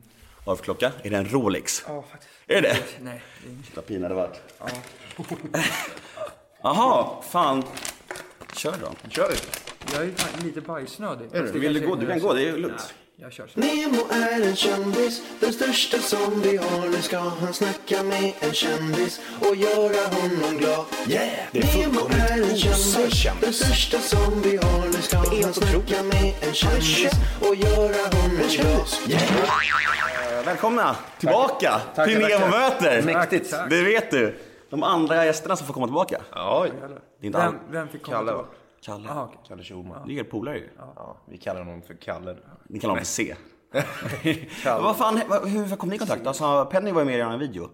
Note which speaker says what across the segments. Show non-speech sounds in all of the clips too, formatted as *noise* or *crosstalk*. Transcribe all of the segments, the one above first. Speaker 1: Vad har du för klocka? Är det en Rolex?
Speaker 2: Ja, faktiskt.
Speaker 1: Är det?
Speaker 2: Nej. det är inget.
Speaker 1: Vad pin det varit. Jaha, fan. Kör då.
Speaker 3: Kör!
Speaker 2: Jag är ju fan lite bajsnödig. Fast det
Speaker 1: Vill du
Speaker 2: kanske
Speaker 1: gå?
Speaker 2: är-
Speaker 1: Du kan gå, det är lugnt.
Speaker 2: Jag kör så.
Speaker 4: Nemo är en kändis, den största som vi har. Nu ska han snacka med en kändis och göra honom glad.
Speaker 5: Yeah! Det är
Speaker 4: Nemo är en
Speaker 5: fullkomligt osökt
Speaker 4: kändis, den
Speaker 5: kändis.
Speaker 4: största som vi har. Nu ska han snacka med en kändis och göra honom glad.
Speaker 1: Välkomna tillbaka till
Speaker 3: tackar.
Speaker 1: Nemo möter.
Speaker 3: Mäktigt.
Speaker 2: Tack.
Speaker 1: Det vet du. De andra gästerna som får komma tillbaka.
Speaker 3: Ja,
Speaker 1: Det är inte han.
Speaker 2: Vem, vem fick komma
Speaker 3: Kalle,
Speaker 2: tillbaka?
Speaker 1: Kalle.
Speaker 2: Jaha, okej.
Speaker 3: Kalle Schulman.
Speaker 1: Det är er polare ju.
Speaker 3: Ja, vi kallar honom för Kalle.
Speaker 1: Ni kallar honom för C.
Speaker 2: *laughs*
Speaker 1: vad fan, vad- hur kom ni i kontakt? Alltså, Penny var ju med i en video.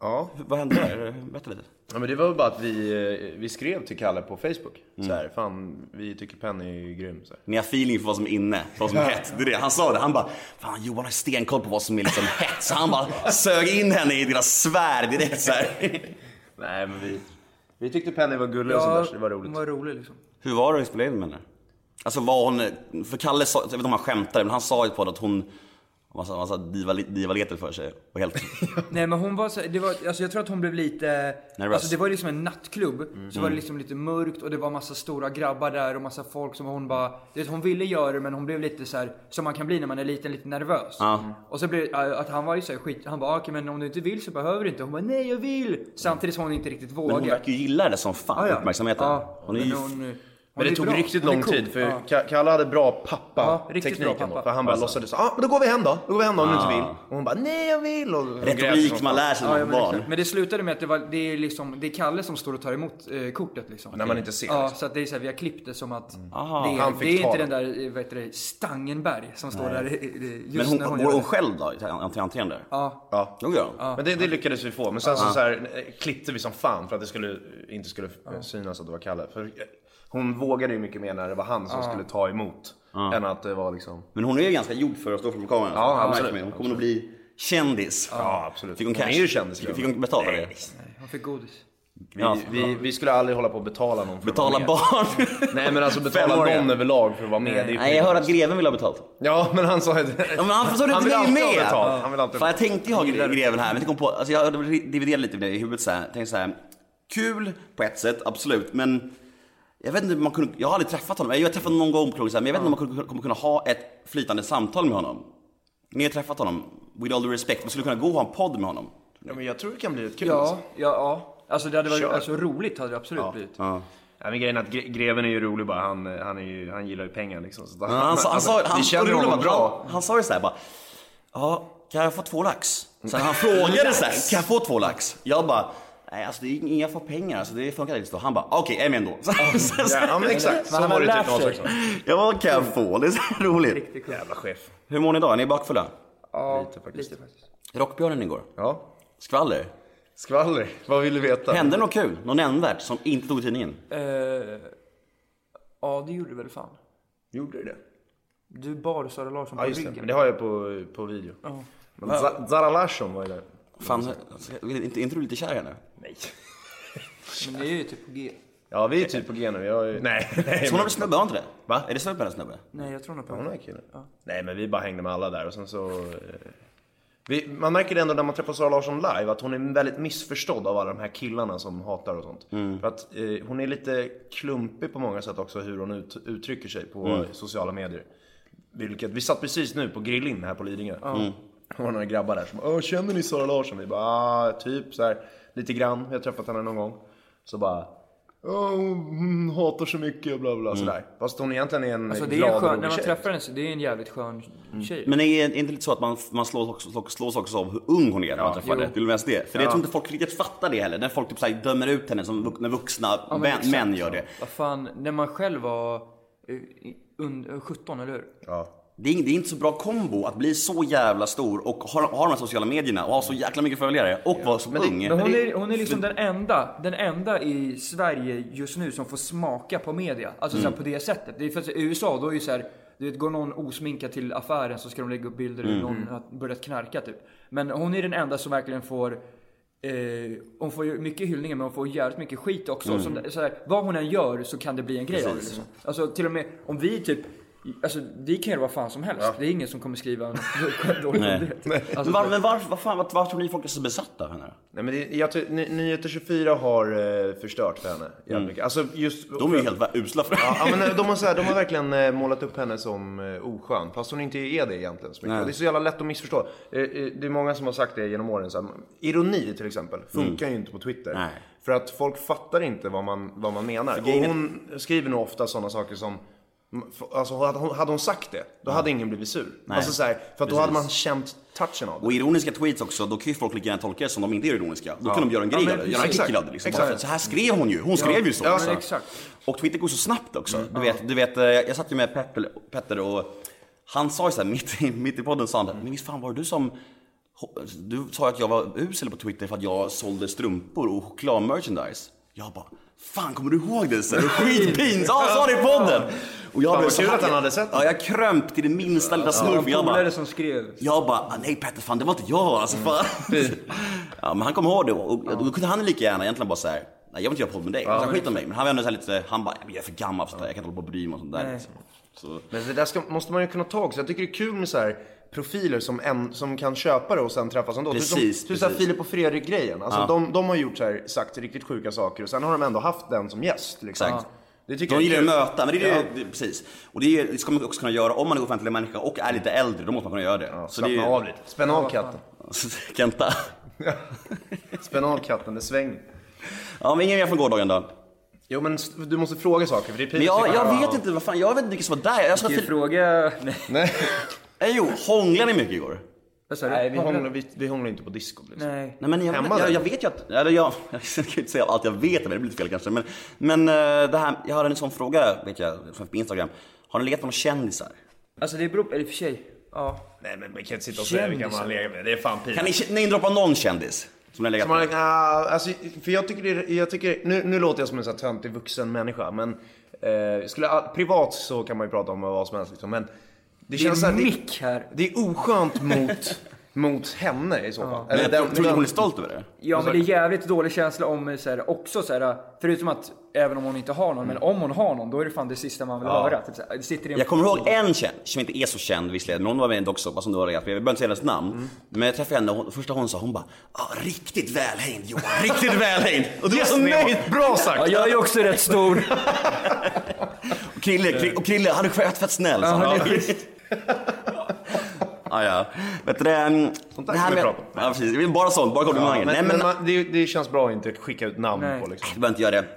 Speaker 3: Ja,
Speaker 1: Vad hände där? Berätta lite.
Speaker 3: Ja, men det var väl bara att vi, eh, vi skrev till Kalle på Facebook. Så här, fan, vi tycker Penny är grym. Så här.
Speaker 1: Ni har feeling för vad som är inne, för vad som är hett. Det är det. Han sa det, han bara Fan Johan har stenkoll på vad som är liksom hett. Så han bara sög in henne i deras sfär direkt så här.
Speaker 3: Nej, men vi, vi tyckte Penny var gullig och sånt där,
Speaker 2: Ja,
Speaker 3: så det var roligt.
Speaker 2: hon var rolig liksom.
Speaker 1: Hur var det att spela in med henne? Alltså var hon, för Kalle sa, jag vet inte om han skämtade, men han sa ju på det att hon man sa, man sa diva, divaletet för sig. Och helt,
Speaker 2: Nej men hon var så, det var, alltså jag tror att hon blev lite...
Speaker 1: Nervös. Mm.
Speaker 2: Alltså det var ju liksom en nattklubb. Så var det liksom lite mörkt och det var massa stora grabbar där och massa folk som hon bara... Du vet, hon ville göra det men hon blev lite så här, som man kan bli när man är liten, lite nervös.
Speaker 1: Ja.
Speaker 2: Och så blev äh, att han var ju så här, skit... Han bara "Ah, okej men om du inte vill så behöver du inte. Hon bara nej jag vill! Samtidigt som hon inte riktigt
Speaker 1: men
Speaker 2: vågar.
Speaker 1: hon verkar ju gilla det som fan,
Speaker 2: Ah, Ja, ja.
Speaker 1: uppmärksamheten.
Speaker 2: Ja,
Speaker 1: Hon är ju,
Speaker 2: men hon, hon
Speaker 3: Men
Speaker 2: är
Speaker 3: det tog
Speaker 2: bra.
Speaker 3: riktigt
Speaker 2: Hon är
Speaker 3: lång
Speaker 2: cool.
Speaker 3: tid för
Speaker 2: Ja.
Speaker 3: Ka- Kalle hade bra
Speaker 2: Ja,
Speaker 3: pappa-tekniken.
Speaker 2: riktigt bra
Speaker 3: då,
Speaker 2: pappa.
Speaker 3: för han bara låtsades, ja ah, men då går vi hem då. Då går vi hem då om du inte vill. Och hon bara, nej jag vill. Och hon grät
Speaker 1: retorik
Speaker 3: som
Speaker 1: man
Speaker 3: fan.
Speaker 1: lär sig när
Speaker 2: Ja,
Speaker 1: man
Speaker 2: ja,
Speaker 1: är
Speaker 2: men,
Speaker 1: barn.
Speaker 2: exakt. men det slutade med att det, var, det, är liksom, det är Kalle som står och tar emot eh, kortet liksom.
Speaker 3: När man inte ser.
Speaker 2: Ja,
Speaker 3: liksom.
Speaker 2: så att det är så här, vi har klippt det som att
Speaker 1: Aha.
Speaker 2: det är,
Speaker 3: Han fick
Speaker 2: det är
Speaker 3: ta
Speaker 2: inte den där eh, vad heter det, Stangenberg som står där eh, eh, just
Speaker 1: Men hon,
Speaker 2: när hon,
Speaker 1: går
Speaker 2: gör
Speaker 1: hon
Speaker 2: det.
Speaker 1: själv då, till till entrén där?
Speaker 2: Ja,
Speaker 3: Ja.
Speaker 1: Jo, gör hon.
Speaker 3: Men det, det lyckades vi få. Men sen så, så här, eh, klippte vi som fan för att det skulle, inte skulle eh, synas att det var Kalle. För eh, hon vågade ju mycket mer när det var han som skulle ta emot. Än att det var liksom...
Speaker 1: Men hon är ju ganska gjord för att stå framför kameran.
Speaker 3: Ja,
Speaker 1: Hon
Speaker 3: absolut.
Speaker 1: märker det. Hon kommer nog bli kändis.
Speaker 3: Ja, absolut.
Speaker 1: Fick hon
Speaker 3: Hon
Speaker 1: cash?
Speaker 3: är ju kändis,
Speaker 1: Fick,
Speaker 3: Lena.
Speaker 1: fick hon betala det?
Speaker 2: hon fick godis.
Speaker 3: Vi,
Speaker 1: Ja.
Speaker 3: vi, vi skulle aldrig hålla på att betala någon för att vara
Speaker 1: Betala
Speaker 3: med.
Speaker 1: *laughs* barn?
Speaker 3: Nej men alltså betala
Speaker 1: Femåriga.
Speaker 3: någon överlag för att vara med. Det är ju-
Speaker 1: Nej, jag hörde att greven ville ha betalt.
Speaker 3: Ja men han sa att...
Speaker 1: Ja, men han sa du inte
Speaker 3: vill
Speaker 1: ni
Speaker 3: alltid ha
Speaker 1: med?
Speaker 3: betalt. Han vill alltid
Speaker 1: Fan, jag tänkte ju ha gre- greven här, men jag kom på, alltså jag dividerade lite med det i huvudet så här. Jag tänkte så här, kul på ett sätt, absolut, men jag vet inte hur man kunde, jag har aldrig träffat honom. Jag har träffat honom någon gång på krogen så här, men jag vet inte om man kunde- kommer kunna ha ett flytande samtal med honom. Ni har träffat honom, with all due respect, man skulle kunna gå och ha en podd med honom.
Speaker 3: Ja, men jag tror det kan bli ett kul.
Speaker 2: Ja, ja, ja. Alltså det hade varit
Speaker 3: Kör.
Speaker 2: alltså, roligt hade det absolut blivit.
Speaker 1: Ja.
Speaker 3: Ja, men grejen är att gre- greven är ju rolig bara. Han, eh, han, är ju, han gillar ju pengar liksom. Så att
Speaker 1: Ja, Han, sa, han, sa,
Speaker 3: vi
Speaker 1: han,
Speaker 3: känner
Speaker 1: och det roliga
Speaker 3: honom
Speaker 1: var
Speaker 3: bra.
Speaker 1: bra. han sa ju såhär bara, ja, kan jag få två lax? Sen han frågade såhär, kan jag få två lax? Jag bara, nej alltså det är inga för pengar, alltså, det funkar inte så. Han bara, okej, jag är med ändå. *laughs*
Speaker 3: Ja, ja men exakt. Så
Speaker 2: han
Speaker 3: var det
Speaker 2: har lärt
Speaker 3: typ någon
Speaker 2: sig.
Speaker 3: också.
Speaker 1: Ja, vad kan jag få? Det är så roligt.
Speaker 2: Riktigt coolt.
Speaker 3: Jävla chef.
Speaker 1: Hur mår ni idag? Är ni bakfulla?
Speaker 2: Ja,
Speaker 3: Lite faktiskt.
Speaker 2: Lite faktiskt.
Speaker 1: Rockbjörnen igår?
Speaker 3: Ja.
Speaker 1: Skvaller?
Speaker 3: Skvaller. Vad vill du veta?
Speaker 1: Hände något kul? Något nämnvärt som inte tog i tidningen?
Speaker 2: Eh, ja, det gjorde väl fan.
Speaker 3: Gjorde du det?
Speaker 2: Du bar Sara Larsson på
Speaker 3: Ja just det.
Speaker 2: ryggen.
Speaker 3: Men det har jag på, på video.
Speaker 2: Ja.
Speaker 3: Men Za- Zara Larsson var ju där.
Speaker 1: Fan, alltså, är inte, är inte du lite kär i henne?
Speaker 3: Nej.
Speaker 2: Men det är ju typ på G.
Speaker 3: Ja vi är typ på G nu. Jag är... ju- Nej. nej
Speaker 1: Så hon har väl snubbe, har inte det? Va? Är det snubbe eller snubbe?
Speaker 2: Nej, jag tror nog på
Speaker 3: Hon
Speaker 2: det.
Speaker 3: är kille. Nej men vi bara hängde med alla där och sen så... eh, Vi, man märker det ändå när man träffar Sara Larsson live att hon är väldigt missförstådd av alla de här killarna som hatar och sånt. För att eh, hon är lite klumpig på många sätt också hur hon ut, uttrycker sig på sociala medier. Vilket, vi satt precis nu på grillin här på Lidingö. Och några grabbar där som bara, "Åh, känner ni Sara Larsson? Vi bara, ah, typ så här, lite grann. Vi har träffat henne någon gång. Så bara, "Åh, hon hatar så mycket och bla bla sådär. Fast hon egentligen är en
Speaker 2: Alltså det är
Speaker 3: glad
Speaker 2: en
Speaker 3: och
Speaker 2: skön,
Speaker 3: rolig
Speaker 2: när man
Speaker 3: tjej.
Speaker 2: träffar henne så det är en jävligt skön tjej.
Speaker 1: Men är det inte lite så att man, man slås, också, slå- slås också av hur ung hon är när man träffar henne? Det är väl mest det. För jag tror inte folk riktigt fattar det heller. När folk typ så här dömer ut henne som vux- när vuxna
Speaker 2: men
Speaker 1: män,
Speaker 2: exakt
Speaker 1: män gör det.
Speaker 2: Vad fan, när man själv var eh, und- 17, eller hur?
Speaker 3: Ja.
Speaker 1: Det är, ing- det är inte så bra kombo att bli så jävla stor och ha, ha de här sociala medierna och ha så jäkla mycket följare och vara så ung.
Speaker 2: Men hon är, hon är liksom den enda, den enda i Sverige just nu som får smaka på media. Alltså
Speaker 1: Mm.
Speaker 2: så här, på det sättet. Det är för att i USA då är ju så här, du vet, går någon osminkad till affären så ska de lägga upp bilder
Speaker 1: Mm.
Speaker 2: hur någon har börjat knarka typ. Men hon är den enda som verkligen får Eh, hon får ju mycket hyllningar men hon får jävligt mycket
Speaker 1: Mm.
Speaker 2: skit också. Som, så här, vad hon än gör så kan det bli en grej av det, liksom. Alltså till och med om vi typ Alltså vi kan göra vad fan som helst. Det är ingen som kommer skriva något *laughs* dåligt om
Speaker 1: Nej.
Speaker 2: det. Alltså,
Speaker 1: men var, men varför, vad fan, vad, vad tror ni folk är så besatta av henne?
Speaker 3: Nej, men det, jag, ty- Ny- Nyheter 24 har eh, förstört för henne. jävligt mycket. Alltså just...
Speaker 1: Mm. De är ju helt usla för
Speaker 3: Ja, men nej, de, har så här, de har verkligen eh, målat upp henne som eh, oskön, fast hon inte är det egentligen. Så mycket.
Speaker 1: Nej.
Speaker 3: Och det är så jävla lätt att missförstå. Eh, eh, Det är många som har sagt det genom åren. Så här, ironi till exempel, funkar ju inte på Twitter.
Speaker 1: Mm. Nej.
Speaker 3: För att folk fattar inte vad man, vad man menar. Och
Speaker 1: grejen är-
Speaker 3: hon skriver nog ofta sådana saker som Alltså hade hon, hade hon sagt det, då hade ingen blivit sur.
Speaker 1: Nej.
Speaker 3: Alltså så här, för att då
Speaker 1: Precis.
Speaker 3: hade man känt touchen av
Speaker 1: *laughs*
Speaker 3: det.
Speaker 1: Och ironiska tweets också, då kan ju folk lika gärna tolka det som de inte är ironiska. Då kan de göra en grej
Speaker 3: Ja, men
Speaker 1: av det, göra en
Speaker 3: precis.
Speaker 1: artikel av det. Liksom.
Speaker 3: Exakt.
Speaker 1: Bara för att Så här skrev hon ju, hon skrev ju så.
Speaker 3: Ja,
Speaker 1: så.
Speaker 2: men exakt.
Speaker 1: Och Twitter går så snabbt också.
Speaker 3: Mm.
Speaker 1: Du vet, du vet, eh, jag satt ju med Petter, Petter och han sa ju såhär mitt, i- *laughs* mitt i podden sa han men visst fan var det du som du sa att jag var usel på Twitter för att jag sålde strumpor och chokladmerchandise. Jag bara, fan kommer du ihåg det?
Speaker 3: *laughs*
Speaker 1: Så här, Skitpins! Ja, han sa det i podden! Och jag
Speaker 3: Fan,
Speaker 1: blev
Speaker 3: vad
Speaker 1: så
Speaker 3: kul
Speaker 1: här-
Speaker 3: att han hade sett det.
Speaker 1: Ja, jag krömp till det minsta lilla
Speaker 2: det var
Speaker 1: smurf.
Speaker 2: en
Speaker 1: Jag bara,
Speaker 2: polare som skrev.
Speaker 1: jag bara, ah, nej Petter, fan det var inte jag alltså.
Speaker 3: Mm. *laughs*
Speaker 1: Fan. ja, men han kom ihåg det och, och, då kunde han lika gärna egentligen bara säga nej jag vill inte göra podd med dig. Ja, så skit om mig. Men han var ändå så här lite, han bara, jag är för gammal för sånt där, jag kan inte hålla på och bry mig och sånt där. Liksom. Så,
Speaker 3: Men det där ska, måste man ju kunna ta också. Jag tycker det är kul med så här profiler som, en, som kan köpa det och sen träffas ändå.
Speaker 1: Precis,
Speaker 3: typ som, typ så här
Speaker 1: precis.
Speaker 3: Filip och Fredrik-grejen. Alltså de, de har gjort så här, sagt riktigt sjuka saker och sen har de ändå haft den som gäst. Liksom.
Speaker 1: Exakt.
Speaker 3: Det tycker
Speaker 1: de
Speaker 3: jag
Speaker 1: gillar
Speaker 3: är
Speaker 1: att
Speaker 3: kul.
Speaker 1: möta, men det är ju,
Speaker 3: Ja.
Speaker 1: det, precis. Och det, är, ju- det ska man också kunna göra om man är offentlig människa och är lite äldre, då måste man kunna göra det.
Speaker 3: Ja,
Speaker 1: så det är
Speaker 3: Slappna
Speaker 1: ju,
Speaker 3: av lite. Spänn av katten.
Speaker 1: *laughs* Kenta.
Speaker 3: Spänn av katten, det svänger.
Speaker 1: Ja men inget mer från gårdagen då.
Speaker 3: Jo men s- du måste fråga saker för det är
Speaker 1: Men
Speaker 3: pinsamt.
Speaker 1: jag, jag vet inte, vad fan, jag vet inte vilka som var där. Jag sa,
Speaker 2: Ska jag
Speaker 1: Filip-
Speaker 2: fråga... Nej.
Speaker 3: Nej,
Speaker 1: Eh, jo, hånglade ni mycket igår?
Speaker 2: Vad sa du?
Speaker 3: Nej vi,
Speaker 2: Hångla-
Speaker 3: hånglar, vi, vi hånglar inte på disco. Liksom.
Speaker 2: Nej.
Speaker 1: Nej, men jag,
Speaker 3: Hemma
Speaker 1: jag,
Speaker 3: där?
Speaker 1: jag vet ju att, eller jag, *laughs* jag kan ju inte säga allt jag vet, men det blir lite fel kanske. Men, men eh, det här, jag hade en sån fråga, vet jag, från på Instagram. Har ni legat med några kändisar?
Speaker 2: Alltså det beror på, eller i och för sig. Ja.
Speaker 3: Nej men man kan inte sitta och säga vilka man har legat med. Det är fan pinsamt.
Speaker 1: Kan ni k- namedroppa någon kändis? Som ni har legat
Speaker 3: Som har,
Speaker 1: med?
Speaker 3: ah, alltså, för jag tycker, det, jag tycker nu, nu låter jag som en sån här töntig vuxen människa men eh, skulle, ah, privat så kan man ju prata om vad som helst liksom, men det,
Speaker 2: Det
Speaker 3: känns
Speaker 2: är
Speaker 3: såhär,
Speaker 2: en
Speaker 3: det,
Speaker 2: mick *laughs* här.
Speaker 3: det är oskönt mot, mot henne i så fall.
Speaker 1: Men
Speaker 3: Eller
Speaker 1: jag
Speaker 3: den-
Speaker 1: tror- tror du
Speaker 3: den-
Speaker 1: hon är stolt över det?
Speaker 2: Ja men det är jävligt dålig känsla om eh, så här, också så här, förutom att även om hon inte har någon, men om hon har någon då är det fan det sista man vill höra. Typ, så här, det sitter i en...
Speaker 1: Jag kommer ihåg en känd, som inte är så känd visserligen, men hon var med i en docksåpa som du har legat med. Jag behöver inte säga hennes namn.
Speaker 3: Mm.
Speaker 1: Men jag träffade henne och hon, första hon sa, hon bara ah, “Riktigt välhängd Johan,
Speaker 3: *laughs*
Speaker 1: riktigt välhängd”. Och du var så
Speaker 3: Nemo.
Speaker 1: nöjd!
Speaker 3: Bra sagt!
Speaker 2: Ja, jag är ju också rätt stor. *laughs*
Speaker 1: Och Krille,
Speaker 3: Eh.
Speaker 1: Krille, och Krille han är fett, fett snäll. sa han.
Speaker 2: Ja, visst.
Speaker 1: Ja, ja. Vet du det, ehm,
Speaker 3: Sånt där
Speaker 1: det här
Speaker 3: kan vi
Speaker 1: med...
Speaker 3: prata om.
Speaker 1: Ja, precis. Det är Bara sånt, bara komplimanger.
Speaker 3: men,
Speaker 1: Nej,
Speaker 3: men,
Speaker 1: men...
Speaker 3: man, det, det känns bra att inte skicka ut namn
Speaker 2: Nej.
Speaker 3: på liksom.
Speaker 1: Du behöver inte göra det.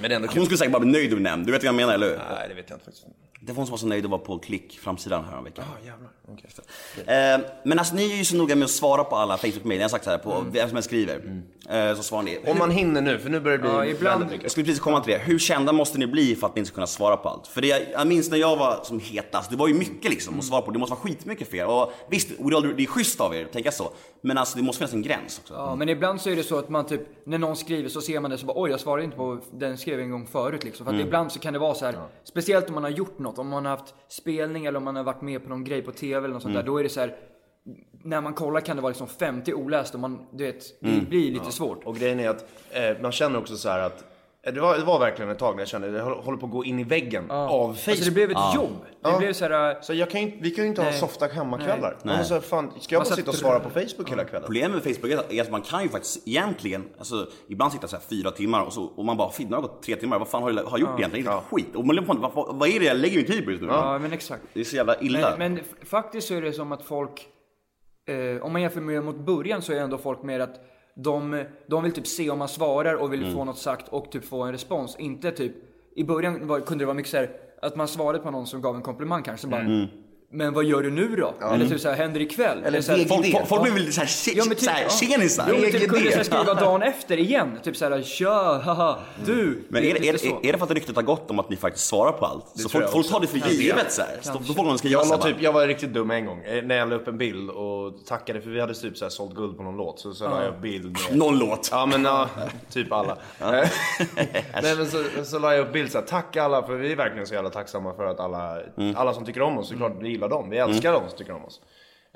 Speaker 3: Men det är ändå
Speaker 1: Hon skulle säkert bara bli nöjd och nämnd. Du vet vad jag menar, eller hur?
Speaker 3: Nej det vet jag inte faktiskt.
Speaker 1: Det var hon som var så nöjd och var på klick framsidan här om veckan.
Speaker 3: Ja jävlar. Okej.
Speaker 1: Eh, men alltså ni är ju så noga med att svara på alla Facebook-mejl. Jag har sagt så här, på
Speaker 3: Mm.
Speaker 1: vem som än skriver. Eh, så svarar ni.
Speaker 3: Om man hinner nu för nu börjar det bli
Speaker 2: Ja, ibland-
Speaker 3: väldigt mycket.
Speaker 1: Jag skulle precis komma till det. Hur kända måste ni bli för att ni inte ska kunna svara på allt? För det jag, jag minns när jag var som hetast, det var ju mycket liksom
Speaker 3: Mm.
Speaker 1: att svara på. Det måste vara skitmycket för er. Och visst, och det är- det är schysst av er att tänka så. Men alltså det måste finnas en gräns också.
Speaker 2: Ja, men ibland så är det så att man typ, när någon skriver så ser man det så bara oj jag svarade inte på den skrev en gång förut liksom.
Speaker 3: Mm.
Speaker 2: För att ibland så kan det vara så här, speciellt om man har gjort något, om man har haft spelning eller om man har varit med på någon grej på TV eller något sånt där.
Speaker 3: Mm.
Speaker 2: Då är det så här, när man kollar kan det vara liksom 50 oläst och man, du vet, det
Speaker 3: Mm.
Speaker 2: blir lite svårt.
Speaker 3: Och grejen är att eh, man känner också så här att eh, det var, det var verkligen ett tag när jag kände att jag håller håller på att gå in i väggen av Facebook.
Speaker 2: Alltså det blev ett jobb. Det
Speaker 3: Ja.
Speaker 2: blev så här,
Speaker 3: Så jag kan ju, vi kan ju inte ha softa hemmakvällar.
Speaker 1: Nej.
Speaker 3: Alltså, fan, ska jag bara
Speaker 2: Massa
Speaker 3: sitta och
Speaker 2: tr-
Speaker 3: svara på Facebook hela kvällen?
Speaker 1: Problemet med Facebook är att man kan ju faktiskt egentligen, alltså ibland sitta så här fyra timmar och, så, och man bara, "Fy, nu har det gått tre timmar, vad fan har jag har jag gjort egentligen? Inte skit. Och man lägger på, vad, vad- vad är det jag lägger min tid på just nu?
Speaker 2: ja men exakt.
Speaker 1: Det är så jävla illa.
Speaker 2: Men, men f- faktiskt så är det som att folk, eh, om man jämför med mot början så är ändå folk mer att de, de vill typ se om man svarar och vill
Speaker 1: Mm.
Speaker 2: få något sagt och typ få en respons. Inte typ, i början var, kunde det vara mycket så här att man svarade på någon som gav en komplimang kanske bara
Speaker 1: Mm.
Speaker 2: Men vad gör du nu då? Eller typ såhär, händer ikväll? Eller, så här,
Speaker 1: folk, folk, folk
Speaker 2: Ja.
Speaker 1: blir väl lite såhär tje-
Speaker 2: Ja, men typ,
Speaker 1: såhär
Speaker 2: ja.
Speaker 1: tjenisar.
Speaker 2: Jo, men typ kunde
Speaker 1: Ja.
Speaker 2: såhär skriva dagen efter igen. Typ såhär, tja, haha, du.
Speaker 1: Men
Speaker 2: Det
Speaker 1: är, det- är,
Speaker 2: lite så.
Speaker 1: är, är det för att ryktet har gått om att ni faktiskt svarar på allt? Så
Speaker 3: tror
Speaker 1: folk,
Speaker 3: jag
Speaker 1: folk
Speaker 3: också.
Speaker 1: tar det för givet såhär. Så Då får någon skriva
Speaker 3: Jag,
Speaker 1: så
Speaker 3: la
Speaker 1: här bara,
Speaker 3: typ, jag var riktigt dum en gång eh, när jag la upp en bild och tackade för vi hade typ så här sålt guld på någon låt. Så, så la jag bild med...
Speaker 1: Någon låt.
Speaker 3: Ja men ja, typ alla. Eh, *laughs* Nej men så, så la jag upp bild såhär, tack alla för vi är verkligen så jävla tacksamma för att alla,
Speaker 1: Mm.
Speaker 3: alla som tycker om oss, såklart vi gillar dem. Vi älskar dem som tycker om oss.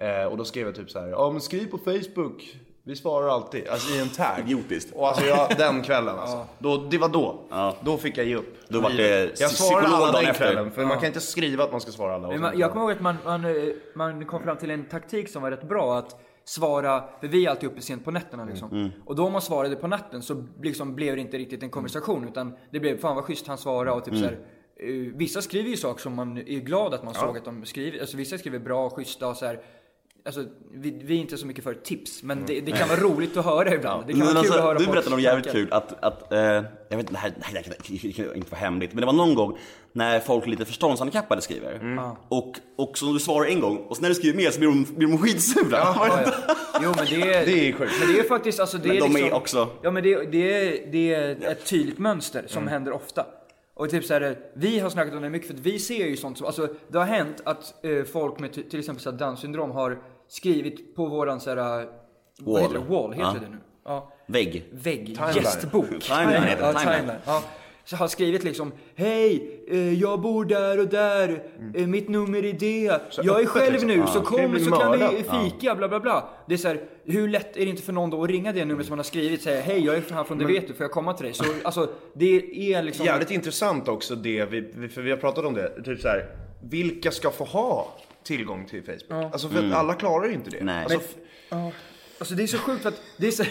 Speaker 3: Eh, och då skrev jag typ så här, ja men skriv på Facebook. Vi svarar alltid, alltså i en tag.
Speaker 1: Idiotiskt.
Speaker 3: Och alltså jag, den kvällen alltså. Då, det var då. Då fick jag ge upp.
Speaker 1: Då var det
Speaker 3: jag svarade
Speaker 1: psykolog
Speaker 3: alla
Speaker 1: dagen
Speaker 3: den
Speaker 1: efter.
Speaker 3: kvällen, för man kan inte skriva att man ska svara alla. och
Speaker 2: Men
Speaker 3: så
Speaker 2: man, jag kommer ihåg att man, man, eh, man kom fram till en taktik som var rätt bra. Att svara, för vi är alltid uppe sent på nätterna
Speaker 1: Mm.
Speaker 2: liksom. Och då om man svarade på natten så liksom blev det inte riktigt en konversation.
Speaker 1: Mm.
Speaker 2: Utan det blev, fan vad schysst han svarade och typ så här, eh, Vissa skriver ju saker som man är glad att man såg att de skriver. Alltså vissa skriver bra, schyssta och så här. Alltså, vi, vi är inte så mycket för tips, men det, det kan vara roligt att höra ibland. Det kan
Speaker 1: Mm. Men
Speaker 2: vara kul
Speaker 1: alltså,
Speaker 2: att höra
Speaker 1: du
Speaker 2: folk
Speaker 1: berättade något jävligt
Speaker 2: snacka.
Speaker 1: kul att, att eh, jag vet inte, det här, det här kan, det kan inte vara hemligt, men det var någon gång när folk lite förståndshandikappade skriver.
Speaker 2: Mm.
Speaker 1: Och, och så du svarar en gång, och sen när du skriver mer så blir de, blir de skitsura. *laughs*
Speaker 2: Ja, ja. Jo men det är,
Speaker 3: Det är sjukt.
Speaker 2: Men det är faktiskt, alltså det
Speaker 1: Men
Speaker 2: är
Speaker 1: de är
Speaker 2: liksom,
Speaker 1: också-
Speaker 2: Ja men det, det, är, det är ett tydligt mönster som händer ofta. Och typ så här, vi har snackat om det mycket för att vi ser ju sånt som, alltså det har hänt att eh, folk med ty- till exempel så här Downs syndrom har skrivit på våran så här, eh,
Speaker 1: Wall.
Speaker 2: Vad heter det? Wall heter
Speaker 1: Ja.
Speaker 2: det nu? Ja.
Speaker 1: Vägg.
Speaker 2: Vägg, gästbok.
Speaker 1: Timeline heter det,
Speaker 2: ja,
Speaker 1: timeline.
Speaker 2: timeline. Ja. Så har skrivit liksom, hej, eh, jag bor där och där, eh, mitt nummer är det, jag är
Speaker 3: öppet
Speaker 2: själv
Speaker 3: liksom.
Speaker 2: nu,
Speaker 3: Ja.
Speaker 2: så
Speaker 3: Kan ju
Speaker 2: kom
Speaker 3: bli
Speaker 2: så kan vi
Speaker 3: mördad.
Speaker 2: fika, bla bla bla. Det är så här, hur lätt är det inte för någon då att ringa det nummer som man har skrivit, säga hej, jag är här från det vet du, får jag komma till dig? Så alltså, det är liksom...
Speaker 3: Jävligt intressant också det, vi, vi- för vi har pratat om det. Typ så här, vilka ska få ha tillgång till Facebook? Alltså för att alla klarar ju inte det.
Speaker 1: Nej.
Speaker 3: Alltså,
Speaker 1: Men-
Speaker 3: f-
Speaker 2: Ja. Alltså det är så sjukt för att det är så...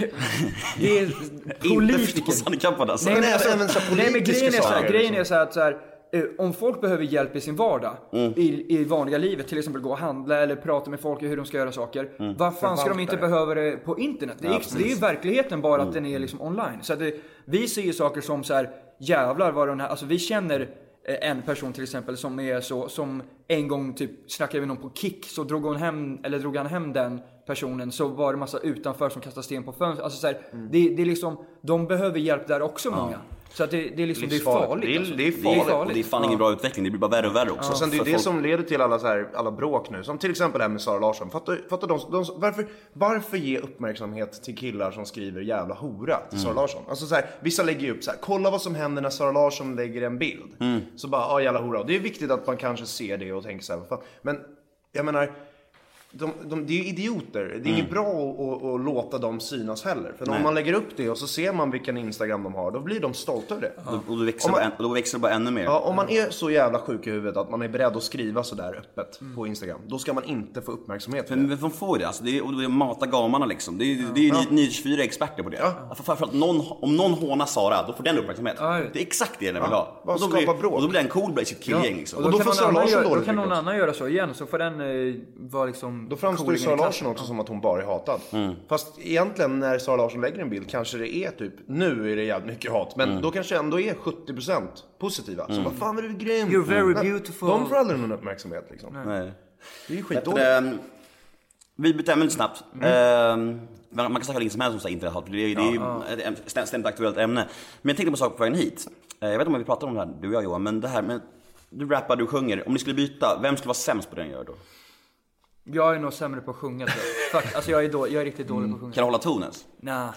Speaker 2: Det är
Speaker 1: Inte
Speaker 2: politiker.
Speaker 1: förstånshandikappade alltså.
Speaker 2: Nej,
Speaker 3: Nej,
Speaker 2: men,
Speaker 3: alltså, även så här
Speaker 2: nej, men
Speaker 3: politiska
Speaker 2: grejen är så här,
Speaker 3: saker,
Speaker 2: grejen
Speaker 3: liksom. Mm.
Speaker 2: är så här att så här, eh, om folk behöver hjälp i sin vardag, i, i vanliga livet, till exempel gå och handla eller prata med folk om hur de ska göra saker.
Speaker 3: Mm.
Speaker 2: Vad fan ska de inte behöva det på internet? Det är, det är ju verkligheten bara att
Speaker 3: Mm.
Speaker 2: den är liksom online. Så att det, vi ser ju saker som så här, jävlar vad den här, alltså vi känner eh, en person till exempel som är så, som en gång typ snackade med någon på Kick så drog hon hem, eller drog han hem den personen så var det massa utanför som kastade sten på fönstret. Alltså så här,
Speaker 3: Mm.
Speaker 2: det, det är liksom, de behöver hjälp där också många. Så att det, det är liksom, det är
Speaker 3: Livsfarligt.
Speaker 2: farligt.
Speaker 3: Det är-
Speaker 2: alltså.
Speaker 3: det är
Speaker 1: Och
Speaker 3: farligt.
Speaker 1: det är fan ingen bra utveckling, det blir bara värre och värre också.
Speaker 3: Och sen det är
Speaker 1: För
Speaker 3: det
Speaker 1: folk-
Speaker 3: som leder till alla, så här, alla bråk nu. Som till exempel det här med Sara Larsson. Fattar, fattar de, de, varför, varför ge uppmärksamhet till killar som skriver jävla hora till
Speaker 1: Mm.
Speaker 3: Sara Larsson? Alltså så här, vissa lägger ju upp så här, kolla vad som händer när Sara Larsson lägger en bild.
Speaker 1: Mm.
Speaker 3: Så bara, ja jävla hora. Och det är viktigt att man kanske ser det och tänker så här, vad fan. Men jag menar, de, de, det är ju idioter. Det är
Speaker 1: Mm.
Speaker 3: inget bra att, att, att låta dem synas heller. För om man lägger upp det och så ser man vilken Instagram de har, då blir de stolta över det.
Speaker 1: Och då växer,
Speaker 3: Om
Speaker 1: det
Speaker 3: man-
Speaker 1: bara, än- då växer det bara ännu mer.
Speaker 3: Ja, om man är så jävla sjuk i huvudet att man är beredd att skriva sådär öppet
Speaker 2: Mm.
Speaker 3: på Instagram, då ska man inte få uppmärksamhet. För
Speaker 1: Men vem fan får det? Alltså, det är, och det är mata gamarna liksom. Det är, det är ju Ny- Nyhetsfyra experter på det. Alltså, För, framförallt någon, om någon hånar Sara, då får den uppmärksamhet.
Speaker 2: Ja, jag vet.
Speaker 1: Det är exakt det den vill ha.
Speaker 3: bara
Speaker 1: Och då,
Speaker 3: skapa
Speaker 1: blir,
Speaker 3: bråk.
Speaker 1: och då blir den cool i sitt killgäng liksom.
Speaker 3: och
Speaker 1: Och
Speaker 3: då
Speaker 1: då,
Speaker 2: kan
Speaker 3: får
Speaker 2: någon
Speaker 3: Sara
Speaker 2: annan
Speaker 3: Larsson
Speaker 2: göra-
Speaker 3: dåligt
Speaker 2: Då kan någon
Speaker 3: rykte.
Speaker 2: annan göra så igen, så får den eh, vara liksom...
Speaker 3: då framstår
Speaker 2: cool
Speaker 3: ju
Speaker 2: i klassen.
Speaker 3: Sara
Speaker 2: Mm.
Speaker 3: Larsson också som att hon bara är hatad. Fast egentligen när Sara Larsson lägger en bild kanske det är typ, nu är det jävligt mycket hat,
Speaker 2: Mm.
Speaker 3: men då kanske det ändå är 70% positiva. Så bara, fan vad du är grym!
Speaker 2: You're very
Speaker 3: Nej,
Speaker 2: beautiful.
Speaker 3: De får aldrig någon uppmärksamhet liksom.
Speaker 1: Nej.
Speaker 3: Det är ju
Speaker 1: Men,
Speaker 3: skitdåligt.
Speaker 1: Eh, ehm, vi byter ämne lite snabbt. Ehm, man, man kan snacka länge som helst om så här internet, för det, är- det är ju ett äm- ständigt- ständigt aktuellt ämne. Men jag tänkte på en sak på vägen hit. Eh, jag vet inte om vi pratade om det här, du och jag Johan, men det här med du rappar, du sjunger. Om ni skulle byta, vem skulle vara sämst på det ni gör då?
Speaker 2: Jag är nog sämre på att sjunga tror jag. Fuck, alltså jag är, då, jag är riktigt dålig på att sjunga.
Speaker 1: Kan du hålla tonen?
Speaker 3: Mm.
Speaker 2: Nah.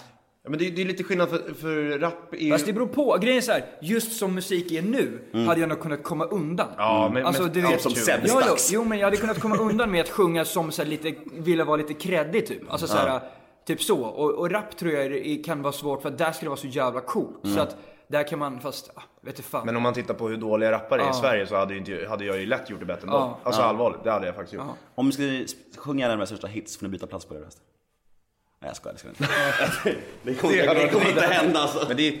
Speaker 3: Ja, Men det, är- det är lite skillnad för, för rap är ju...
Speaker 2: Fast det beror på. Grejen är så här, just som musik är nu
Speaker 3: Mm.
Speaker 2: hade jag nog kunnat komma undan.
Speaker 3: Ja, men-
Speaker 2: alltså,
Speaker 3: men-
Speaker 2: du
Speaker 1: Ja,
Speaker 2: vet,
Speaker 1: som sämst
Speaker 2: ja, ja,
Speaker 1: dags.
Speaker 2: Jo, men jag hade kunnat komma undan med att sjunga som så här, lite, ville vara lite kreddig typ. Alltså så här, typ så. Och, och rap tror jag är- kan vara svårt för att där ska det vara så jävla coolt. Så att där kan man, fast, ah, vet du fan.
Speaker 3: Mm. Men om man tittar på hur dåliga rappare är i Sverige så hade, ju inte, hade jag ju lätt gjort det bättre än dem.
Speaker 2: Ja.
Speaker 3: Alltså allvarligt, det hade jag faktiskt gjort.
Speaker 1: Om ni skulle sp- sjunga en av era största hits, får ni byta plats på det resten. Nej jag skojar, det ska ni inte. det kommer,
Speaker 3: Det
Speaker 1: det
Speaker 3: hade
Speaker 1: kommer
Speaker 3: varit-
Speaker 1: inte hända alltså.
Speaker 3: Men det är,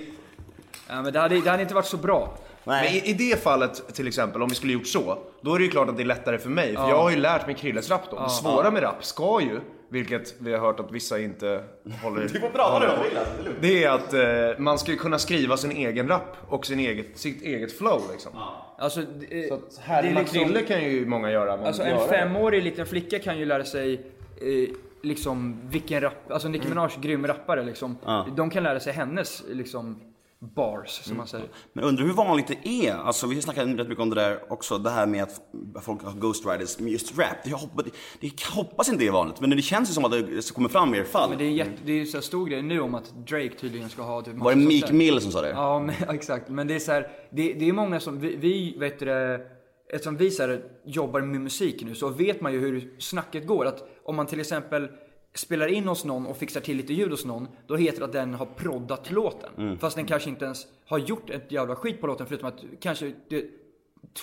Speaker 2: ja, men det, hade, det hade inte varit så bra.
Speaker 1: Nej.
Speaker 3: Men i, i det fallet till exempel, om vi skulle gjort så, då är det ju klart att det är lättare för mig. För jag har ju lärt mig Krilles rap då. Det svåra med rap ska ju, vilket vi har hört att vissa inte
Speaker 2: *laughs*
Speaker 3: håller...
Speaker 1: Du får prata nu om du vill alltså, det är lugnt.
Speaker 3: Det är att eh, man ska ju kunna skriva sin egen rap och sin eget, sitt eget flow liksom.
Speaker 2: Alltså, det,
Speaker 3: Så att härma
Speaker 2: det är liksom-
Speaker 3: Krille kan ju många göra. men
Speaker 2: Alltså
Speaker 3: göra
Speaker 2: en
Speaker 3: det.
Speaker 2: femårig liten flicka kan ju lära sig eh, liksom vilken rap, alltså
Speaker 3: Mm.
Speaker 2: Nicki Minaj, grym rappare liksom. De kan lära sig hennes liksom bars som
Speaker 1: Mm.
Speaker 2: man säger.
Speaker 1: Men undrar hur vanligt det är? Alltså vi snackade rätt mycket om det där också, det här med att folk har ghostwriters med just rap. Jag hoppas, det, jag hoppas inte det är vanligt, men det känns ju som att det kommer fram i er fall.
Speaker 2: Men det är, jätte, det är ju så här stor grej nu om att Drake tydligen ska ha typ
Speaker 1: Var
Speaker 2: massa
Speaker 1: det
Speaker 2: sånt
Speaker 1: Meek
Speaker 2: där.
Speaker 1: Mill som sa det?
Speaker 2: Ja, men, *laughs* exakt. Men det är så här, det, det är många som, vi, vi vet du det, eftersom vi så här, jobbar med musik nu så vet man ju hur snacket går. Att om man till exempel spelar in hos någon och fixar till lite ljud hos någon, då heter det att den har proddat låten. Fast den kanske inte ens har gjort ett jävla skit på låten förutom att kanske det,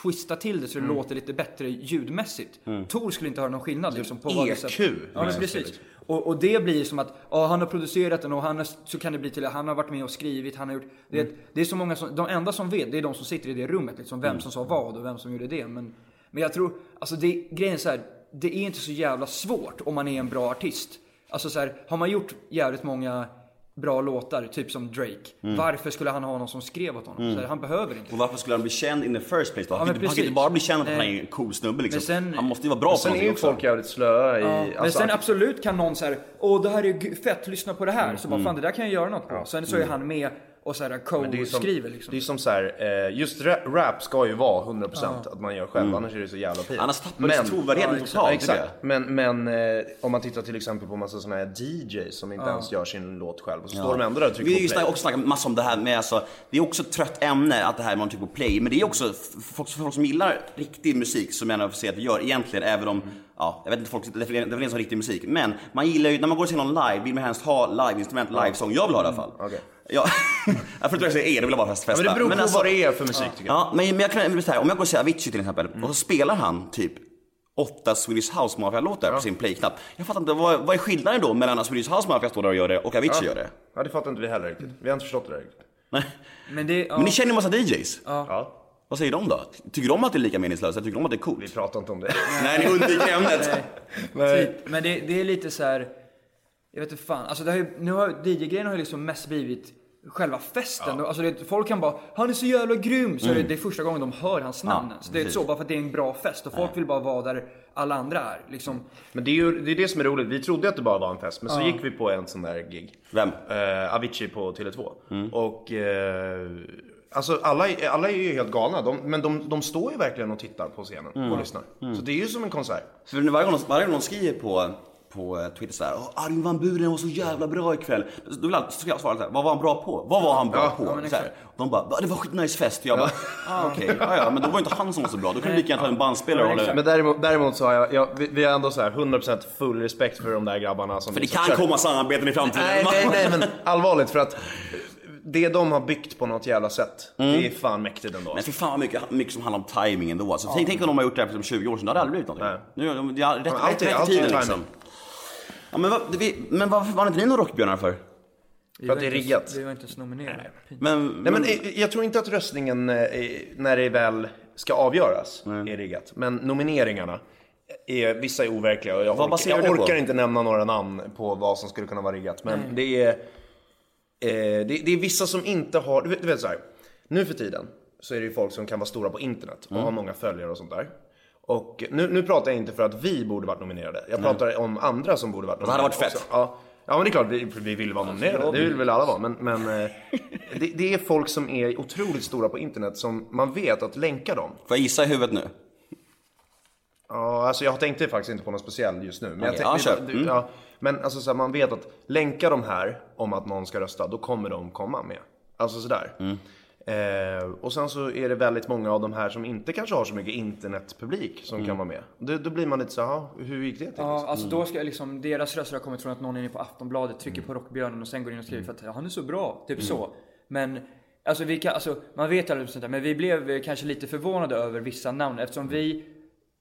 Speaker 2: twista till det så det låter lite bättre ljudmässigt. Tor skulle inte höra någon skillnad liksom, på vad det
Speaker 3: EQ.
Speaker 2: Ja, men precis. Och, och det blir som att, ja han har producerat den och han har, så kan det bli till att han har varit med och skrivit, han har gjort. Det, det är så många som, de enda som vet, det är de som sitter i det rummet liksom. Vem som sa vad och vem som gjorde det. Men, men jag tror, alltså det, grejen är så här, det är inte så jävla svårt om man är en bra artist. Alltså så här, har man gjort jävligt många bra låtar, typ som Drake. Varför skulle han ha någon som skrev åt honom? Så här, han behöver inte.
Speaker 1: Och varför skulle han bli känd in the first place då? Han,
Speaker 2: Ja,
Speaker 1: kan, inte- han
Speaker 2: men
Speaker 1: kan
Speaker 2: precis.
Speaker 1: inte bara bli känd för att han
Speaker 2: Nej.
Speaker 1: är en cool snubbe liksom.
Speaker 2: Men sen-
Speaker 1: han måste ju vara bra på
Speaker 3: Sen är
Speaker 1: någonting
Speaker 3: ju
Speaker 1: också.
Speaker 3: folk jävligt slöa i...
Speaker 2: Ja, men
Speaker 3: alltså,
Speaker 2: sen absolut kan någon säga Åh det här är ju g- fett, lyssna på det här.
Speaker 3: Mm.
Speaker 2: Så bara fan det där kan jag göra något på. Sen så är han med och så här
Speaker 3: det är ju som,
Speaker 2: co-skriver liksom.
Speaker 3: Det är som så här, eh, just ra- rap ska ju vara 100% att man gör själv, annars är det så jävla pinsamt.
Speaker 1: Mm. Annars tappar det trovärdigheten
Speaker 3: Ja, exakt,
Speaker 1: totalt,
Speaker 3: Exakt.
Speaker 1: tycker
Speaker 3: Men, men eh, om man tittar till exempel på massa såna här DJs som inte ens gör sin låt själv och så står de ändå där och trycker
Speaker 1: Vi har ju
Speaker 3: på play.
Speaker 1: snackat- också snackat massor om det här med alltså, det är också ett trött ämne att det här man tycker på play. Men det är också f- folk, folk som gillar riktig musik som jag officiellt att vi gör egentligen även om, ja, jag vet inte folk definierar definierar som riktig musik. Men man gillar ju, när man går och ser någon live vill man helst ha liveinstrument, livesång. Jag vill ha det i alla fall.
Speaker 3: Mm, okej.
Speaker 1: Ja, *laughs* jag förstår inte säga er, det vill jag bara festa.
Speaker 3: Men det beror på
Speaker 1: Men alltså-
Speaker 3: vad det är för musik tycker jag.
Speaker 1: Ja, men, men jag kan men så här, om jag går och ser Avicii till exempel
Speaker 3: Mm.
Speaker 1: och så spelar han typ åtta Swedish House Mafia-låtar på sin playknapp. Jag fattar inte, vad, vad är skillnaden då mellan att Swedish House Mafia står där och gör det och Avicii gör det?
Speaker 3: Ja, det fattar inte vi heller riktigt. Vi har inte förstått det där riktigt.
Speaker 1: Nej.
Speaker 2: Men det, ja.
Speaker 1: Men ni känner ju massa DJs.
Speaker 3: Ja,
Speaker 1: Vad säger de då? Tycker de att det är lika meningslöst? Tycker de att det är
Speaker 3: vi
Speaker 1: coolt?
Speaker 3: pratar inte om det.
Speaker 1: Nej, ni undviker ämnet.
Speaker 2: Typ. Men det, det är lite så här. Jag vet inte fan. Alltså det har ju, nu har DJ-grejen har ju liksom mest blivit själva festen. Alltså det, folk kan bara Han är så jävla grym! Så är
Speaker 3: Mm.
Speaker 2: det, det är första gången de hör hans namn ens. Det är
Speaker 1: precis.
Speaker 2: så, bara för att det är en bra fest. Och folk vill bara vara där alla andra är. Liksom.
Speaker 3: Men det är ju det, är det som är roligt. Vi trodde att det bara var en fest, men så gick vi på en sån där gig.
Speaker 1: Vem? Mm.
Speaker 3: Eh, Avicii på Tele2. Och... eh, Alltså alla, är- alla är ju helt galna, de, men de, de står ju verkligen och tittar på scenen
Speaker 1: Mm.
Speaker 3: och lyssnar. Så det är ju som en konsert.
Speaker 1: För nu varje gång, varje gång någon skriver på, på eh, Twitter såhär Åh, Arjen van Buren var så jävla bra ikväll. Då vill alltid, så ska jag svara såhär, vad var han bra på? Vad var han bra
Speaker 3: Ja,
Speaker 1: på?
Speaker 3: ja,
Speaker 1: så här. De bara, "Va, det var skitnice fest. Och jag bara, ah, okej, ja, ja, men då var inte han som var så bra. Då kunde du lika gärna ta en bandspelare och hålla
Speaker 3: Men däremot, däremot så har jag, jag vi, vi har ändå så här 100% full respekt för de där grabbarna som
Speaker 1: För det
Speaker 3: liksom
Speaker 1: kan
Speaker 3: kör-
Speaker 1: komma samarbeten i framtiden.
Speaker 3: Nej, nej, nej,
Speaker 1: *laughs*
Speaker 3: men allvarligt för att det de har byggt på något jävla sätt,
Speaker 1: Mm.
Speaker 3: det är fan mäktigt ändå.
Speaker 1: Men fy fan vad mycket, mycket som handlar om timing ändå. Alltså, tänk, tänk om de har gjort det här för som 20 år sedan, då hade det aldrig blivit någonting. Nu, de, de, har rätt,
Speaker 3: allt
Speaker 1: rätt,
Speaker 3: är-
Speaker 1: rätt
Speaker 3: allt
Speaker 1: i
Speaker 3: är
Speaker 1: tiden
Speaker 3: timing.
Speaker 1: liksom. Ja, men, vad- vi, men varför var inte ni några rockbjörnar för?
Speaker 2: För
Speaker 3: att det är riggat.
Speaker 2: Vi var inte ens nominerade. Pinsamt.
Speaker 1: Men,
Speaker 3: Nej, men eh, jag tror inte att röstningen, eh, är- när det väl ska avgöras, är riggat. Men nomineringarna, är, vissa är overkliga och jag,
Speaker 1: Vad
Speaker 3: orkar,
Speaker 1: baserar
Speaker 3: jag
Speaker 1: du på?
Speaker 3: orkar inte nämna några namn på vad som skulle kunna vara riggat. Men det är... Eh, det, det är vissa som inte har, du vet, du vet så här, nu för tiden så är det ju folk som kan vara stora på internet och
Speaker 1: Mm.
Speaker 3: ha många följare och sånt där. Och nu, nu pratar jag inte för att vi borde varit nominerade, jag pratar om andra som borde varit
Speaker 1: hade
Speaker 3: nominerade.
Speaker 1: varit fett.
Speaker 3: också. Ja, ja men det är klart vi, vi vill vara nominerade, det vill väl alla vara. Men, men eh, det, det är folk som är otroligt stora på internet som man vet att länka dem.
Speaker 1: Får jag gissa i huvudet nu?
Speaker 3: Ja, alltså jag tänkte faktiskt inte på någon speciell just nu. Men, jag
Speaker 1: Okej,
Speaker 3: tänkte,
Speaker 1: ja, kör. Mm.
Speaker 3: du- ja, men alltså så här, man vet att länka de här om att någon ska rösta, då kommer de komma med. Alltså sådär.
Speaker 1: Mm.
Speaker 3: Eh, och sen så är det väldigt många av de här som inte kanske har så mycket internetpublik som
Speaker 1: Mm.
Speaker 3: kan vara med. Då, då blir man lite så här, "Jaha, hur gick det till?
Speaker 2: Ja, alltså
Speaker 1: Mm.
Speaker 2: då ska jag liksom, deras röster har kommit från att någon är inne på Aftonbladet, trycker på Rockbjörnen och sen går in och skriver
Speaker 1: Mm.
Speaker 2: för att "Ja, han är så bra. Typ så. Men alltså, vi kan, alltså man vet aldrig sånt där, men vi blev eh, kanske lite förvånade över vissa namn eftersom vi,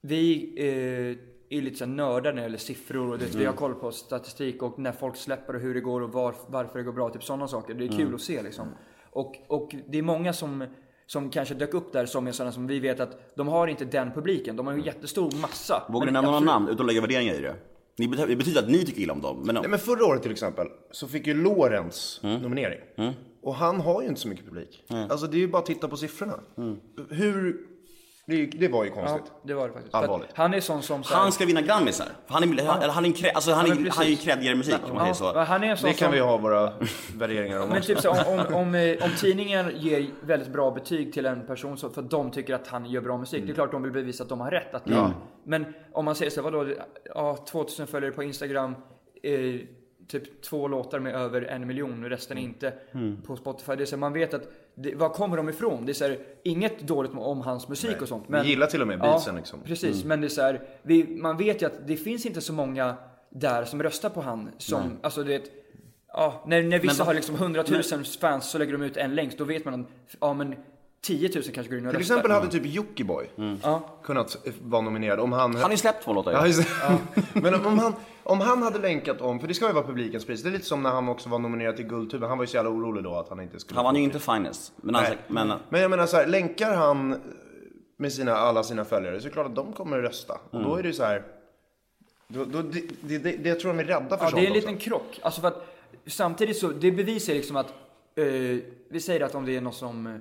Speaker 2: vi eh, är lite så här nördar när det gäller siffror och det, vi har
Speaker 1: Mm.
Speaker 2: koll på statistik och när folk släpper och hur det går och var, varför det går bra. Typ sådana saker. Det är kul
Speaker 1: Mm.
Speaker 2: att se liksom. Och, och det är många som som kanske dök upp där som är sådana som vi vet att de har inte den publiken. De har ju en jättestor massa.
Speaker 1: Mm. Vågar ni
Speaker 2: Men
Speaker 1: nämna några
Speaker 2: absolut-
Speaker 1: namn utan att lägga värderingar i det? Ni bety- Det betyder att ni tycker illa om dem, men,
Speaker 3: Nej, men förra året till exempel så fick ju Lorenz
Speaker 1: Mm.
Speaker 3: nominering. Och han har ju inte så mycket publik. Alltså det är ju bara att titta på siffrorna.
Speaker 1: Mm.
Speaker 3: Hur... Det, det var ju
Speaker 2: Ja,
Speaker 3: konstigt.
Speaker 2: det var det faktiskt.
Speaker 3: Allvarligt.
Speaker 2: För att Han är sån som... så här-
Speaker 1: han ska vinna Grammisar. För Han är, han, eller han är, en krä- alltså, han
Speaker 2: Ja,
Speaker 1: är,
Speaker 2: men precis.
Speaker 1: han är ju creddigare musik om man
Speaker 2: ja,
Speaker 1: säger så.
Speaker 2: men Han är en sån
Speaker 3: Det kan
Speaker 2: som...
Speaker 3: vi ha våra värderingar om
Speaker 2: Men
Speaker 3: också.
Speaker 2: typ så, här, om, om, om, eh, om tidningen ger väldigt bra betyg till en person så, för att de tycker att han gör bra musik. Det är klart de vill bevisa att de har rätt. Att det, Men om man säger så här, vadå, ja, 2000 följare på Instagram, eh, typ två låtar med över en miljon och resten inte på Spotify. Det är så här, man vet att, det, var kommer de ifrån? Det är så här, inget dåligt om, om hans musik och sånt. Men,
Speaker 3: Vi gillar till och med beatsen liksom.
Speaker 2: Precis, men det är så här, vi, man vet ju att det finns inte så många där som röstar på han. Som, alltså du vet, ja, när, när vissa har liksom 100 000 fans så lägger de ut en länk. Då vet man att, ja men 10 000 kanske går in och röstar.
Speaker 3: Till exempel hade typ Jockiboi
Speaker 2: Mm.
Speaker 3: kunnat eh, vara nominerad om han...
Speaker 1: Han har ju släppt två låtar ju.
Speaker 3: Ja, just det. *laughs* Men om, om, han, om han hade länkat om, för det ska ju vara publikens pris. Det är lite som när han också var nominerad till Guldtuben. Han var ju så jävla orolig då att han inte skulle
Speaker 1: Han vann
Speaker 3: få
Speaker 1: ju
Speaker 3: det.
Speaker 1: inte Finest. Men, han,
Speaker 3: Nej.
Speaker 1: men
Speaker 3: Men jag menar så här, länkar han eh, med sina, alla sina följare så är det klart att de kommer att rösta. Och då är det ju så här... Då, då, det, det, det, det jag tror de är rädda för
Speaker 2: Ja,
Speaker 3: sånt
Speaker 2: det är en
Speaker 3: också.
Speaker 2: liten krock. Alltså för att, samtidigt så, det bevisar liksom att, eh, vi säger att om det är något som, eh,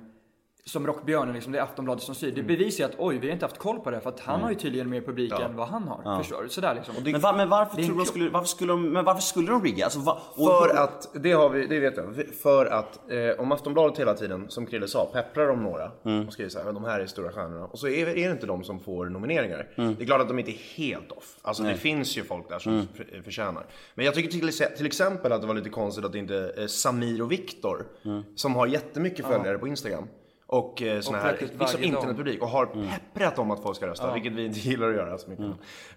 Speaker 2: som Rockbjörnen, liksom, det är Aftonbladet som styr. Det
Speaker 3: Mm.
Speaker 2: bevisar att oj, vi har inte haft koll på det här, för att han har ju tydligen mer publik än vad han har. Förstår du? Sådär liksom.
Speaker 1: men, var, men varför tror du de
Speaker 2: krock.
Speaker 1: skulle, varför skulle de, men varför skulle de rigga? Alltså, va, och-
Speaker 3: För att, det har vi, det vet jag. För att eh, om Aftonbladet hela tiden, som Krille sa, pepprar om några och skriver så här, "Men de här är stora stjärnorna. Och så är, är det inte de som får nomineringar. Det är klart att de inte är helt off. Alltså det finns ju folk där som
Speaker 2: Mm.
Speaker 3: f- eh, förtjänar. Men jag tycker till, ex- till exempel att det var lite konstigt att inte eh, Samir och Viktor, som har jättemycket följare på Instagram. Och eh, såna
Speaker 2: Mm. Och
Speaker 3: här,
Speaker 2: plötsligt
Speaker 3: liksom
Speaker 2: varje dag.
Speaker 3: internetpublik och har
Speaker 1: Mm.
Speaker 3: pepprat om att folk ska rösta, vilket vi inte gillar att göra så mycket.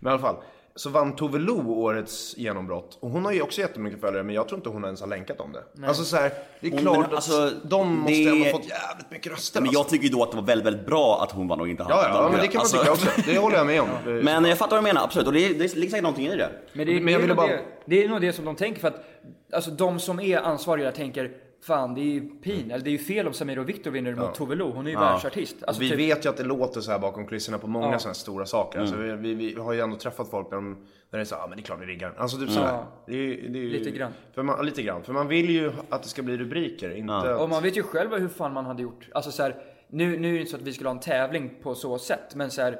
Speaker 3: Men i alla fall, så vann Tove Lo årets genombrott och hon har ju också jättemycket följare men jag tror inte hon ens har länkat om det. Alltså så här, det är
Speaker 1: Hon-
Speaker 3: klart
Speaker 1: men
Speaker 3: att
Speaker 1: alltså,
Speaker 3: de måste
Speaker 1: det-
Speaker 3: ändå ha fått jävligt mycket röster.
Speaker 1: men
Speaker 3: alltså.
Speaker 1: jag tycker ju då att det var väldigt, väldigt bra att hon vann och inte han.
Speaker 3: Ja, ja, ja, men det kan man
Speaker 1: Alltså,
Speaker 3: tycka också. Det håller jag med om.
Speaker 1: *laughs*
Speaker 3: Eh,
Speaker 1: Men jag fattar vad du menar, absolut. Och det, det ligger säkert någonting i det.
Speaker 2: Men det,
Speaker 3: Men
Speaker 2: det,
Speaker 3: jag
Speaker 2: är
Speaker 3: ville
Speaker 2: nog
Speaker 3: bara-
Speaker 2: det, det är nog det som de tänker för att alltså, de som är ansvariga där tänker Fan, det är ju pin, eller det är ju fel om Samir och Viktor vinner mot Tove Lo. Hon är ju världsartist. Alltså,
Speaker 3: vi
Speaker 2: typ,
Speaker 3: vet ju att det låter så här bakom kulisserna på många sådana här stora saker. Alltså,
Speaker 1: Mm.
Speaker 3: vi, vi, vi har ju ändå träffat folk när de när det är så, ja ah, men det är klart vi riggar den." Alltså typ så här.
Speaker 2: Ja.
Speaker 3: Det är, ju- det är ju,
Speaker 2: Lite grann.
Speaker 3: För man, lite grann. För man vill ju att det ska bli rubriker, inte att...
Speaker 2: Och man vet ju själv hur fan man hade gjort. Alltså så här, nu, nu är det inte så att vi skulle ha en tävling på så sätt, men så här,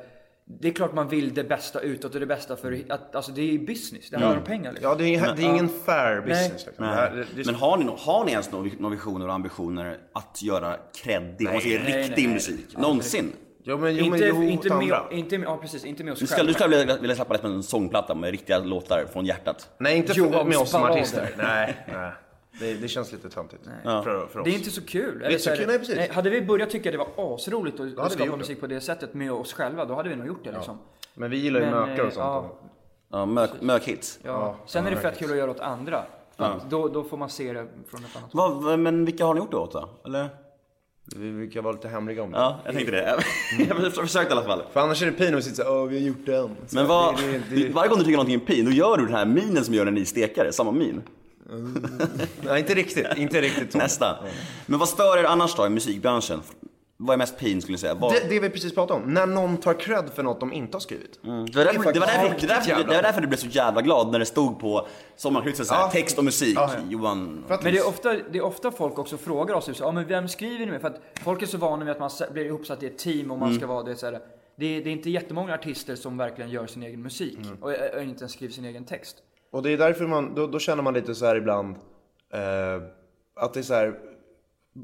Speaker 2: det är klart man vill det bästa utåt och det bästa för att, alltså det är ju business. Det handlar om pengar liksom.
Speaker 3: Ja, det är, det är ingen fair business.
Speaker 2: Nej.
Speaker 3: Liksom. Det här, det, det,
Speaker 1: Eh, Men har ni, nå- har ni ens några några visioner och ambitioner att göra kreddig, om man säger
Speaker 2: Nej,
Speaker 1: riktig
Speaker 2: nej, nej.
Speaker 1: musik? Någonsin?
Speaker 3: jo, men, jo, men,
Speaker 2: inte,
Speaker 3: jo,
Speaker 2: inte,
Speaker 3: åt
Speaker 2: med,
Speaker 3: andra.
Speaker 2: inte med, ja precis, inte med
Speaker 1: Du
Speaker 2: oss
Speaker 1: skulle,
Speaker 2: själva.
Speaker 1: du skulle vilja, vilja släppa liksom en sångplatta med riktiga låtar från hjärtat?
Speaker 3: Nej, inte för,
Speaker 2: Johans
Speaker 3: med oss som
Speaker 2: ballader. *laughs*
Speaker 3: artister. Nej, nej. Det, det känns lite töntigt. För, för oss.
Speaker 2: Det är inte så kul. Eller
Speaker 3: inte så
Speaker 2: här,
Speaker 3: kul, nej, precis.
Speaker 2: hade vi börjat tycka det var asroligt att,
Speaker 3: hade
Speaker 2: att
Speaker 3: vi
Speaker 2: skapa
Speaker 3: gjort
Speaker 2: musik på det sättet med oss själva, då hade vi nog gjort det liksom.
Speaker 3: Men vi gillar ju
Speaker 2: Men,
Speaker 3: mökar
Speaker 2: eh,
Speaker 3: och sånt.
Speaker 1: Ja, mök- Mökhits.
Speaker 2: Ja.
Speaker 3: Ja,
Speaker 2: Sen
Speaker 3: ja,
Speaker 2: är det fett
Speaker 3: verkligen.
Speaker 2: kul att göra åt andra. För att Då, då får man se det från ett annat håll.
Speaker 1: Vad- vad- Men vilka har ni gjort det åt då? Eller?
Speaker 3: Vi brukar vara lite hemliga om det.
Speaker 1: Ja, jag tänkte det. *laughs* jag försökte i alla fall.
Speaker 3: För annars är det pin att sitta såhär, åh vi har gjort den. Så
Speaker 1: Men vad,
Speaker 3: det- det- det-
Speaker 1: varje gång du tycker någonting är pin, då gör du den här minen som gör när ni stekare, samma min.
Speaker 3: Nej, inte riktigt. Inte
Speaker 2: *laughs*
Speaker 3: riktigt så.
Speaker 1: Nästa. Men vad stör er annars då i musikbranschen? Vad är mest pin skulle ni säga? Vad,
Speaker 3: Det, det vi precis pratade om, när någon tar cred för något de inte har skrivit.
Speaker 2: Mm.
Speaker 1: det, var därför, det, var därför, det,
Speaker 3: riktigt
Speaker 1: var därför,
Speaker 3: jävla-
Speaker 1: det var därför du blev så jävla glad när det stod på sommarkrysset såhär,
Speaker 3: Ja.
Speaker 1: text och musik,
Speaker 3: Ja, ja.
Speaker 1: Johan.
Speaker 3: För att-
Speaker 2: Men det är, ofta, det är ofta folk också frågar oss, typ så, ja men vem skriver ni med? För att folk är så vana vid att man s- blir ihopsatt i ett team och man
Speaker 3: Mm.
Speaker 2: ska vara det så här. Det är, det är inte jättemånga artister som verkligen gör sin egen musik
Speaker 3: Mm.
Speaker 2: och, och inte ens skriver sin egen text.
Speaker 3: Och det är därför man, då, då känner man lite så här ibland, eh, att det är så här,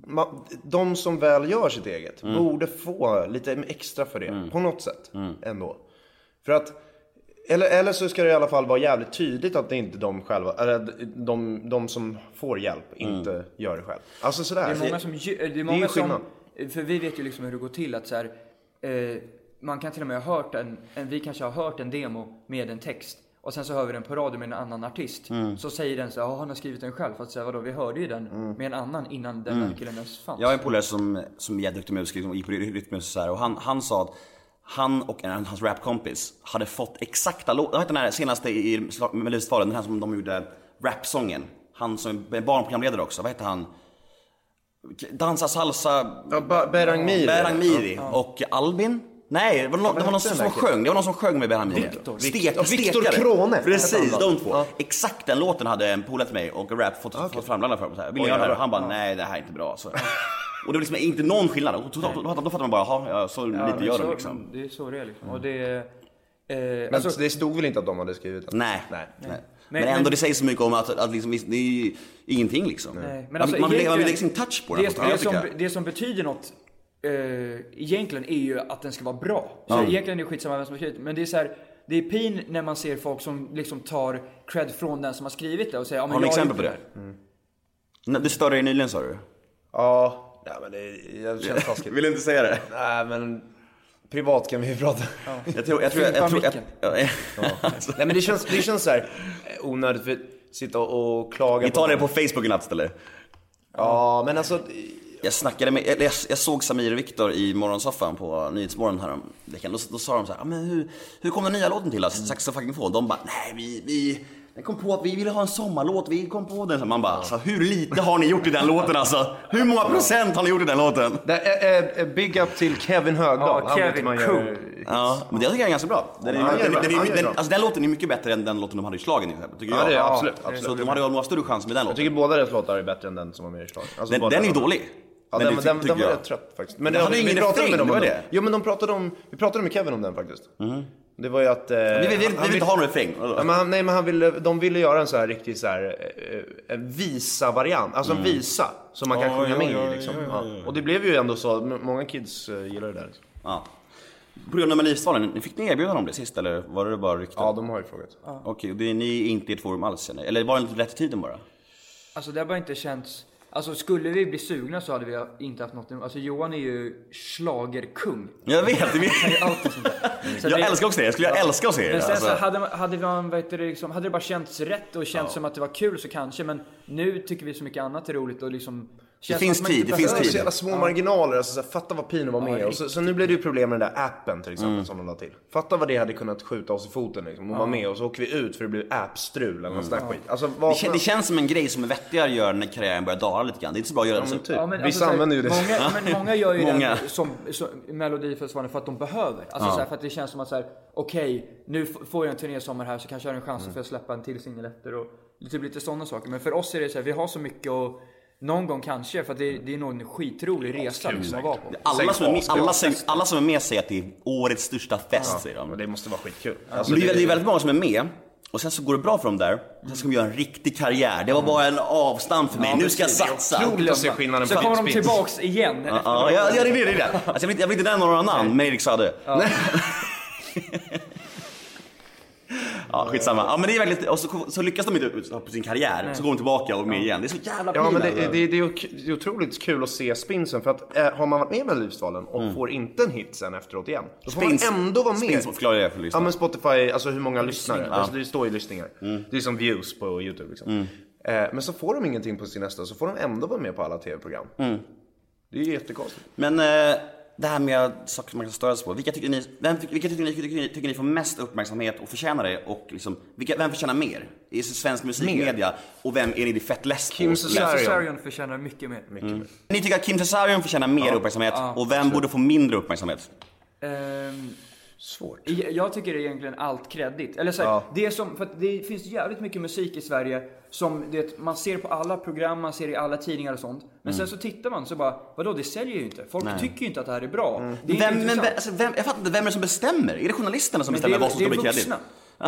Speaker 3: man, de som väl gör sitt eget
Speaker 1: Mm.
Speaker 3: borde få lite extra för det, på något sätt ändå. För att, eller, eller så ska det i alla fall vara jävligt tydligt att det inte är de själva, eller de, de som får hjälp,
Speaker 1: Mm.
Speaker 3: inte gör det själv. Alltså
Speaker 2: Det
Speaker 3: sådär.
Speaker 2: är många som... gö- Det är många
Speaker 3: skillnad.
Speaker 2: som för vi vet ju liksom hur det går till att så här, eh, Man kan till och med ha hört en, en... Vi kanske har hört en demo med en text. Och sen så hör vi den på radio med en annan artist. Så säger den så här, "Ja, han har skrivit den själv. Fast så här, vadå, vi hörde ju den med en annan innan den här killen ens fanns.
Speaker 1: Jag har en polare som, som är jätteduktig musiker, liksom, gick på Rytmus och så här, och han, han sa att han och en, hans rapkompis hade fått exakta låtar, vad hette den här senaste i i Melodifestivalen, den här som de gjorde rapsången. Han som är barnprogramledare också, vad heter han? Dansa salsa,
Speaker 3: Ja, Ba- Berang Mir.
Speaker 1: Berang Miri och Albin. Nej, det var någon, det var någon
Speaker 3: hette den
Speaker 1: som
Speaker 3: där killen?
Speaker 1: sjöng. Det var någon som sjöng med Berang Miri.
Speaker 2: Viktor.
Speaker 1: Stek,
Speaker 3: Ja, Viktor
Speaker 1: stekare.
Speaker 3: Crone.
Speaker 1: Precis,
Speaker 3: Hette han
Speaker 1: de två. Exakt den låten hade en polare till mig och rap
Speaker 2: Ah,
Speaker 1: fått, fått framlandad för. mig. Så här, Vill ni
Speaker 3: Oj,
Speaker 1: göra det här?
Speaker 3: jävlar.
Speaker 1: Han bara, nej det här är inte bra. Så. *laughs* och det var liksom inte någon skillnad. Och totalt, då, då fattar man bara, jaha, ja, så lite gör
Speaker 2: så,
Speaker 1: de liksom.
Speaker 2: Det är så det är liksom. Och det är... Eh,
Speaker 3: Men
Speaker 2: alltså,
Speaker 3: det stod väl inte att de hade skrivit det?
Speaker 1: Nej.
Speaker 3: Nej.
Speaker 1: Nej. Men,
Speaker 2: Men-
Speaker 1: ändå,
Speaker 2: men-
Speaker 1: det säger så mycket om att, att liksom, det är ju ingenting liksom.
Speaker 2: Nej, alltså,
Speaker 1: man, vill- man vill man vill lägga sin
Speaker 2: egentligen-
Speaker 1: touch på den. här
Speaker 2: det,
Speaker 1: låten,
Speaker 2: det,
Speaker 1: jag
Speaker 2: som,
Speaker 1: tycker.
Speaker 2: det som betyder något eh, egentligen är ju att den ska vara bra. Så egentligen är det skitsamma vem som har skrivit Men det är så här, det är pin när man ser folk som liksom tar cred från den som har skrivit det och säger ja, Mm. men
Speaker 1: Har du
Speaker 2: jag
Speaker 1: exempel på
Speaker 2: gjort
Speaker 1: det? Nej, Du störde dig nyligen sa du? *laughs*
Speaker 3: Ja, nej men det, det känns taskigt.
Speaker 1: Vill inte säga det?
Speaker 3: Nej men Privat kan vi prata.
Speaker 1: Jag tror, jag tror, jag, jag tror, jag, jag, *laughs* Alltså,
Speaker 3: Nej men det känns, det känns så här eh, onödigt för att sitta och klaga
Speaker 1: Vi tar det på Facebook i natt istället.
Speaker 3: Ja, men alltså...
Speaker 1: Jag snackade med, eller jag, jag såg Samir och Viktor i morgonsoffan på Nyhetsmorgon häromveckan. Då, då sa de så här, "Ah, men hur, hur kom den nya låten till Alltså, oss? Saxofagnifon. De bara, nej vi, vi, den kom på att vi ville ha en sommarlåt, vi kom på den. Så man bara, alltså, hur lite har ni gjort i den låten alltså? Hur många procent har ni gjort i den låten?
Speaker 3: Där, eh, eh, big up till Kevin Högdahl.
Speaker 2: Ja,
Speaker 3: Han vet hur
Speaker 2: Kevin,
Speaker 3: man gör-
Speaker 2: cool.
Speaker 1: Ja, men det tycker jag är ganska bra. Den, är,
Speaker 3: Ja,
Speaker 1: den,
Speaker 3: det är
Speaker 1: den,
Speaker 3: bra.
Speaker 1: den,
Speaker 3: Ja, det är
Speaker 1: den,
Speaker 3: bra.
Speaker 1: alltså, den låten är mycket bättre än den låten de hade i schlagen till exempel, tycker
Speaker 3: Ja,
Speaker 1: jag.
Speaker 3: det är absolut.
Speaker 1: Så
Speaker 3: absolut.
Speaker 1: de hade ju några större chans med den
Speaker 3: Jag
Speaker 1: låten.
Speaker 3: tycker båda deras låtar är bättre än den som var med i slaget. Alltså,
Speaker 1: Den,
Speaker 3: båda
Speaker 1: den är ju
Speaker 3: låtarna.
Speaker 1: dålig.
Speaker 3: Ja,
Speaker 1: men
Speaker 3: den,
Speaker 1: det
Speaker 3: den,
Speaker 1: tycker
Speaker 3: den var
Speaker 1: jag.
Speaker 3: rätt trött faktiskt. Men
Speaker 1: Den
Speaker 3: det-
Speaker 1: hade
Speaker 3: vi
Speaker 1: ingen
Speaker 3: pratade
Speaker 1: refräng,
Speaker 3: med dem
Speaker 1: det var
Speaker 3: om
Speaker 1: det.
Speaker 3: Jo men de pratade om, vi pratade med Kevin om den faktiskt. Det var ju att... Eh,
Speaker 1: Vi vill, vi
Speaker 3: han
Speaker 1: vill inte ha någon refräng.
Speaker 3: Ja, men han, nej men han ville, de ville göra en så här riktig så här, eh, en visa-variant, alltså en visa som man kan
Speaker 1: Ja,
Speaker 3: sjunga
Speaker 1: ja,
Speaker 3: med
Speaker 1: ja,
Speaker 3: i liksom. Ja, Och det blev ju ändå så, m- många kids eh, gillar det där. Liksom.
Speaker 1: Ja. På grund av Melodifestivalen, ni fick ni erbjudande om det sist eller var det bara rykten?
Speaker 3: Ja, de har ju frågat.
Speaker 1: Okej, och det är ni är inte i ett forum alls känner jag. Eller var det inte rätt i tiden bara?
Speaker 2: Alltså det har bara inte känts... Alltså skulle vi bli sugna så hade vi inte haft något emot- Alltså Johan är ju schlagerkung.
Speaker 1: Jag vet, det
Speaker 2: Han
Speaker 3: *laughs*
Speaker 1: vet.
Speaker 2: är allt
Speaker 1: *laughs*
Speaker 2: och sånt där. Så
Speaker 1: jag
Speaker 2: det-
Speaker 1: älskar också det. Jag skulle älska att se
Speaker 2: Men
Speaker 1: det.
Speaker 2: sen
Speaker 1: Alltså.
Speaker 2: så hade, man- hade, man, vad heter det, liksom, hade det bara känts rätt och känts som att det var kul så kanske. Men nu tycker vi så mycket annat är roligt och liksom... känns
Speaker 1: finns
Speaker 2: som att man
Speaker 1: tid,
Speaker 2: inte
Speaker 1: det finns
Speaker 3: Det
Speaker 2: behöver-
Speaker 3: är
Speaker 1: tid.
Speaker 3: så jävla små marginaler, alltså, så här, fatta vad pin att vara med. och så, så nu blev det ju problem med den där appen till exempel som de la till. Fatta vad det hade kunnat skjuta oss i foten liksom, och vara med och så åker vi ut för det blir appstrul eller något sånt där skit. Alltså,
Speaker 1: Det,
Speaker 3: vad
Speaker 1: kän- det känns som en grej som en vettigare gör när karriären börjar dala lite grann. Det är inte så bra att göra det så.
Speaker 3: men typ.
Speaker 2: Ja, men alltså
Speaker 3: Vissa
Speaker 2: så här,
Speaker 3: använder ju det. *laughs*
Speaker 2: Många, men många gör ju
Speaker 1: Många.
Speaker 2: det *laughs* som, som Melodifestivalen för att de behöver. Alltså så här, för att det känns som att så här, okej, nu f- får jag en turnésommar här så kanske jag har en
Speaker 1: Mm.
Speaker 2: chans för att släppa en till singel efter och typ lite sådana saker. Men för oss är det så här, vi har så mycket och någon gång kanske, för att det, det är nog en skitrolig resa liksom, att vara på.
Speaker 1: Alla som, är med,
Speaker 3: Säg
Speaker 1: alla,
Speaker 3: vad,
Speaker 1: som, alla som är med säger att det är årets största fest, säger de.
Speaker 3: Och det måste vara skitkul. Alltså,
Speaker 1: Men det, är, det är väldigt många som är med och sen så går det bra för dem där. Sen ska de göra en riktig karriär. Det var bara en avstamp för mig. nu ska jag satsa.
Speaker 3: Mm. Otroligt att se skillnaden
Speaker 2: Så
Speaker 3: på
Speaker 2: kommer de
Speaker 3: Spins.
Speaker 2: tillbaks igen.
Speaker 1: Ja, ja, ja, det blir det. det. Alltså, jag, vill, inte- jag vill inte nämna några namn, men Erik Saade. Ja.
Speaker 3: *laughs*
Speaker 1: ja, skitsamma. Ja, men det är väldigt, och så, så lyckas de inte ut- på sin karriär, så går de tillbaka och med igen. Det är så jävla
Speaker 3: Ja, men det,
Speaker 1: pinande.
Speaker 3: det, det, är, ok- det är otroligt kul att se Spinsen för att eh, har man varit med i Melodifestivalen och får inte en hit sen efteråt igen, då får
Speaker 1: Mm. Spins-
Speaker 3: man ändå vara med.
Speaker 1: Spins, förklara det för
Speaker 3: Ja
Speaker 1: lyssnarna.
Speaker 3: men Spotify, alltså hur många lyssnare. Alltså, det står ju lyssningar.
Speaker 1: Mm.
Speaker 3: Det är som views på YouTube liksom. Eh, men så får de ingenting på sin nästa, så får de ändå vara med på alla TV-program.
Speaker 1: Mm.
Speaker 3: Det är ju jättekonstigt.
Speaker 1: Men eh, det här med saker som man kan störa sig på. Vilka tycker ni, vem, vilka tycker ni, tycker, ni, tycker ni får mest uppmärksamhet och förtjänar det? Och liksom, vilka, vem förtjänar mer? I svensk musikmedia? Och vem är ni fett less på? Alltså,
Speaker 3: Kim Cesarion.
Speaker 2: Cesarion Alltså, förtjänar mycket mer.
Speaker 1: Ni tycker att Kim Cesarion förtjänar mer uppmärksamhet och vem borde få mindre uppmärksamhet?
Speaker 2: Ehm,
Speaker 3: Svårt.
Speaker 2: Jag jag tycker det är egentligen allt kredit. Eller så här,
Speaker 3: Ja.
Speaker 2: det, är som, för att det finns jävligt mycket musik i Sverige som det, man ser på alla program, man ser i alla tidningar och sånt. Men
Speaker 1: Mm.
Speaker 2: sen så tittar man så bara, vadå det säljer ju inte. Folk tycker ju inte att det här är bra. Det är
Speaker 1: Mm. Vem,
Speaker 2: inte
Speaker 1: men,
Speaker 2: intressant.
Speaker 1: vem, alltså, vem, jag fattar inte, vem är det som bestämmer? Är det journalisterna som
Speaker 2: Men
Speaker 1: bestämmer vad som ska bli
Speaker 2: det är
Speaker 1: kredit?
Speaker 2: vuxna.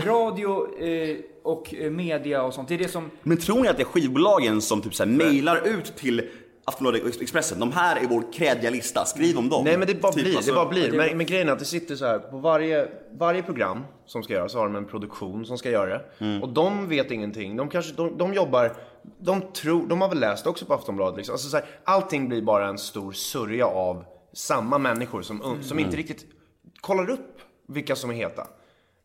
Speaker 2: Radio eh, och eh, media och sånt. Det är det som...
Speaker 1: Men tror ni att det är skivbolagen som typ såhär mejlar ut till Aftonbladet och Expressen? De här är vår kreddiga lista, skriv om dem.
Speaker 3: Nej men det bara
Speaker 1: Typ,
Speaker 3: blir,
Speaker 1: alltså.
Speaker 3: det bara blir. Men, men grejen är att det sitter så här på varje, varje program som ska göras så har de en produktion som ska göra det.
Speaker 1: Mm.
Speaker 3: Och de vet ingenting. De kanske, de, de jobbar, de tror, de har väl läst också på Aftonbladet liksom. Alltså så här, allting blir bara en stor sörja av samma människor som,
Speaker 1: Mm.
Speaker 3: som inte riktigt kollar upp vilka som är heta.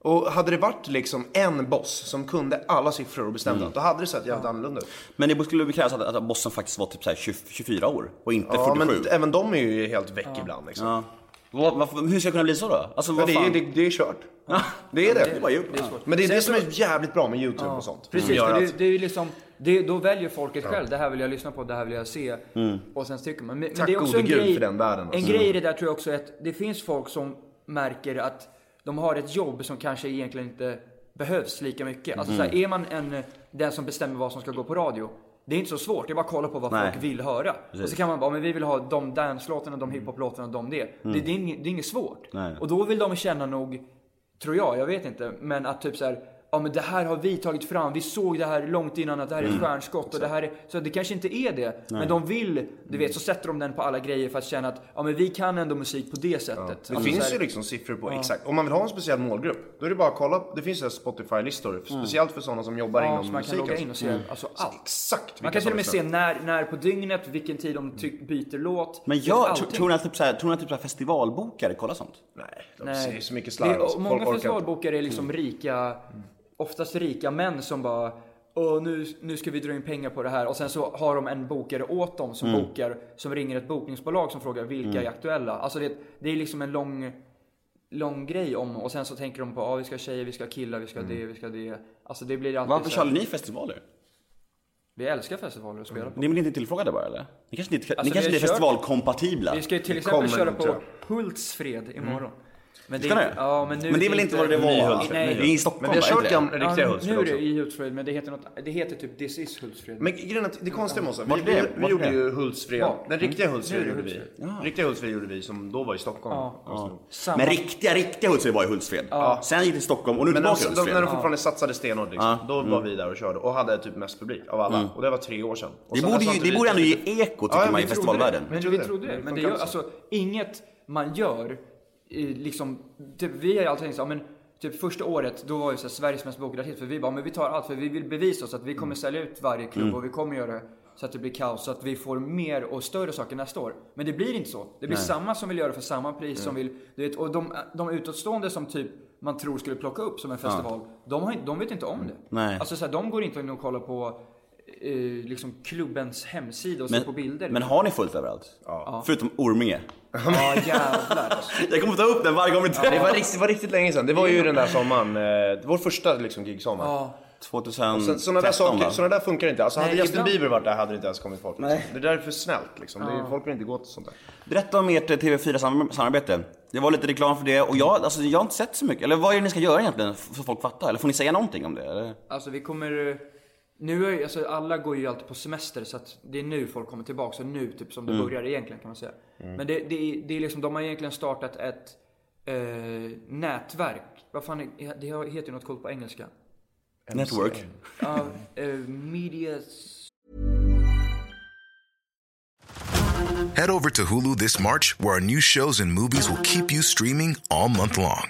Speaker 3: Och hade det varit liksom en boss som kunde alla siffror och
Speaker 1: Mm.
Speaker 3: bestämde allt, då hade det sett jävligt annorlunda ut.
Speaker 1: Men det skulle krävas att, att bossen faktiskt var typ såhär 20, 24 år och inte
Speaker 3: Ja,
Speaker 1: 47.
Speaker 3: men även de är ju helt väck ibland liksom.
Speaker 1: Ja. Vad- varför- hur ska jag kunna bli så då? Alltså
Speaker 3: Men
Speaker 1: vad
Speaker 3: det är,
Speaker 1: fan?
Speaker 3: det, det är kört. Det är det.
Speaker 1: Det är bara gjort.
Speaker 3: Men det är det som är jävligt bra med YouTube och sånt. Mm.
Speaker 2: Precis,
Speaker 3: Som
Speaker 2: för
Speaker 3: gör
Speaker 2: det,
Speaker 3: att,
Speaker 2: det är ju liksom, det, då väljer folket själv. Det här vill jag lyssna på, det här vill jag se. Och sen tycker man. Men, men
Speaker 3: Mm. Tack
Speaker 2: det är också
Speaker 3: gode
Speaker 2: en
Speaker 3: gud
Speaker 2: grej,
Speaker 3: för den världen,
Speaker 2: En
Speaker 3: alltså.
Speaker 2: grej i det där tror jag också är att det finns folk som märker att de har ett jobb som kanske egentligen inte behövs lika mycket. Alltså så
Speaker 3: Mm.
Speaker 2: här, är man en, den som bestämmer vad som ska gå på radio. Det är inte så svårt, det är bara att kolla på vad
Speaker 1: Nej.
Speaker 2: folk vill höra. Och så kan man bara, men vi vill ha de dance-låtarna, de hiphop-låtarna, de det. Det, det, är inget, det är inget svårt.
Speaker 1: Mm. Nej.
Speaker 2: Och då vill de känna nog, tror jag, jag vet inte, men att typ så här, ja men det här har vi tagit fram, vi såg det här långt innan att det här är ett
Speaker 1: Mm.
Speaker 2: stjärnskott och det här är, så det kanske inte är det. Men de vill, du
Speaker 1: Mm.
Speaker 2: vet, så sätter de den på alla grejer för att känna att, ja men vi kan ändå musik på det sättet.
Speaker 3: Det
Speaker 2: Alltså, så
Speaker 3: finns
Speaker 2: här-
Speaker 3: ju liksom siffror på exakt. Om man vill ha en speciell målgrupp, då är det bara att kolla. Det finns ju Spotify-listor, speciellt för sådana som jobbar
Speaker 2: Mm. Ja, så
Speaker 3: inom
Speaker 2: man kan
Speaker 3: musik.
Speaker 2: logga
Speaker 3: alltså.
Speaker 2: in och se alltså, allt.
Speaker 3: Exakt
Speaker 2: Man
Speaker 3: vilka
Speaker 2: kan till och med
Speaker 3: som
Speaker 2: se
Speaker 3: lyssnar.
Speaker 2: när, när på dygnet, vilken tid de ty- byter låt.
Speaker 1: Men
Speaker 2: Typ
Speaker 1: jag,
Speaker 2: allting.
Speaker 1: tror, tror ni att typ, så här, tror ni att typ så här festivalbokare kollar sånt?
Speaker 3: Nej, de
Speaker 2: Nej.
Speaker 3: ser ju så mycket slarv.
Speaker 2: Det är-
Speaker 3: alltså. Folk
Speaker 2: Många
Speaker 3: orkar inte.
Speaker 2: festivalbokare är liksom rika, oftast rika män som bara Åh, nu, nu ska vi dra in pengar på det här och sen så har de en bokare åt dem som bokar, som ringer ett bokningsbolag som frågar vilka är aktuella. Alltså det, det är liksom en lång, lång grej om och sen så tänker de på ah, vi ska ha tjejer, vi ska ha killar, vi ska ha det, vi ska ha det. Alltså det blir alltid
Speaker 1: Varför
Speaker 2: så här-
Speaker 1: körde ni festivaler?
Speaker 2: Vi älskar festivaler att spela på.
Speaker 1: Ni blir inte tillfrågade bara eller? Ni kanske inte, ni
Speaker 2: vi
Speaker 1: kanske
Speaker 2: har
Speaker 1: inte är
Speaker 2: kört-
Speaker 1: festivalkompatibla?
Speaker 2: Vi ska ju till
Speaker 3: Det
Speaker 2: exempel
Speaker 3: kommer
Speaker 2: köra
Speaker 3: nog,
Speaker 2: på
Speaker 3: tror
Speaker 2: Hultsfred imorgon. Men det,
Speaker 1: Ska
Speaker 2: är-
Speaker 1: ni?
Speaker 2: ja, men, nu
Speaker 1: Men det är
Speaker 2: det
Speaker 1: väl inte vad det
Speaker 3: Ny
Speaker 1: var?
Speaker 3: Hultsfred,
Speaker 1: Nej.
Speaker 3: ny
Speaker 1: Det är i Stockholm
Speaker 3: Men vi
Speaker 1: va?
Speaker 3: har
Speaker 1: Är det
Speaker 3: kört
Speaker 1: det?
Speaker 3: gamla, riktiga
Speaker 2: Ja,
Speaker 3: Hultsfred
Speaker 2: nu är det
Speaker 3: också.
Speaker 2: i Hultsfred, men det heter, något, det heter typ This is Hultsfred.
Speaker 3: Men grejen är att det konstiga med oss, vi,
Speaker 1: Vart
Speaker 3: vi,
Speaker 1: är det?
Speaker 3: vi
Speaker 1: Vart är
Speaker 3: gjorde
Speaker 1: det?
Speaker 3: ju Hultsfred,
Speaker 2: Ja. Mm.
Speaker 3: den riktiga Hultsfred
Speaker 2: Nu är det
Speaker 3: gjorde vi. Riktiga Hultsfred gjorde vi som då var i Stockholm.
Speaker 2: Ja.
Speaker 3: Alltså.
Speaker 2: Samma.
Speaker 1: Men riktiga, riktiga Hultsfred var i Hultsfred. Sen gick det till Stockholm och nu
Speaker 3: Men
Speaker 1: tillbaka
Speaker 3: alltså,
Speaker 1: till
Speaker 3: de, när
Speaker 1: Hultsfred.
Speaker 3: de fortfarande satsade stenhårt liksom, då var
Speaker 1: Mm.
Speaker 3: vi där och körde och hade typ mest publik av alla. Och det var tre år sedan. Och
Speaker 1: Det
Speaker 3: sen
Speaker 1: borde,
Speaker 3: dess har
Speaker 1: ju,
Speaker 3: inte
Speaker 1: det
Speaker 3: vi
Speaker 1: borde ändå
Speaker 3: typ-
Speaker 1: ge eko
Speaker 3: Ja,
Speaker 1: tycker man
Speaker 3: ja, vi
Speaker 1: i
Speaker 3: trodde
Speaker 1: festivalvärlden.
Speaker 3: det.
Speaker 2: Men
Speaker 3: trodde
Speaker 2: vi trodde det.
Speaker 3: Det
Speaker 2: Men det
Speaker 3: funkar
Speaker 2: gör,
Speaker 3: också.
Speaker 2: alltså, inget man gör, eh, liksom, typ, vi har ju alltid tänkt så, här, men Typ första året, då var ju så här, Sveriges mest bokade hit. För vi bara, men vi tar allt. För vi vill bevisa oss att vi
Speaker 1: Mm.
Speaker 2: kommer sälja ut varje klubb och vi kommer göra det så att det blir kaos. Så att vi får mer och större saker nästa år. Men det blir inte så. Det blir samma som vill göra för samma pris som vill. Du vet, och de, de utåtstående som typ man tror skulle plocka upp som en festival. De, har, inte- de vet inte om det.
Speaker 1: Nej.
Speaker 2: Alltså så här, de går inte in och kollar på eh, liksom klubbens hemsida och ser på bilder.
Speaker 1: men har ni fullt överallt? Förutom Orminge.
Speaker 2: Ja jävlar alltså.
Speaker 1: Jag kommer ta upp den varje gång vi
Speaker 3: Det
Speaker 1: träffas.
Speaker 3: var liksom- riktigt, var riktigt länge sedan. Det var ju den där sommaren, eh, vår första liksom, gigsommar.
Speaker 2: Ja.
Speaker 3: Så,
Speaker 1: 2013
Speaker 3: sådana, där saker,
Speaker 1: va?
Speaker 3: sådana där funkar inte. Alltså, hade
Speaker 2: Nej,
Speaker 3: Justin
Speaker 2: ibland-
Speaker 3: Bieber varit där hade det inte ens kommit folk. Liksom. Det där är för snällt liksom. Det är, folk vill inte gå till sånt där.
Speaker 1: Berätta om ert eh, TV4 sam- samarbete. Det var lite reklam för det och jag, alltså, jag har inte sett så mycket. Eller vad är det ni ska göra egentligen? f- Så folk fattar. Eller får ni säga någonting om det? Eller?
Speaker 2: Alltså vi kommer... eh, Nu är, alltså, alla går ju alltid på semester så att det är nu folk kommer tillbaka. Så nu typ som det börjar egentligen kan man säga. Men det, det, är- det är liksom, de har egentligen startat ett eh, nätverk. Vad fan, är- det har- heter ju något coolt på engelska.
Speaker 1: Network.
Speaker 2: Ja, eh, medias...
Speaker 5: Head over to Hulu this March, where our new shows and movies will keep you streaming all month long.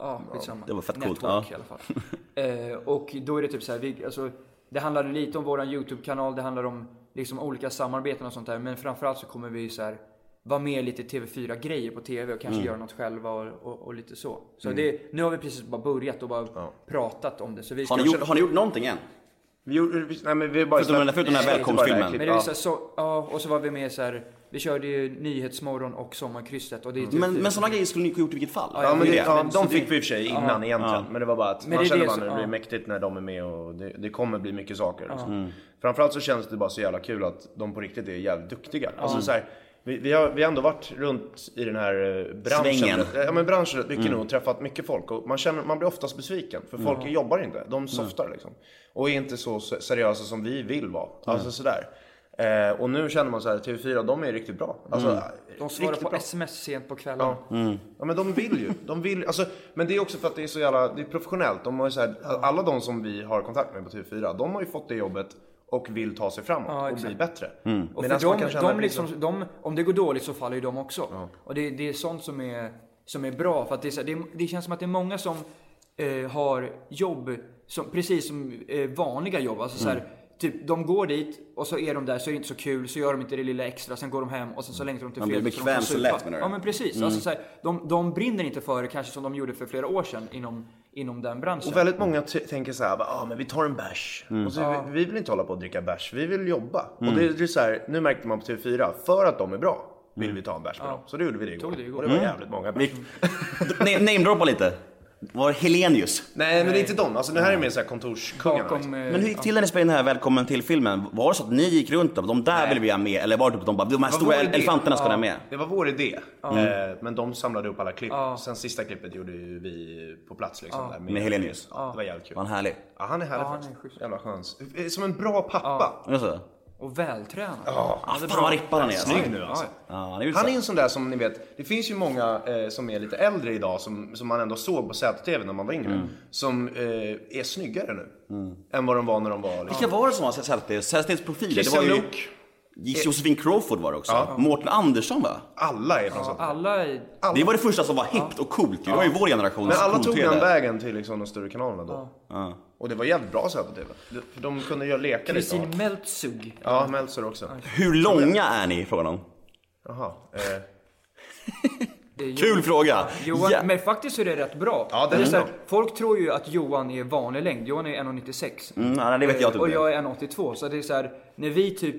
Speaker 2: Ja, skitsamma.
Speaker 1: det var fett coolt,
Speaker 2: Network i alla fall. *laughs* eh, och då är det typ så här, vi, alltså, det handlar lite om våran YouTube-kanal, det handlar om liksom olika samarbeten och sånt där. Men framförallt så kommer vi så här vara med lite i TV4-grejer på TV och
Speaker 1: Mm.
Speaker 2: kanske göra något själva och, och, och lite så. Så det, nu har vi precis bara börjat och bara pratat om det. Så vi
Speaker 1: Har
Speaker 2: ska
Speaker 1: ni, gjort, har ni gjort någonting än?
Speaker 3: Vi gjorde, vi, nej, men vi bara
Speaker 1: Förutom den där- förutom den här
Speaker 3: Nej,
Speaker 1: välkomstfilmen.
Speaker 3: det var det
Speaker 2: Men
Speaker 3: här
Speaker 2: det är
Speaker 3: klippet.
Speaker 2: så, här, så, ja, och så var vi med så här, vi körde ju Nyhetsmorgon och Sommarkrysset. Och det är typ
Speaker 1: Mm. Men, men sådana grejer skulle ni ha gjort i vilket fall.
Speaker 3: Ja, men det,
Speaker 1: Det är det.
Speaker 3: ja,
Speaker 2: Men-
Speaker 3: de fick vi i och för sig innan egentligen. Men det var bara att
Speaker 2: Men
Speaker 3: man
Speaker 2: det är
Speaker 3: känner
Speaker 2: det
Speaker 3: bara att
Speaker 2: som-
Speaker 3: det blir
Speaker 2: ja.
Speaker 3: mäktigt när de är med och det, det kommer bli mycket saker. Liksom. Framförallt så känns det bara så jävla kul att de på riktigt är jävligt duktiga. Alltså, så här, vi, vi, har, vi har ändå varit runt i den här eh, branschen.
Speaker 1: Svängen.
Speaker 3: Ja, men branschen rätt mycket nu och träffat mycket folk. Och man, känner, man blir oftast besviken för folk jobbar inte. De softar liksom. Och är inte så se- seriösa som vi vill vara. Alltså sådär. Eh, och nu känner man så här, TV4, de är riktigt bra. Alltså,
Speaker 2: Mm. de svarar
Speaker 3: riktigt
Speaker 2: på
Speaker 3: bra.
Speaker 2: sms sent på kvällen.
Speaker 3: Ja men de vill ju. De vill, alltså, men det är också för att det är så jävla det är professionellt. De har ju så här, alla de som vi har kontakt med på TV4, de har ju fått det jobbet och vill ta sig framåt
Speaker 2: Ja,
Speaker 3: och
Speaker 2: exakt.
Speaker 3: bli bättre.
Speaker 2: Och
Speaker 3: Medan
Speaker 2: för de,
Speaker 3: man kan känna att
Speaker 2: de
Speaker 3: det är så-
Speaker 2: liksom, de, om det går dåligt så faller ju de också. Och det, det är sånt som är, som är bra. För att det, är, så här- det, det känns som att det är många som eh, har jobb, som, precis som eh, vanliga jobb. Alltså, så
Speaker 1: Mm.
Speaker 2: här, typ, de går dit och så är de där, så är det inte så kul, så gör de inte det lilla extra, sen går de hem och sen så längtar de till
Speaker 1: Man blir
Speaker 2: fredag, så de
Speaker 1: bekväm
Speaker 2: får
Speaker 1: så
Speaker 2: supa.
Speaker 1: lätt, menar du? Mm.
Speaker 2: Ja men precis. Alltså, så här, de, de brinner inte för det kanske som de gjorde för flera år sedan inom, inom den branschen.
Speaker 3: Och väldigt många t- tänker så här, "Va, ah, men vi tar en bärs. Och så, vi, vi vill inte hålla på och dricka bärs, vi vill jobba. Och det, det är så här, nu märkte man på TV4, för att de är bra vill vi ta en bärs med dem. Så det gjorde vi det igår.
Speaker 2: Tog det igår.
Speaker 3: Och det var jävligt många bärs.
Speaker 1: Na- Namedroppa lite. Var Helenius?
Speaker 3: Nej, men det är inte dem. Alltså, det här är mer så här kontorskungarna.
Speaker 2: Bakom...
Speaker 3: liksom.
Speaker 2: eh,
Speaker 1: Men hur gick till när ni spelade in den här Välkommen till filmen? Var det så att ni gick runt dem? De där vill vi ha med. Eller var det typ de bara, de här stora
Speaker 3: vår idé.
Speaker 1: elefanterna ska ni ha med.
Speaker 3: Det var vår idé. Eh, men de samlade upp alla klipp. Sen sista klippet gjorde ju vi på plats liksom. Där,
Speaker 1: Med Helenius.
Speaker 3: Ja, det var jävligt kul.
Speaker 1: Vad härlig.
Speaker 3: Ja, han är härlig
Speaker 2: han är
Speaker 3: faktiskt.
Speaker 2: schysst.
Speaker 3: Jävla sköns. Eh, Som en bra pappa.
Speaker 1: Alltså.
Speaker 2: Och vältränad.
Speaker 1: Ah, fan vad rippad han är alltså.
Speaker 3: Snygg nu alltså.
Speaker 1: Ja, han är ju
Speaker 3: Han är
Speaker 1: så-
Speaker 3: ju en sån där som ni vet, det finns ju många eh, som är lite äldre idag som, som man ändå såg på ZTV när man var yngre. Som eh, är snyggare nu. Än vad de var när de var liksom.
Speaker 1: Vilka var det som var Sällstedts Sällstedts profiler? Det var
Speaker 3: Christian
Speaker 1: ju
Speaker 3: Luuk.
Speaker 1: Josefin Crawford var det också. Mårten Andersson va?
Speaker 3: Alla är från ZTV.
Speaker 2: Alla är...
Speaker 1: Det var det första som var hippt och coolt ju. Det var ju vår generations
Speaker 3: Men alla tog
Speaker 1: cool-tv.
Speaker 3: den vägen till liksom, de större kanalerna då. Och det var jävligt bra ZTV. Det- För de kunde ju leka lite.
Speaker 2: Kristin
Speaker 3: av-
Speaker 2: Meltzug.
Speaker 3: Ja, Meltzer också.
Speaker 1: Hur långa är ni? Frågar de.
Speaker 3: Jaha. Eh,
Speaker 2: Det är ju-
Speaker 1: Kul fråga!
Speaker 2: Johan,
Speaker 1: Ja.
Speaker 2: men faktiskt är det rätt bra.
Speaker 3: Ja, den
Speaker 2: det
Speaker 3: är
Speaker 2: så här,
Speaker 3: bra.
Speaker 2: folk tror ju att Johan är vanlig längd. Johan är 1,96.
Speaker 1: Mm, nej, det vet jag typ
Speaker 2: Och
Speaker 1: inte.
Speaker 2: jag är 1,82. Så det är så här, när vi typ...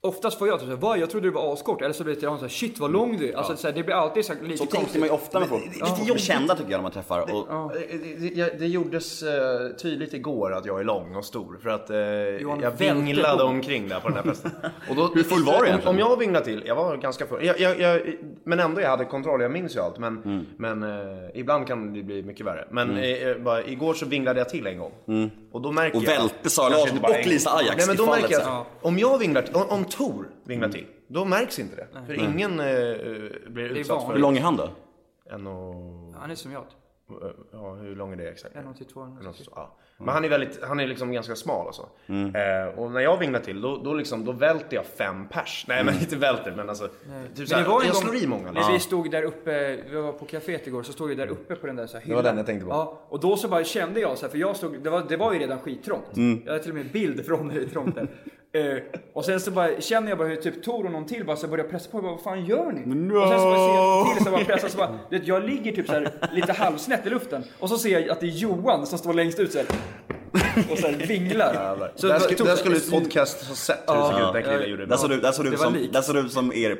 Speaker 2: Oftast får jag typ såhär, va? Jag trodde du var askort. Eller så blir det till honom såhär, shit vad lång du är. Alltså så här, det blir alltid så här, lite
Speaker 1: Så tänker
Speaker 2: konstigt.
Speaker 1: man ju ofta med folk. Lite jobbigt. kända tycker jag när man träffar. Och,
Speaker 3: Eh, Det, jag- det gjordes eh, tydligt igår att jag är lång och stor för att eh,
Speaker 2: Johan
Speaker 3: jag
Speaker 2: välte
Speaker 3: vinglade
Speaker 2: om.
Speaker 3: omkring där på den här festen. *laughs* Och då,
Speaker 1: Hur full var du
Speaker 3: om-
Speaker 1: egentligen?
Speaker 3: Om jag vinglade till, jag var ganska full. Jag, jag, jag, men ändå, jag hade kontroll, jag minns ju allt. Men,
Speaker 1: Mm.
Speaker 3: men eh, ibland kan det bli mycket värre. Men eh, eh, bara, igår så vinglade jag till en gång. Och, då märker
Speaker 1: Mm. Och
Speaker 3: jag-
Speaker 1: välte Sara
Speaker 3: Kanske
Speaker 1: Larsson
Speaker 3: inte bara
Speaker 1: och
Speaker 3: en-
Speaker 1: Lisa Ajax
Speaker 3: Nej men då
Speaker 1: i fallet
Speaker 3: märker jag
Speaker 1: sen. Mm.
Speaker 3: att om jag vinglar till, om, om Tor vinglar till, då märks inte det. För ingen eh, eh, blir utsatt
Speaker 2: vanligt.
Speaker 1: hur
Speaker 3: för
Speaker 1: lång är han då?
Speaker 3: en och...
Speaker 2: Han är som jag.
Speaker 3: eh, Ja, hur lång är det exakt?
Speaker 2: 1,82.
Speaker 3: Eller något så, ja. Men han är, väldigt, han är liksom ganska smal och så. Eh, och när jag vinglar till då, då, liksom, då välter jag fem pers. Nej men inte välter men alltså. Typ så här, jag slår i många.
Speaker 2: När
Speaker 3: Liksom.
Speaker 2: vi stod där uppe, vi var på kaféet igår, så stod vi där uppe på den där så här hyllan.
Speaker 3: var den jag tänkte på.
Speaker 2: Ja, och då så bara kände jag så här, för jag stod, det var, det var ju redan skittrångt.
Speaker 3: Mm.
Speaker 2: Jag hade till och med en bild från hur trångt
Speaker 3: *laughs*
Speaker 2: det är. Eh, Och sen så bara känner jag bara hur typ Tor och någon till bara så börjar pressa på. Jag bara, vad fan gör ni? Och sen så bara ser jag till så bara pressar så bara,
Speaker 3: *laughs*
Speaker 2: du vet, jag ligger typ så här lite halvsnett i luften. Och så ser jag att det är Johan som står längst ut så här. Och så här vinglar. Så
Speaker 3: där,
Speaker 2: det var-
Speaker 3: sku,
Speaker 2: tog
Speaker 3: där
Speaker 2: så-
Speaker 3: skulle ett podcast ha sett hur det såg ut. Den killen gjorde
Speaker 1: Där
Speaker 3: det bra.
Speaker 1: såg du, där såg du,
Speaker 2: Det var
Speaker 1: som,
Speaker 2: likt.
Speaker 1: där såg du ut som er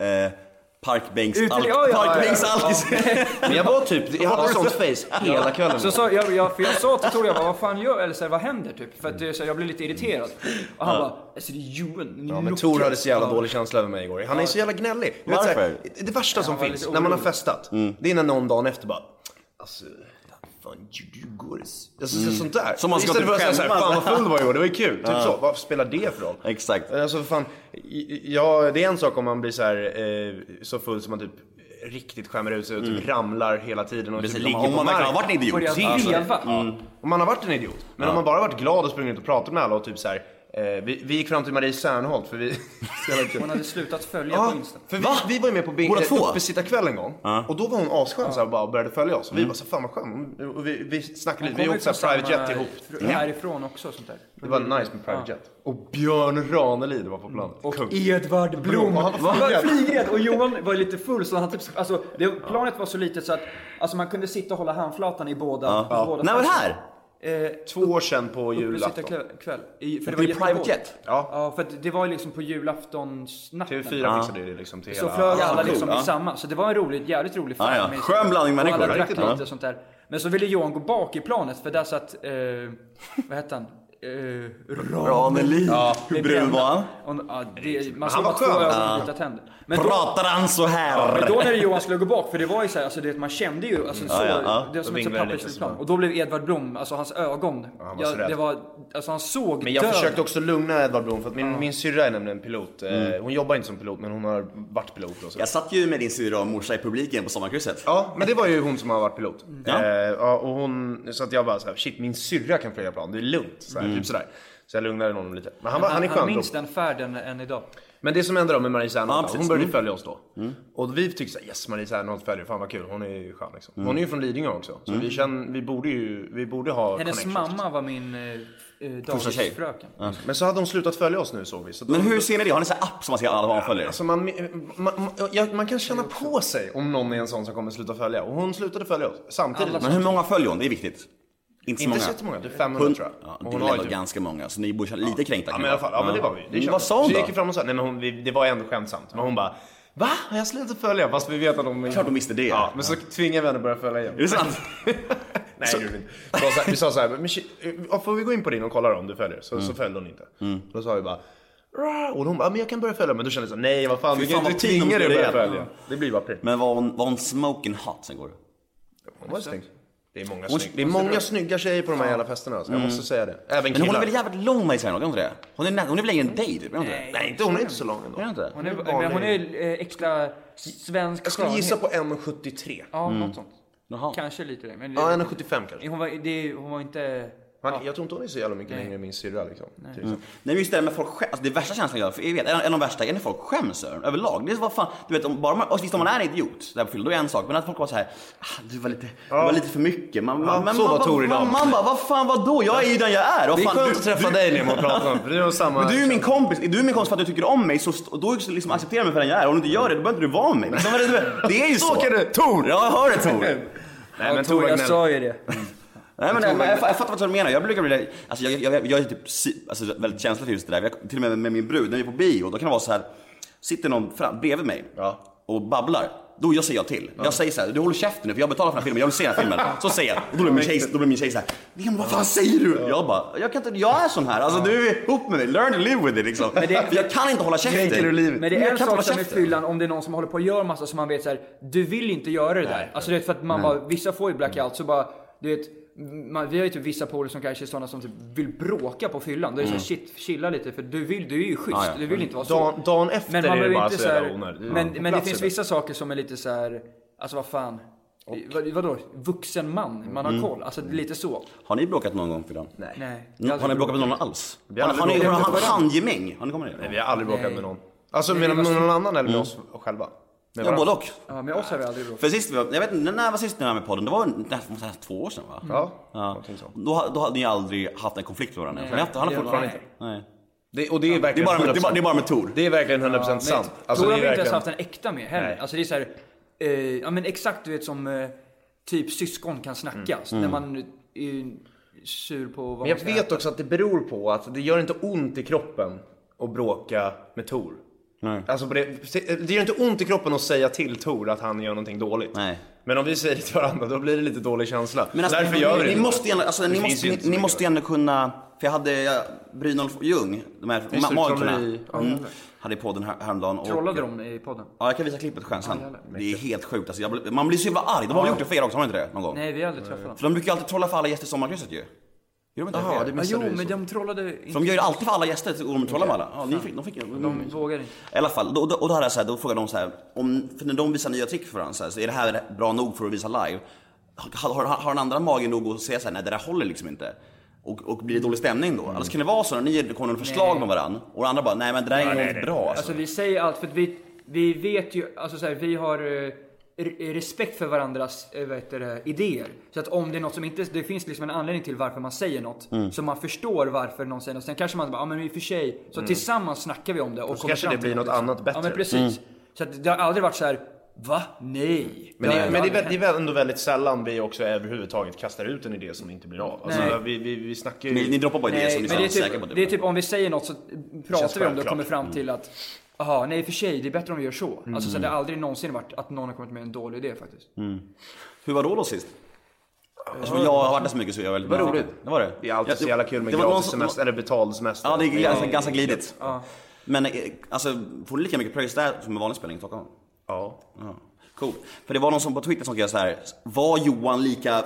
Speaker 1: eh, parkbänks...
Speaker 2: Ut-
Speaker 1: Alk,
Speaker 2: ja, ja, ja, ja.
Speaker 1: parkbänks
Speaker 3: Men jag var typ, jag hade sånt face hela kvällen.
Speaker 2: Alltså, Så sa, jag, jag, för jag sa till Tor, jag bara, vad fan gör, eller så här, vad händer typ? För att det är så här, jag blev lite irriterad. Och han bara, alltså det är Johan.
Speaker 3: Ja, men Tor hade så jävla dålig känsla över mig igår. Han är så jävla gnällig. Du vet,
Speaker 1: Varför? Mm.
Speaker 3: så här, det värsta som
Speaker 2: var
Speaker 3: finns
Speaker 2: lite
Speaker 3: när man har
Speaker 2: orolig.
Speaker 3: festat, det är när någon dagen efter bara Alltså, fan gjorde du igår? Alltså sånt där.
Speaker 1: Mm. Som man ska
Speaker 3: Istället för att
Speaker 1: typ
Speaker 3: säga såhär,
Speaker 1: skämmas.
Speaker 3: fan vad full du var igår, det var ju kul. Typ så, vad spelar det för roll?
Speaker 1: Exakt.
Speaker 3: Alltså för fan, i- i- ja, det är en sak om man blir så här, eh, så full som man typ riktigt skämmer ut sig och typ ramlar hela tiden och typ
Speaker 1: Mm. Precis,
Speaker 3: ligger
Speaker 1: om
Speaker 3: på
Speaker 1: man verkligen har
Speaker 3: marken.
Speaker 1: varit en idiot.
Speaker 2: Började
Speaker 1: Alltså,
Speaker 2: veva.
Speaker 3: Om man har varit en idiot. Men om man bara varit glad och sprungit och pratat med alla och typ så här. Eh, vi, vi gick fram till Marie Serneholt för vi... *laughs* Så jävla kul.
Speaker 2: Hon hade slutat följa
Speaker 3: Ja,
Speaker 2: på Insta.
Speaker 3: för vi, vi var ju med på Bing,
Speaker 1: Båda
Speaker 3: eh,
Speaker 1: två?
Speaker 3: uppesittarkväll en gång. Och då var hon asskön så här, och bara började följa oss. Och vi bara så här, fan vad skön. Och- Och vi, vi snackade lite, vi åkte så här, private jet ihop. Mm.
Speaker 2: ihop. Härifrån också och sånt där.
Speaker 3: Det var nice med private jet. Och Björn Ranelid var på planet. Kung.
Speaker 2: Och Edvard Blom.
Speaker 3: Blom, han var
Speaker 2: Han var
Speaker 3: flygrädd.
Speaker 2: flygrädd och Johan var lite full så han typ, alltså det, planet var så litet så att alltså, man kunde sitta och hålla handflatan i båda. Ja. båda
Speaker 1: När var det här?
Speaker 3: Två år sedan på
Speaker 2: Julafton.
Speaker 3: julafton.
Speaker 2: kväll. I, för det
Speaker 1: Det
Speaker 2: var
Speaker 1: är private
Speaker 2: jättevårt.
Speaker 1: jet.
Speaker 3: Ja.
Speaker 2: Ja, för att det var ju liksom på julaftonsnatten.
Speaker 3: TV4 fixade det liksom till
Speaker 2: Så
Speaker 3: hela...
Speaker 2: flög
Speaker 1: Ja,
Speaker 2: alla
Speaker 1: cool,
Speaker 2: liksom
Speaker 1: ja.
Speaker 2: i samma, så det var en rolig, jävligt rolig
Speaker 1: Ja, ja. Skön blandning
Speaker 2: Och
Speaker 1: människor,
Speaker 2: Alla drack
Speaker 1: riktigt,
Speaker 2: lite
Speaker 1: ja.
Speaker 2: och sånt där. Men så ville Johan gå bak i planet för där satt, eh, vad hette han? Eh,
Speaker 1: Ranelid. Hur brun var han?
Speaker 2: Och, ja, det, man
Speaker 3: han
Speaker 2: såg
Speaker 3: var
Speaker 2: bara två
Speaker 3: skön.
Speaker 2: ögon och vita tänder. Men då,
Speaker 1: Pratar han så här?
Speaker 2: men då när Johan skulle gå bak, för det var ju så här, alltså, det, man kände ju alltså,
Speaker 3: Mm.
Speaker 2: så,
Speaker 1: Ja, ja, ja.
Speaker 2: det var som
Speaker 3: Då
Speaker 2: ett så
Speaker 3: vinglade det lite
Speaker 2: pappersflygplan.
Speaker 3: så.
Speaker 2: Och då blev Edvard Blom, alltså hans ögon,
Speaker 3: han var
Speaker 2: ja,
Speaker 3: så rädd.
Speaker 2: det var, alltså han såg
Speaker 3: Men jag
Speaker 2: döden.
Speaker 3: försökte också lugna Edvard Blom för att min, min syrra är nämligen pilot. Eh, Hon jobbar inte som pilot men hon har varit pilot och så.
Speaker 1: Jag satt ju med din syrra och morsa i publiken på sommarkrysset.
Speaker 3: Ja, men det var ju hon som har varit pilot.
Speaker 1: Mm. Ja.
Speaker 3: Eh, ja, och hon, så att jag bara så här, shit min syrra kan flyga plan, det är lugnt. Så,
Speaker 1: Mm.
Speaker 3: här, typ sådär. så jag lugnade honom lite. Men han, var, han är skön.
Speaker 2: han
Speaker 3: Blom.
Speaker 2: minns den färden än idag.
Speaker 3: Men det som hände då med Marie Serneholt,
Speaker 1: precis. Mm.
Speaker 3: hon började följa oss då. Och vi tyckte såhär, yes Marie Serneholt följer, fan vad kul, hon är ju skön liksom.
Speaker 1: Mm.
Speaker 3: Hon är ju från Lidingö också, så vi, känner, vi borde ju, vi borde ha
Speaker 2: Hennes
Speaker 3: connections.
Speaker 2: mamma var min eh, eh,
Speaker 1: tjej.
Speaker 2: dagisfröken.
Speaker 3: Men så hade hon slutat följa oss nu såg vi. Så då,
Speaker 1: Men hur ser ni det? Har ni så här app som man ser alla vad man följer?
Speaker 3: Alltså man, man, man, ja, man kan känna på sig om någon är en sån som kommer sluta följa. Och hon slutade följa oss samtidigt.
Speaker 1: Men hur många följer hon? Det är viktigt. Inte så
Speaker 3: Inte
Speaker 1: många.
Speaker 3: så jättemånga, det är 500
Speaker 1: Hund-
Speaker 3: tror jag.
Speaker 1: Ja,
Speaker 3: Och
Speaker 1: det typ
Speaker 3: hon
Speaker 1: är
Speaker 3: har ju
Speaker 1: ändå ganska många, så ni borde känna lite kränkta.
Speaker 3: Ja
Speaker 1: kan
Speaker 3: men i alla fall, ja men det var vi. Det
Speaker 1: Vad sa hon
Speaker 3: så
Speaker 1: då?
Speaker 3: gick vi fram och sa, nej men hon, vi, det var ändå skämtsamt. Men hon bara, Va? Har jag slutat följa? Fast vi vet att de...
Speaker 1: Klart de visste det.
Speaker 3: Ja, men så tvingar vi henne att börja följa igen.
Speaker 1: Är det sant?
Speaker 3: *laughs* Nej, det gjorde vi inte. Så sa, vi sa så här, men, shit, ja, får vi gå in på din och kolla då, om du följer? Så, så följde hon inte. Då sa vi bara, "Rah." och hon bara, "Ja, men jag kan börja följa. Men då kände jag så här, nej vad fan,
Speaker 1: Fy
Speaker 3: vi
Speaker 1: fan,
Speaker 3: kan inte
Speaker 1: vad tid de
Speaker 3: tvinga dig att
Speaker 1: skulle
Speaker 3: börja
Speaker 1: ge.
Speaker 3: följa. Mm. Det blir bara pin.
Speaker 1: Men var hon, var hon smoking hot sen går?
Speaker 3: Hon var snygg. Det är många, snygg. Det är många snygga tjejer på de här jävla festerna. Alltså. Jag måste säga det. Även
Speaker 1: Men hon är
Speaker 3: killar.
Speaker 1: väl jävligt lång med i Sverige, är hon inte det? Hon är, nä- hon är väl längre än dig typ, är hon inte det?
Speaker 3: Nej, inte, hon är inte så lång ändå.
Speaker 1: Är hon inte det?
Speaker 2: Hon är, men hon är eh, extra svensk
Speaker 3: Jag skulle gissa på 1,73.
Speaker 2: Ja, något sånt.
Speaker 1: Jaha.
Speaker 2: Kanske lite det. Men
Speaker 3: Ja, 1,75 kanske.
Speaker 2: hon, var, det, hon var inte...
Speaker 3: Man, jag tror inte hon är så jävla mycket längre än min syrra liksom. till exempel.
Speaker 1: Nej men just det där med folk skäms, alltså, det är värsta känslan jag har, för jag vet, en, en av de värsta är när folk skäms över en, överlag. Det är så, vad fan, du vet, om, bara man, och visst om man är en idiot där på fyllan, då är det en sak. Men att folk var så här, ah, du var lite, det var lite för mycket. Man, man, men
Speaker 3: så
Speaker 1: man,
Speaker 3: var Tor
Speaker 1: man,
Speaker 3: idag.
Speaker 1: man, bara, vad fan vadå? Jag är ju den jag är. Vad
Speaker 3: Det är
Speaker 1: fan,
Speaker 3: skönt
Speaker 1: du-
Speaker 3: att träffa
Speaker 1: du-
Speaker 3: dig Nemo och prata *laughs* om. för det är nog samma...
Speaker 1: Men du är ju min kompis, är du min kompis för att du tycker om mig så st- och då liksom accepterar du mig för den jag är. Om du inte gör det, då behöver inte du vara med mig. Liksom, det, det- det är
Speaker 3: *laughs*
Speaker 1: ju så.
Speaker 3: kan du- Tor!
Speaker 1: Ja, jag hör det
Speaker 3: *laughs*
Speaker 1: Tor.
Speaker 3: Nej men
Speaker 2: Tor,
Speaker 3: Tor
Speaker 2: jag
Speaker 3: Agnell.
Speaker 2: sa ju det.
Speaker 1: Nej, men, jag, jag, jag, fattar vad du menar. Jag brukar bli, alltså, jag, jag, jag, jag är typ si- alltså, väldigt känslig för just det där. Jag, till och med med min brud, när vi är på bio, då kan det vara så här. Sitter någon fram, bredvid mig
Speaker 3: Ja.
Speaker 1: och babblar. Då jag säger jag till. Jag säger så här, du håller käften nu för jag betalar för den här filmen, jag vill se den här
Speaker 3: *laughs*
Speaker 1: filmen. Så säger jag. Och då blir min tjej, då blir min tjej så här, Nemo vad fan säger du? Jag bara, jag, kan inte, jag är sån här. Alltså du är ihop med mig, learn to live with it liksom.
Speaker 2: det-
Speaker 1: för jag kan inte hålla käften.
Speaker 3: Kränker du livet?
Speaker 2: Men det
Speaker 1: Jag
Speaker 2: är en
Speaker 1: kan inte
Speaker 2: sak
Speaker 1: hålla
Speaker 2: som med
Speaker 1: käften.
Speaker 2: fyllan om det är någon som håller på och gör massa som man vet så här, du vill inte göra det där. Alltså det är för att man bara, vissa får ju blackout så bara, du vet, man, vi har ju typ vissa polare som kanske är sådana som typ vill bråka på fyllan. Då är det så här, shit, chilla lite för du vill, du är ju schysst.
Speaker 1: Ja, ja.
Speaker 2: Du vill inte vara så.
Speaker 3: Dagen, dagen efter
Speaker 2: Men man
Speaker 3: är det
Speaker 2: behöver
Speaker 3: bara
Speaker 2: inte
Speaker 3: så
Speaker 2: så
Speaker 3: jävla
Speaker 2: här,
Speaker 3: onödigt.
Speaker 2: men,
Speaker 3: Ja.
Speaker 2: men det
Speaker 3: Plats
Speaker 2: finns
Speaker 3: är
Speaker 2: vissa saker som är lite så här, alltså vad fan. Vad, vadå? Vuxen man, man har koll. Alltså lite så.
Speaker 1: Har ni bråkat någon gång Fyllan? Nej.
Speaker 2: Nej.
Speaker 1: Mm. Har ni bråkat med någon alls?
Speaker 3: Vi har
Speaker 1: Har,
Speaker 3: aldrig
Speaker 1: har ni
Speaker 3: bråkat.
Speaker 1: har- har- handgemäng? Har ni kommit
Speaker 3: bra.
Speaker 1: ner?
Speaker 3: Vi har aldrig bråkat med någon. Alltså
Speaker 2: Nej,
Speaker 3: med,
Speaker 2: det var
Speaker 3: med någon annan eller med oss själva? Med
Speaker 1: Ja,
Speaker 3: varandra.
Speaker 1: både och.
Speaker 2: Ja, med oss har vi aldrig bråkat.
Speaker 1: För sist vi var, jag vet inte, när var sist ni var med i podden? Det var nästan nästan två år sedan va?
Speaker 3: Ja,
Speaker 1: Ja.
Speaker 3: någonting sånt.
Speaker 1: Då, då hade ni aldrig haft en konflikt med varandra? Nej. Ni haft, han har
Speaker 2: Det har vi
Speaker 1: fortfarande
Speaker 2: inte.
Speaker 1: inte? Nej.
Speaker 3: Det, och det är
Speaker 1: Det är
Speaker 3: verkligen
Speaker 1: bara med, det är
Speaker 3: 100%.
Speaker 1: bara, det är bara med Tor.
Speaker 3: Det är verkligen 100% sant.
Speaker 2: Alltså, Då har
Speaker 3: det
Speaker 2: vi
Speaker 3: är
Speaker 2: inte ens
Speaker 3: verkligen-
Speaker 2: haft en äkta med heller.
Speaker 3: Nej.
Speaker 2: Alltså det är så här, eh, ja men exakt du vet som eh, typ syskon kan snacka. Så När man är sur på vad
Speaker 3: Mm. Men jag
Speaker 2: man ska
Speaker 3: vet också att det beror på att det gör inte ont i kroppen att bråka med Tor.
Speaker 1: Nej.
Speaker 3: Alltså på det, det gör inte ont i kroppen att säga till Tor att han gör någonting dåligt.
Speaker 1: Nej.
Speaker 3: Men om vi säger det till varandra då blir det lite dålig känsla.
Speaker 1: Men alltså,
Speaker 3: Därför
Speaker 1: ni,
Speaker 3: gör vi det
Speaker 1: ni,
Speaker 3: inte.
Speaker 1: måste ju ändå, alltså,
Speaker 3: Det
Speaker 1: ni,
Speaker 3: finns
Speaker 1: måste,
Speaker 3: ju
Speaker 1: ni,
Speaker 3: inte så
Speaker 1: ni
Speaker 3: mycket
Speaker 1: måste ju ändå kunna, för jag hade ja, Brynolf Ljung, de här
Speaker 3: Just
Speaker 1: ma-
Speaker 3: det,
Speaker 1: magikerna,
Speaker 3: trolleri. Ja,
Speaker 1: mm, hade i podden här, häromdagen. Och,
Speaker 2: Trollade de i podden?
Speaker 1: Ja, jag kan visa klippet själv sen. Det är helt sjukt alltså, jag, blir- Man blir så jävla arg. De har väl gjort det för er också, har de inte det? Någon gång?
Speaker 2: Nej vi har aldrig träffat dem.
Speaker 1: För de brukar ju alltid trolla för alla gäster i sommarkrysset ju. Gör de inte det för
Speaker 3: Jaha,
Speaker 1: er?
Speaker 3: det
Speaker 2: Ja, jo
Speaker 3: missade du
Speaker 2: men
Speaker 3: ju.
Speaker 2: de trollade
Speaker 1: För de
Speaker 2: inte.
Speaker 1: gör ju alltid för alla gäster, så går de och trollar med alla. Ja, ni fick, de fick, de,
Speaker 2: De vågar inte.
Speaker 1: I alla fall, då, då, och då, hade jag så här, då frågade de så här, om, för när de visar nya trick för varandra så, här, så är det här bra nog för att visa live? Har, har, har den andra magen nog att säga så här, nej det där håller liksom inte? Och, och blir det dålig stämning då? Alltså kan det vara så när ni kommer med förslag med varandra och den andra bara, nej men det där är nog inte bra alltså.
Speaker 2: Alltså vi säger allt för att vi, vi vet ju, alltså så här, vi har eh, re- respekt för varandras eh, vad heter det, idéer. Så att om det är något som inte, det finns liksom en anledning till varför man säger något.
Speaker 3: Mm.
Speaker 2: Så man förstår varför någon säger något. Sen kanske man bara, ja men i och för sig. Så tillsammans snackar vi om det och kommer
Speaker 3: Mm. kanske
Speaker 2: fram
Speaker 3: det
Speaker 2: till liksom.
Speaker 3: blir något annat bättre. Mm.
Speaker 2: Ja men precis. Så att det har aldrig varit så här, va? Nej.
Speaker 3: Men, det,
Speaker 2: har
Speaker 3: men det, är,
Speaker 2: aldrig
Speaker 3: väl- det är
Speaker 2: hänt.
Speaker 3: väl ändå väldigt sällan vi också överhuvudtaget kastar ut en idé som inte blir av. Alltså,
Speaker 2: Nej.
Speaker 3: vi, vi, vi snackar ju...
Speaker 1: Ni, ni droppar bara idéer
Speaker 2: Nej,
Speaker 1: som ni
Speaker 2: men
Speaker 1: är
Speaker 2: det är,
Speaker 1: så säkra på.
Speaker 2: typ, det är typ om vi säger något så pratar vi om det och
Speaker 3: självklart. Mm.
Speaker 2: kommer fram till att Jaha, nej i och för sig, det är bättre om vi gör så. Alltså så det har aldrig någonsin varit att någon har kommit med en dålig idé faktiskt.
Speaker 1: Hur var då då sist? Eftersom jag har varit där så mycket så är jag väldigt Det
Speaker 3: var roligt.
Speaker 1: Det var det.
Speaker 3: Det är alltid
Speaker 1: Ja,
Speaker 3: så jävla kul med
Speaker 1: det var någon
Speaker 3: gratis
Speaker 1: som-
Speaker 3: semester, eller betald semester.
Speaker 1: Ja, det är ganska, ganska glidigt. Men eh, alltså, får ni lika mycket pröjs där som en vanlig spelning i Stockholm?
Speaker 3: Ja.
Speaker 1: Ja. Cool. För det var någon som på Twitter som skrev så här. Var Johan lika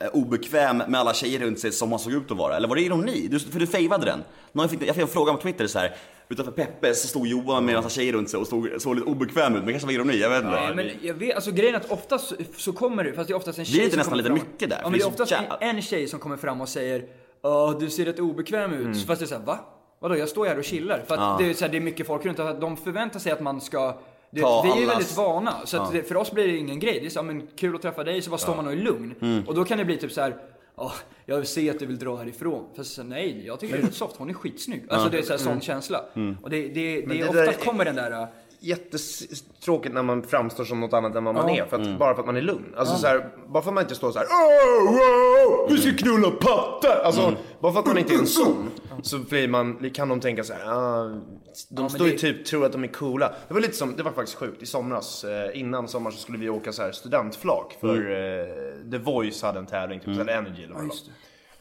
Speaker 1: eh, obekväm med alla tjejer runt sig som han såg ut att vara? Eller var det ironi? Du, för du fejvade den. Någon fick, jag fick en fråga på Twitter så här. Utanför Peppe så stod Johan med en massa tjejer runt sig och stod, såg lite obekväm ut. Men det kanske var ironi, jag vet inte.
Speaker 2: Nej, men jag vet, alltså grejen är att oftast så- så kommer det, fast det är oftast en tjej
Speaker 1: Blir det inte
Speaker 2: som
Speaker 1: nästan
Speaker 2: kommer
Speaker 1: lite
Speaker 2: fram.
Speaker 1: mycket där?
Speaker 2: Ja,
Speaker 1: För
Speaker 2: men
Speaker 1: det
Speaker 2: det
Speaker 1: är
Speaker 2: är
Speaker 1: så
Speaker 2: oftast
Speaker 1: jä-
Speaker 2: en tjej som kommer fram och säger Åh, du ser rätt obekväm
Speaker 1: Mm.
Speaker 2: ut. Fast det är såhär, va? Vadå, jag står här och chillar. För att det, är så här, det är mycket folk runt och att de förväntar sig att man ska du
Speaker 1: Ta
Speaker 2: vet, vi är ju
Speaker 1: allas-
Speaker 2: väldigt vana, så att det, för oss blir det ingen grej. Det är så, här, men kul att träffa dig, så bara står man och är lugn.
Speaker 1: Mm.
Speaker 2: Och då kan det bli typ så här. "Åh, jag ser att du vill dra härifrån. Fast så, nej,
Speaker 1: Mm.
Speaker 2: jag tycker det är rätt soft. Hon är skitsnygg. Alltså det är så här, sån känsla. Och det, det, det,
Speaker 3: det
Speaker 2: är
Speaker 3: där
Speaker 2: ofta
Speaker 3: är-
Speaker 2: kommer den där, äh,
Speaker 3: jättetråkigt när man framstår som något annat än vad man
Speaker 2: Ja. Mm.
Speaker 3: är. För att, Bara för att man är lugn. Alltså, så här, bara för att man inte står så här. Åh, åh, vi ska knulla patta! Alltså,
Speaker 2: Mm.
Speaker 3: bara för att man inte är
Speaker 2: *laughs*
Speaker 3: en sån. Så blir man, kan de tänka så här. Ah, de står ju
Speaker 2: det-
Speaker 3: typ, tror att de är coola. Det var lite som, det var faktiskt sjukt. I somras, eh, innan sommaren så skulle vi åka så här studentflak. För
Speaker 2: Mm.
Speaker 3: eh, The Voice hade en tävling, typ,
Speaker 1: Mm.
Speaker 3: eller Energy eller vad det var.
Speaker 2: just det.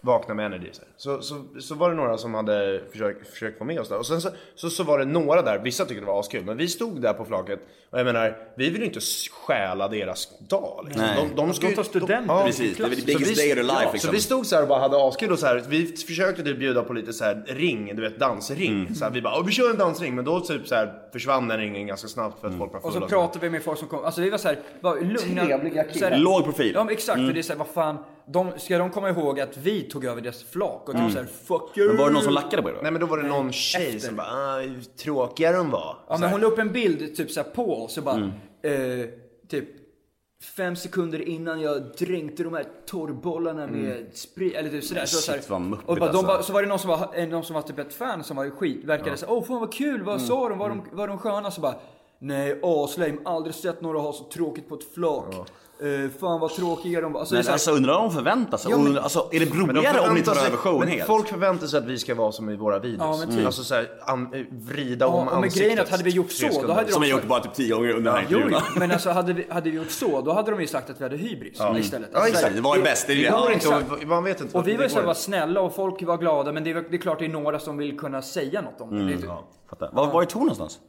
Speaker 3: Vakna med energi. Så, här. så, så, så var det några som hade försökt, försökt få med oss där. Och sen så, så, så var det några där, vissa tyckte det var askul, men vi stod där på flaket. Och jag menar, vi vill ju inte stjäla deras dag. Liksom.
Speaker 1: Nej.
Speaker 2: De tar studenten.
Speaker 3: ja.
Speaker 1: Precis, det är the
Speaker 3: Så
Speaker 1: biggest
Speaker 3: vi-
Speaker 1: day of their life
Speaker 3: ja,
Speaker 1: liksom.
Speaker 3: Så vi stod så här och bara hade askul och så här, vi försökte typ bjuda på lite så här ring, du vet dansring.
Speaker 1: Mm.
Speaker 3: Så här, vi bara, "Ja, vi kör en dansring, men då typ så här försvann den ringen ganska
Speaker 1: Mm.
Speaker 3: snabbt för att folk var fulla.
Speaker 2: Och så
Speaker 3: så här.
Speaker 2: pratade vi med folk som kom, alltså vi var såhär, bara lugna.
Speaker 3: Trevliga killar.
Speaker 2: så här-
Speaker 1: Låg profil. Mm.
Speaker 2: Ja men exakt, för det är såhär, vad fan. De, ska de komma ihåg att vi tog över deras flak och typ såhär, fuck you.
Speaker 1: Mm. Men var det någon som lackade på er då?
Speaker 3: Nej men då var det någon tjej som bara, ah, hur tråkiga de var.
Speaker 2: Ja
Speaker 3: Så här.
Speaker 2: men hon la upp en bild typ såhär på oss och bara,
Speaker 1: Mm.
Speaker 2: eh, typ fem sekunder innan jag dränkte de här torrbollarna med sprit, eller typ sådär. så,
Speaker 1: Mm. Shit,
Speaker 2: såhär,
Speaker 1: vad muppigt,
Speaker 2: och bara,
Speaker 1: alltså.
Speaker 2: de bara, så var det någon som var, eh, någon som var typ ett fan som var skit, verkade såhär, åh fan vad kul, vad
Speaker 1: Mm.
Speaker 2: sa de, var, de, var de sköna? Så bara, nej aslame, aldrig sett några ha så tråkigt på ett flak. Eh, fan vad tråkiga de var. Alltså, det är
Speaker 1: Men
Speaker 2: såhär-
Speaker 1: alltså undrar om de förväntar sig?
Speaker 2: Ja, men-
Speaker 1: Undrar- alltså, är det
Speaker 3: Men de
Speaker 1: roligare om ni
Speaker 3: förväntar
Speaker 1: tar
Speaker 3: sig-
Speaker 1: över showen
Speaker 3: alltså. men
Speaker 1: helt?
Speaker 3: Folk förväntar sig att vi ska vara som i våra videos.
Speaker 2: Ja, men typ.
Speaker 3: Alltså såhär, an- vrida
Speaker 2: Ja,
Speaker 3: om
Speaker 2: men
Speaker 3: ansiktet.
Speaker 2: grejen är att hade vi gjort
Speaker 3: tre
Speaker 2: så, då
Speaker 3: sekunder.
Speaker 2: hade de-
Speaker 1: Som jag gjort bara typ tio gånger under den här
Speaker 2: Jo,
Speaker 1: intervjun.
Speaker 2: jo,
Speaker 1: va?
Speaker 2: men alltså hade vi, hade vi gjort så, då hade de ju sagt att vi hade hybris istället.
Speaker 3: Ja,
Speaker 2: Alltså,
Speaker 1: Exakt, det var ju bäst. Det är ju
Speaker 3: Det
Speaker 1: det.
Speaker 3: går
Speaker 2: Ja,
Speaker 3: inte,
Speaker 2: exakt.
Speaker 3: och, man vet inte.
Speaker 2: Och vi
Speaker 3: det
Speaker 2: var ju
Speaker 3: går
Speaker 2: såhär, var
Speaker 3: inte.
Speaker 2: snälla och folk var glada, men det är, det är klart det är några som vill kunna säga något om det.
Speaker 3: Mm.
Speaker 2: det. är-
Speaker 1: Fattar. Var, var är Tor någonstans?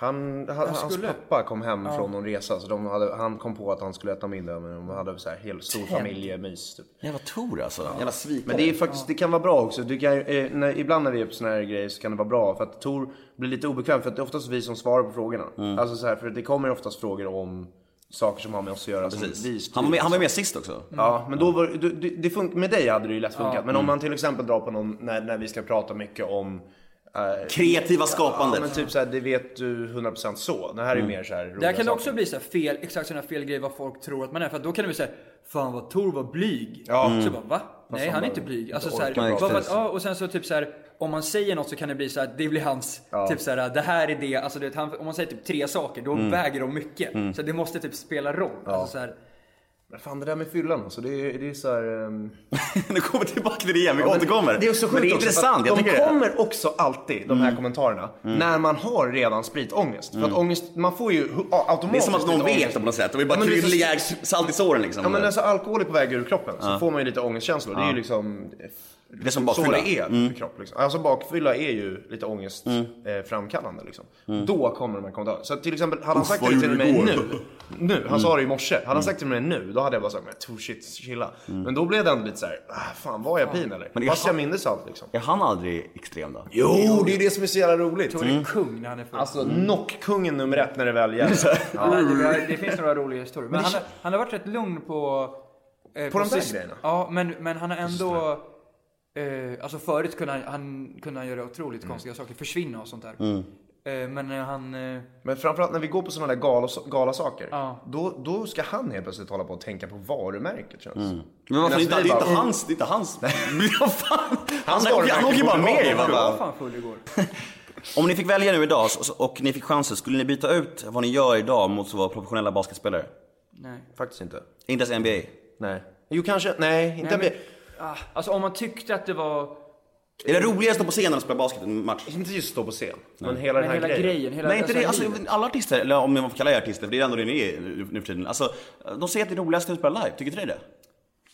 Speaker 3: han, han, hans
Speaker 2: skulle-
Speaker 3: pappa kom hem från någon resa, så de hade, han kom på att han skulle äta middag, men de hade så här, helt stor familjemys. Typ.
Speaker 1: Jävla Tor alltså. Jävla svikare.
Speaker 3: Men det, är faktiskt, det kan vara bra också. Du kan, eh, när, ibland när vi är på såna här grejer så kan det vara bra. För att Tor blir lite obekväm. För att det är oftast vi som svarar på frågorna.
Speaker 1: Mm.
Speaker 3: Alltså så här, för det kommer oftast frågor om saker som har med oss att göra. Som vi
Speaker 1: Precis.
Speaker 3: styr.
Speaker 1: Han var med, han var med sist också.
Speaker 3: Ja, men då var, du, du, det fun- med dig hade det ju lätt funkat. Men
Speaker 1: Mm.
Speaker 3: om man till exempel drar på någon när, när vi ska prata mycket om
Speaker 1: Kreativa
Speaker 3: Ja,
Speaker 1: skapandet.
Speaker 3: men typ såhär, det vet du 100% så. Det här är
Speaker 1: Mm.
Speaker 3: ju mer såhär
Speaker 2: Där kan det också bli så här fel, exakt sådana fel grejer vad folk tror att man är. För att då kan det bli såhär, fan vad Tor var blyg.
Speaker 3: Ja. Mm.
Speaker 2: Så bara, va? Nej
Speaker 3: som
Speaker 2: han är
Speaker 3: bara
Speaker 2: inte blyg. Alltså,
Speaker 3: inte
Speaker 2: så här,
Speaker 3: orkar
Speaker 2: bara för
Speaker 1: prata.
Speaker 2: att, ja, och sen så typ så här, om man säger något så kan det bli så här, det blir hans, typ så här, det här är det. Alltså, du vet, han, om man säger typ tre saker, då
Speaker 3: Mm.
Speaker 2: väger de mycket. Så det måste typ spela roll. Alltså, så här,
Speaker 3: Men fan det där med fyllan alltså. Det är, det är såhär... ehm,
Speaker 1: *laughs* nu kommer vi tillbaka till det igen, vi återkommer.
Speaker 3: Det är också sjukt
Speaker 1: Men det är
Speaker 3: också, för
Speaker 1: intressant,
Speaker 3: att
Speaker 1: jag
Speaker 3: De
Speaker 1: tycker det. Mm.
Speaker 3: kommer också alltid, de här kommentarerna, när man har redan spritångest. För att ångest, man får ju hu- ja,
Speaker 1: Det är
Speaker 3: automatiskt
Speaker 1: som att någon
Speaker 3: spritångest.
Speaker 1: vet på något sätt. De är bara
Speaker 3: Ja, men det är så-
Speaker 1: krylliga salt i såren liksom.
Speaker 3: Ja men alltså alkohol är på väg ur kroppen så får man ju lite ångestkänslor. Det är ju liksom
Speaker 1: det är som
Speaker 3: så
Speaker 1: bakfylla. Mm.
Speaker 3: det är för kropp. Liksom. Alltså bakfylla är ju lite ångestframkallande. Eh, framkallande, liksom. Då kommer de här kommentarerna. Så till exempel, hade han sagt
Speaker 1: Mm. vad
Speaker 3: det till
Speaker 1: gjorde
Speaker 3: mig
Speaker 1: du
Speaker 3: nu.
Speaker 1: igår? Mm.
Speaker 3: nu han sa det i morse. Hade han sagt det till mig nu, då hade jag bara sagt men oh shit, chilla. Men då blev det ändå lite såhär, ah, fan var jag pin eller?
Speaker 1: Mm. Men jag
Speaker 3: Fast jag
Speaker 1: har-
Speaker 3: mindes allt liksom.
Speaker 1: Är han aldrig extrem då?
Speaker 3: Jo, det är det som är så jävla roligt.
Speaker 2: Tor är kung när han är full.
Speaker 3: Alltså knockkungen nummer ett när det väl gäller.
Speaker 2: Ja, det, var- det finns några roliga historier. Men han, har- han har varit rätt lugn på... eh,
Speaker 3: På de där
Speaker 2: sist-
Speaker 3: grejerna?
Speaker 2: Ja, men, men han har ändå... Eh, alltså förut kunde han, han, kunde han göra otroligt konstiga saker. Försvinna och sånt där. Eh, men eh, han... Eh,
Speaker 3: Men framförallt när vi går på sådana där galos- galasaker,
Speaker 2: Ja.
Speaker 3: då, då ska han helt plötsligt hålla på och tänka på varumärket känns mm.
Speaker 1: Men varför
Speaker 3: Medan
Speaker 1: inte?
Speaker 3: vi
Speaker 1: Det är
Speaker 3: bara,
Speaker 1: inte
Speaker 3: mm.
Speaker 1: hans, det är inte hans. *laughs* Men vad fan? Han,
Speaker 3: Hans
Speaker 1: han,
Speaker 3: varumärke
Speaker 1: han åker ju bara
Speaker 3: borde
Speaker 1: med
Speaker 3: vara-
Speaker 1: ju, va?
Speaker 2: han
Speaker 3: bara-
Speaker 2: var fan full igår.
Speaker 1: Om ni fick välja nu idag så- och ni fick chansen, skulle ni byta ut vad ni gör idag mot att vara professionella basketspelare?
Speaker 2: Nej.
Speaker 3: Faktiskt inte.
Speaker 1: Inte ens NBA?
Speaker 3: Nej. Jo kanske, nej inte
Speaker 2: Nej, men,
Speaker 3: NBA.
Speaker 2: ah, alltså om man tyckte att det var...
Speaker 1: Är det roligare att stå på scenen och spela basket än match?
Speaker 3: Inte just stå på scen, men hela
Speaker 2: Men
Speaker 3: den här
Speaker 2: hela grejen. hela,
Speaker 1: Nej, inte det. Alltså,
Speaker 2: livet.
Speaker 1: alla artister, eller om man får kalla er artister, för det är ändå det ni är nu nu för tiden. Alltså, de säger att det är roligast att spela live. Tycker inte ni det?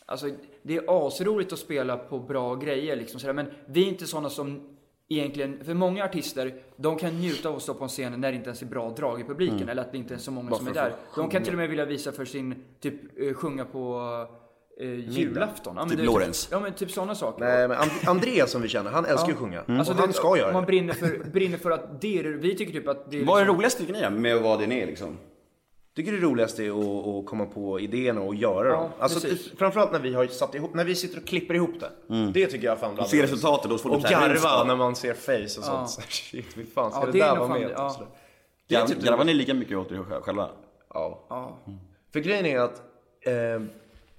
Speaker 2: Alltså, det är asroligt att spela på bra grejer liksom sådär. Men vi är inte sådana som egentligen, för många artister, de kan njuta av att stå på en scen när det inte ens är bra drag i publiken.
Speaker 3: Mm.
Speaker 2: Eller att det inte är så många som är där. De kan till och med vilja visa för sin, typ eh, sjunga på eh, julafton. Ja, men
Speaker 1: Typ
Speaker 2: det är
Speaker 1: Lorentz.
Speaker 2: Ja men typ sådana saker.
Speaker 3: Nej men And- Andreas som vi känner, han älskar ju att sjunga.
Speaker 2: Alltså,
Speaker 3: och
Speaker 2: du
Speaker 3: han
Speaker 2: vet,
Speaker 3: ska göra
Speaker 2: Man
Speaker 3: Mm. det.
Speaker 2: brinner för, brinner för att det är det, vi tycker typ att det är
Speaker 1: Vad är
Speaker 2: liksom-
Speaker 1: det roligaste tycker ni då, med att vara det ni är liksom?
Speaker 3: Tycker det roligaste är att, att komma på idéerna och göra dem. Alltså,
Speaker 2: precis.
Speaker 3: det- framförallt när vi har satt ihop, när vi sitter och klipper ihop det. Det tycker jag fan bland
Speaker 1: Se
Speaker 3: det bästa.
Speaker 1: resultatet, då får du
Speaker 3: Och
Speaker 1: så här
Speaker 3: garva
Speaker 1: rymdskap.
Speaker 3: när man ser face och sånt. *laughs* Så här, Shit, fy fan ska
Speaker 2: Ja,
Speaker 3: det,
Speaker 2: det är
Speaker 3: där
Speaker 2: nog
Speaker 3: vara
Speaker 2: fan
Speaker 3: med?
Speaker 2: det, ja.
Speaker 3: Så där. Det är
Speaker 1: Gar-
Speaker 3: typ det
Speaker 1: Garvar ni lika mycket åt er själva? Alltså,
Speaker 3: Ja. Mm. För grejen är att eh,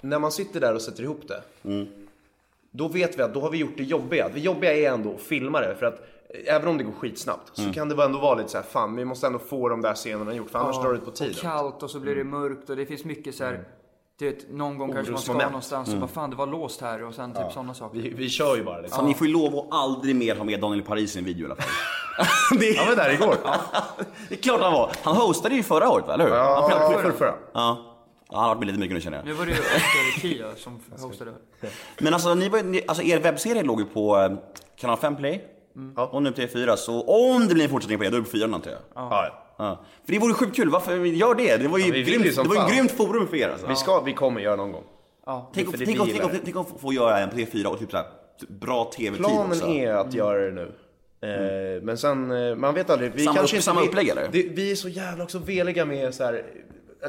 Speaker 3: när man sitter där och sätter ihop det. Då vet vi att då har vi gjort det jobbiga. Det jobbiga är ändå att filma det. För att Även om det går skitsnabbt så kan det ändå vara lite så här, fan vi måste ändå få de där scenerna gjort för annars drar det Mm. ut på
Speaker 2: och
Speaker 3: tiden.
Speaker 2: kallt och så blir det mörkt och det finns mycket så här. Du vet, någon gång kanske man ska
Speaker 3: Orosmoment. Mm.
Speaker 2: någonstans och bara fan det var låst här och sen typ sådana saker.
Speaker 3: Vi, vi kör ju bara liksom.
Speaker 1: Ni får ju lov att aldrig mer ha med Daniel Paris i en video i alla fall. det,
Speaker 3: Han var där igår.
Speaker 1: det är klart han var. Han hostade ju förra året, va, eller hur?
Speaker 3: Ja,
Speaker 1: Han,
Speaker 3: ja,
Speaker 1: ja.
Speaker 3: förra. förra.
Speaker 1: han har varit med lite mycket nu känner jag.
Speaker 2: Nu var det ju Oscar Kia som hostade.
Speaker 1: Men alltså, ni var, ju- ni, alltså er webbserie låg ju på eh, kanal 5 Play. Och nu TV4, så om det blir en fortsättning på det, då är det på 4 antar jag.
Speaker 3: Ja, ja.
Speaker 1: Ja. För det vore sjukt kul, varför gör det? Det var ju
Speaker 3: vi vill ju
Speaker 1: grymt,
Speaker 3: som
Speaker 1: det var ju
Speaker 3: fan.
Speaker 1: grymt forum för er alltså.
Speaker 3: Vi, ska, vi kommer göra någon gång.
Speaker 1: Tänk,
Speaker 3: för
Speaker 1: om,
Speaker 3: det
Speaker 1: tänk, om, tänk,
Speaker 3: vi gillar
Speaker 1: om,
Speaker 3: det.
Speaker 1: tänk om få göra en på TV4 och typ såhär bra TV-tid
Speaker 3: Planen
Speaker 1: också.
Speaker 3: är att göra det nu. Eh, Men sen, eh, man vet aldrig. Vi
Speaker 1: Samma upp-
Speaker 3: kanske inte,
Speaker 1: samma
Speaker 3: vi-
Speaker 1: upplägg, eller?
Speaker 3: Det, vi är så jävla också veliga med så här.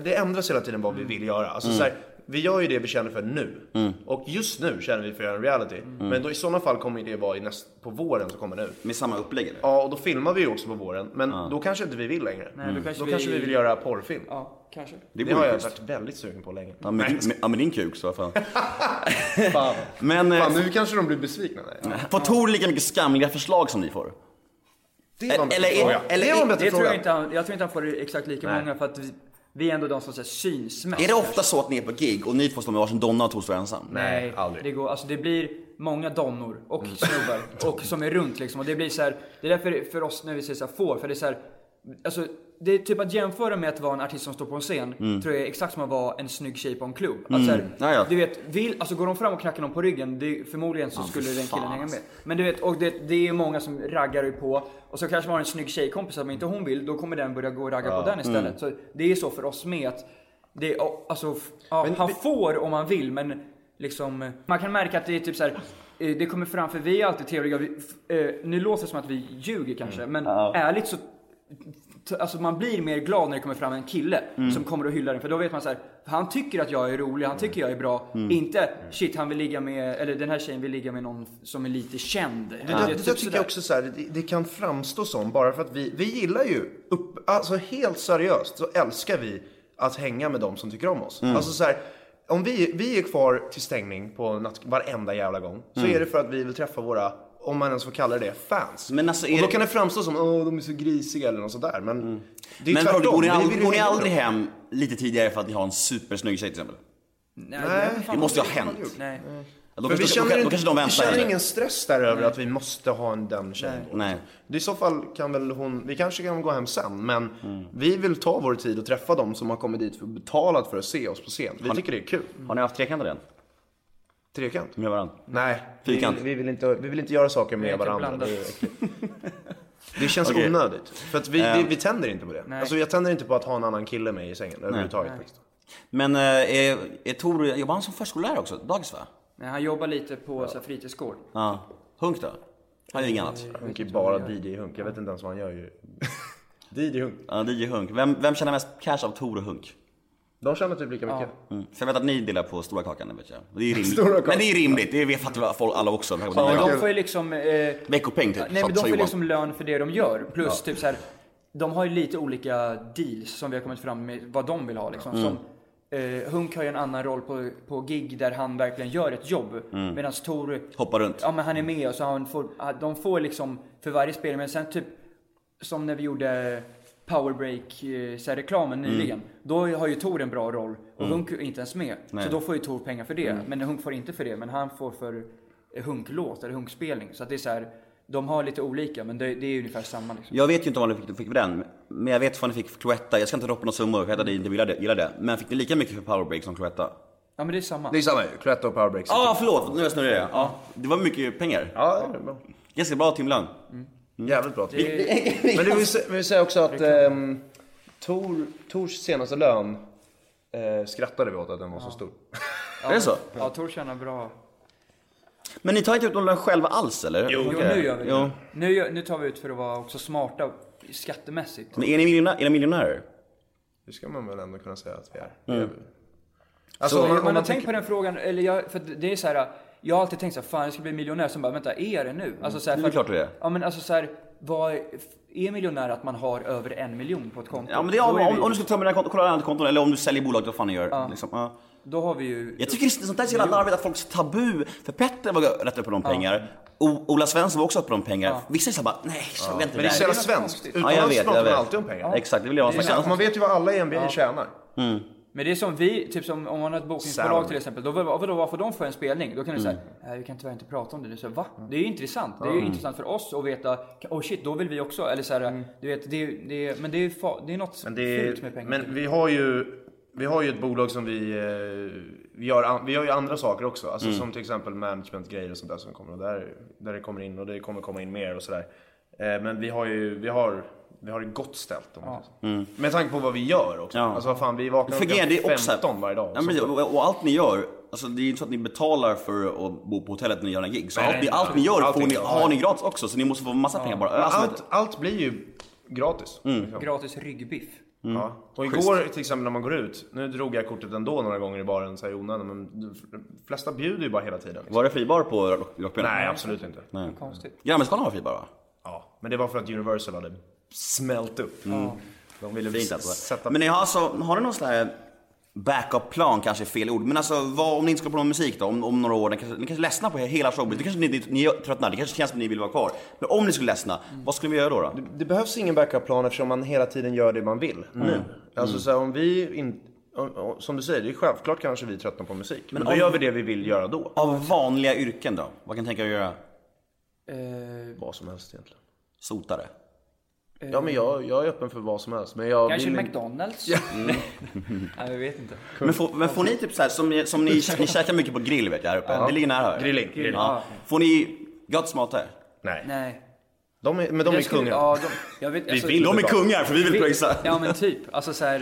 Speaker 3: Det ändras hela tiden vad vi vill göra. Alltså, så här, vi gör ju det vi känner för nu. Och just nu känner vi för att göra en reality. Men då, i sådana fall kommer det vara i näst, på våren som kommer nu.
Speaker 1: Med samma upplägg eller?
Speaker 3: Ja, och då filmar vi ju också på våren. Men då kanske inte vi vill längre.
Speaker 2: Nej, då kanske
Speaker 3: då
Speaker 2: vi-
Speaker 3: kanske vi vill göra porrfilm.
Speaker 2: Ja, kanske.
Speaker 3: Det har
Speaker 1: vore
Speaker 3: jag
Speaker 1: schysst.
Speaker 3: varit väldigt sugen på länge.
Speaker 1: Ja, med, din- med, ja, med din kuk så *laughs* fan.
Speaker 3: Fan.
Speaker 1: Men eh,
Speaker 3: Fan, nu kanske de blir besvikna. Nej.
Speaker 1: får Tor lika mycket skamliga förslag som ni får?
Speaker 3: Det var en bättre
Speaker 1: Eller är-
Speaker 3: fråga.
Speaker 1: eller
Speaker 3: det var
Speaker 1: är-
Speaker 3: en bättre
Speaker 2: Det tror
Speaker 3: fråga.
Speaker 2: jag, inte han, jag tror inte han får exakt lika många för att vi, vi är ändå de som så här, syns mest.
Speaker 1: Är det ofta så att ni är på gig och ni två står med varsin donna och Tor står ensam?
Speaker 3: Nej,
Speaker 2: Nej,
Speaker 3: aldrig.
Speaker 2: Det, går, alltså det blir många donnor och snubbar och som är runt liksom. Och det blir så här, det är därför för oss när vi säger så här får, för det är så här, alltså det är typ att jämföra med att vara en artist som står på en scen, tror jag är exakt som att vara en snygg tjej på en klubb. Att så här,
Speaker 1: Ja, ja.
Speaker 2: Du vet, vill, alltså går de fram och knackar någon på ryggen, det, förmodligen så skulle den killen hänga med. Men du vet, och det, det är ju många som raggar ju på. Och så kanske man har en snygg tjejkompis, men inte hon vill, då kommer den börja gå och ragga på den istället. Så det är så för oss med att, det, är- alltså, f- ja, han får om man vill, men liksom, eh, man kan märka att det är typ så här. eh, Det kommer fram, för vi är alltid trevliga. Vi, f- eh, nu låter det som att vi ljuger kanske, men ärligt så T- Alltså man blir mer glad när det kommer fram en kille som kommer och hyllar den. För då vet man så här, han tycker att jag är rolig, han tycker jag är bra. Inte shit han vill ligga med, eller den här tjejen vill ligga med någon som är lite känd.
Speaker 3: Det, det, det, tycker jag också så här, det, det kan framstå som, bara för att vi, vi gillar ju, upp, alltså helt seriöst så älskar vi att hänga med de som tycker om oss.
Speaker 1: Mm.
Speaker 3: Alltså så här, om vi, vi är kvar till stängning på natt, varenda jävla gång, så
Speaker 1: Mm.
Speaker 3: är det för att vi vill träffa våra, om man ens får kalla det, fans.
Speaker 1: Men alltså, är
Speaker 3: Och då
Speaker 1: det- Mm.
Speaker 3: kan det framstå som, åh de är så grisiga eller något sådär. Men det är
Speaker 1: Men
Speaker 3: tvärtom.
Speaker 1: går ni,
Speaker 3: Vi
Speaker 1: aldrig,
Speaker 3: vill ju
Speaker 1: går ni
Speaker 3: hänga med
Speaker 1: aldrig
Speaker 3: dem.
Speaker 1: hem lite tidigare för att ni har en supersnygg tjej till exempel?
Speaker 2: Nej, nej,
Speaker 1: Det måste ju ha hänt.
Speaker 2: nej.
Speaker 1: Ja, Då
Speaker 3: För vi
Speaker 1: kanske, då,
Speaker 3: känner,
Speaker 1: kanske- då
Speaker 3: inte-
Speaker 1: kanske de
Speaker 3: vi
Speaker 1: väntar
Speaker 3: känner
Speaker 1: henne.
Speaker 3: ingen stress där över att vi måste ha en den tjejen.
Speaker 1: Nej.
Speaker 3: I så fall kan väl hon, vi kanske kan gå hem sen, men vi vill ta vår tid och träffa dem som har kommit dit för betalat för att se oss på scen. Vi tycker det är kul.
Speaker 1: Har ni haft trekanter än?
Speaker 3: Trekant?
Speaker 1: Med varandra?
Speaker 3: Nej, vi,
Speaker 1: Fyrkant.
Speaker 3: vi, vill inte, vi vill inte göra saker med
Speaker 2: inte
Speaker 3: varandra.
Speaker 2: blandat.
Speaker 3: Det, är äckligt. det känns
Speaker 1: Okej.
Speaker 3: onödigt. För att vi, vi, vi tänder inte på det. Alltså jag tänder inte på att ha en annan kille med i sängen överhuvudtaget. liksom. faktiskt.
Speaker 1: Men eh, är, är Tor, jobbar han som förskollärare också? Dagis va?
Speaker 2: nej, han jobbar lite på så här, fritidsgård.
Speaker 1: Ja. Hunk då? Han gör inget annat?
Speaker 3: Han kan ju bara DJ Hunk. Jag vet inte ens vad han gör ju. *laughs* DJ Hunk.
Speaker 1: Ja, DJ Hunk. Vem, vem tjänar mest cash av Tor och Hunk?
Speaker 3: De tjänar typ lika mycket.
Speaker 1: Mm. För jag vet att ni delar på stora kakan, det vet jag. Det är ju rimligt.
Speaker 3: Stora kakan.
Speaker 1: Men det är ju rimligt, det vet fattar väl folk alla också.
Speaker 3: vad
Speaker 2: De
Speaker 3: kul.
Speaker 2: får ju liksom... Eh,
Speaker 1: Veckopeng typ,
Speaker 2: Nej
Speaker 1: sa-
Speaker 2: men
Speaker 1: sa
Speaker 2: de får ju
Speaker 1: Johan.
Speaker 2: liksom lön för det de gör. Plus typ så här, de har ju lite olika deals som vi har kommit fram med vad de vill ha liksom.
Speaker 1: Mm.
Speaker 2: Som, eh, Hunk har ju en annan roll på, på gig där han verkligen gör ett jobb.
Speaker 1: Mm.
Speaker 2: Medan Tor,
Speaker 1: Hoppar runt.
Speaker 2: ja men han är med och så han får, ah, de får liksom för varje spel. Men sen typ som när vi gjorde powerbreak eh, så här, reklamen nyligen. Då har ju Tor en bra roll och Hunk är inte ens med. Så då får ju Tor pengar för det. Men Hunk får inte för det. Men han får för eh, Hunk-låt eller Hunk-spelning. Så att det är så här, de har lite olika men det, det är ungefär samma liksom.
Speaker 1: Jag vet ju inte vad ni fick, fick för den, men jag vet vad ni fick för Cloetta. Jag ska inte droppa några summor, för jag vet att ni inte gillar det, gillar det. Men fick ni lika mycket för powerbreak som Cloetta?
Speaker 2: Ja men det är samma.
Speaker 3: Det är samma ju. Cloetta och Powerbreak.
Speaker 1: Ja, ah, förlåt! Nu är jag snurrig. Ja, det var mycket pengar.
Speaker 3: Ja, det är bra.
Speaker 1: Ganska bra timlön.
Speaker 3: Jävligt bra. Men du vill, sä- men vill säga också att ehm, Tor, Tors senaste lön eh, skrattade vi åt att den var så stor.
Speaker 2: ja,
Speaker 1: Är det så?
Speaker 2: Ja Tor tjänar bra.
Speaker 1: Men ni tar inte ut någon lön själva alls eller?
Speaker 2: Jo,
Speaker 1: Okej.
Speaker 2: nu gör vi det.
Speaker 1: Jo.
Speaker 2: Nu, gör- nu tar vi ut för att vara också smarta skattemässigt.
Speaker 1: Men är ni, miljonär, är ni miljonärer?
Speaker 3: Det ska man väl ändå kunna säga att vi är.
Speaker 1: Mm.
Speaker 3: Alltså,
Speaker 2: Så, man,
Speaker 3: om man, om man
Speaker 2: har
Speaker 3: tänker...
Speaker 2: tänkt på den frågan, eller jag, för att det är så här. Jag har alltid tänkt så här, fan jag ska bli miljonär, sen bara vänta, är det nu? Alltså så här,
Speaker 1: Mm. Det är
Speaker 2: för att-
Speaker 1: klart det är.
Speaker 2: Ja men alltså så här, vad är, är miljonär att man har över en miljon på ett konto?
Speaker 1: Ja men det är,
Speaker 2: då,
Speaker 1: om,
Speaker 2: är
Speaker 1: om,
Speaker 2: vi,
Speaker 1: om du ska tömma dina konton, kolla andra konton eller om du säljer bolaget, vad fan ni gör. Liksom, ja.
Speaker 2: då har vi ju...
Speaker 1: Jag tycker det är sånt där är så jävla larvigt att folk är så tabu. För Petter var rätt upp på de pengar. O- Ola Svensson var också uppe på de pengar. Vissa är så här bara, nej, jag vill inte
Speaker 3: Men det är så
Speaker 1: där.
Speaker 3: jävla svenskt.
Speaker 1: Ja, jag
Speaker 3: Utomlands
Speaker 1: vet,
Speaker 3: pratar
Speaker 1: jag
Speaker 3: man
Speaker 1: vet.
Speaker 3: alltid om pengar.
Speaker 1: Exakt, det vill jag ha
Speaker 3: Exakt,
Speaker 1: sagt.
Speaker 3: man vet ju vad alla i NBA tjänar.
Speaker 2: Men det är som vi, typ som om man har ett bokningsbolag
Speaker 3: Salary.
Speaker 2: till exempel. Då, vadå, vadå, varför de får en spelning? Då kan du
Speaker 1: Mm.
Speaker 2: säga, nej vi kan tyvärr inte prata om det nu. Så, va? Det är ju intressant. Det är ju intressant för oss att veta, oh shit, då vill vi också. Eller så här,
Speaker 1: Mm.
Speaker 2: du vet, det, är- det, är- men det är, fa, det är något
Speaker 3: Men, det
Speaker 2: fult med
Speaker 3: är,
Speaker 2: pengar.
Speaker 3: men vi har ju... Vi har ju ett bolag som vi, eh, vi gör, an- vi gör ju andra saker också. Alltså
Speaker 1: Mm.
Speaker 3: Som till exempel managementgrejer och sånt där som kommer. Och där, där det kommer in och det kommer komma in mer och sådär. Eh, men vi har ju, vi har, vi har det gott ställt om man säger så. Med tanke på vad vi gör också.
Speaker 1: Mm. Ja.
Speaker 3: Alltså vad fan, vi vaknar
Speaker 1: För grejen, det är också...
Speaker 3: 15 varje dag.
Speaker 1: Ja, men, och, och allt ni gör, alltså, det är ju inte så att ni betalar för att bo på hotellet när ni gör en gig. Så allt, ni, allt ni gör
Speaker 3: Allting.
Speaker 1: får ni, har ni gratis också, så ni måste få massa pengar bara. Alltså,
Speaker 3: allt, allt blir ju gratis.
Speaker 1: Mm.
Speaker 3: liksom.
Speaker 2: Gratis ryggbiff.
Speaker 3: Ja. Och igår till exempel när man går ut, nu drog jag kortet ändå några gånger i baren så här i onödan, men de flesta bjuder ju bara hela tiden. Liksom.
Speaker 1: Var det fribar på Rock- Rockbjörnen?
Speaker 3: Nej, absolut inte.
Speaker 1: Nej.
Speaker 2: Konstigt.
Speaker 1: Grammisgalan var fribar va?
Speaker 3: Ja, men det var för att Universal hade smält upp. De ville
Speaker 1: Mm. Fint alltså.
Speaker 3: sätta...
Speaker 1: Men ni har alltså, har ni någon sån här backup-plan kanske är fel ord, men alltså vad, om ni inte ska på någon musik då om, om några år, ni kanske, ni kanske ledsnar på hela showbiz, det kanske ni, ni, ni tröttnar, det kanske känns som ni vill vara kvar. Men om ni skulle ledsna, vad skulle vi göra då? då?
Speaker 3: Det behövs ingen backup-plan eftersom man hela tiden gör det man vill
Speaker 1: Mm.
Speaker 3: nu. Alltså så här, om vi in... om- om- Som du säger, det är självklart kanske vi tröttnar på musik. Men, då
Speaker 1: om-
Speaker 3: gör vi det vi vill göra då.
Speaker 1: Av vanliga yrken då? Vad kan ni tänka er att göra?
Speaker 2: Eh,
Speaker 3: Vad som helst egentligen.
Speaker 1: Sotare?
Speaker 3: Ja, men jag, jag är öppen för vad som helst. Men jag
Speaker 2: kanske
Speaker 3: vill...
Speaker 2: McDonalds? Mm.
Speaker 3: Mm.
Speaker 2: nej, jag vet inte.
Speaker 1: Men får, men får ni typ så här, som, ni- som ni, ni käkar mycket på grill vet jag här uppe, det ligger nära här.
Speaker 3: Grilling. Grilling.
Speaker 1: Ja. Får ni gott smått här?
Speaker 3: Nej.
Speaker 2: Nej.
Speaker 3: De är, men de är
Speaker 2: Jag skulle-
Speaker 3: kungar.
Speaker 2: Ja, de, jag vet, alltså-
Speaker 3: vill
Speaker 1: De är
Speaker 3: Underbart.
Speaker 1: kungar för vi vill pröjsa.
Speaker 2: Ja men typ. Alltså så här,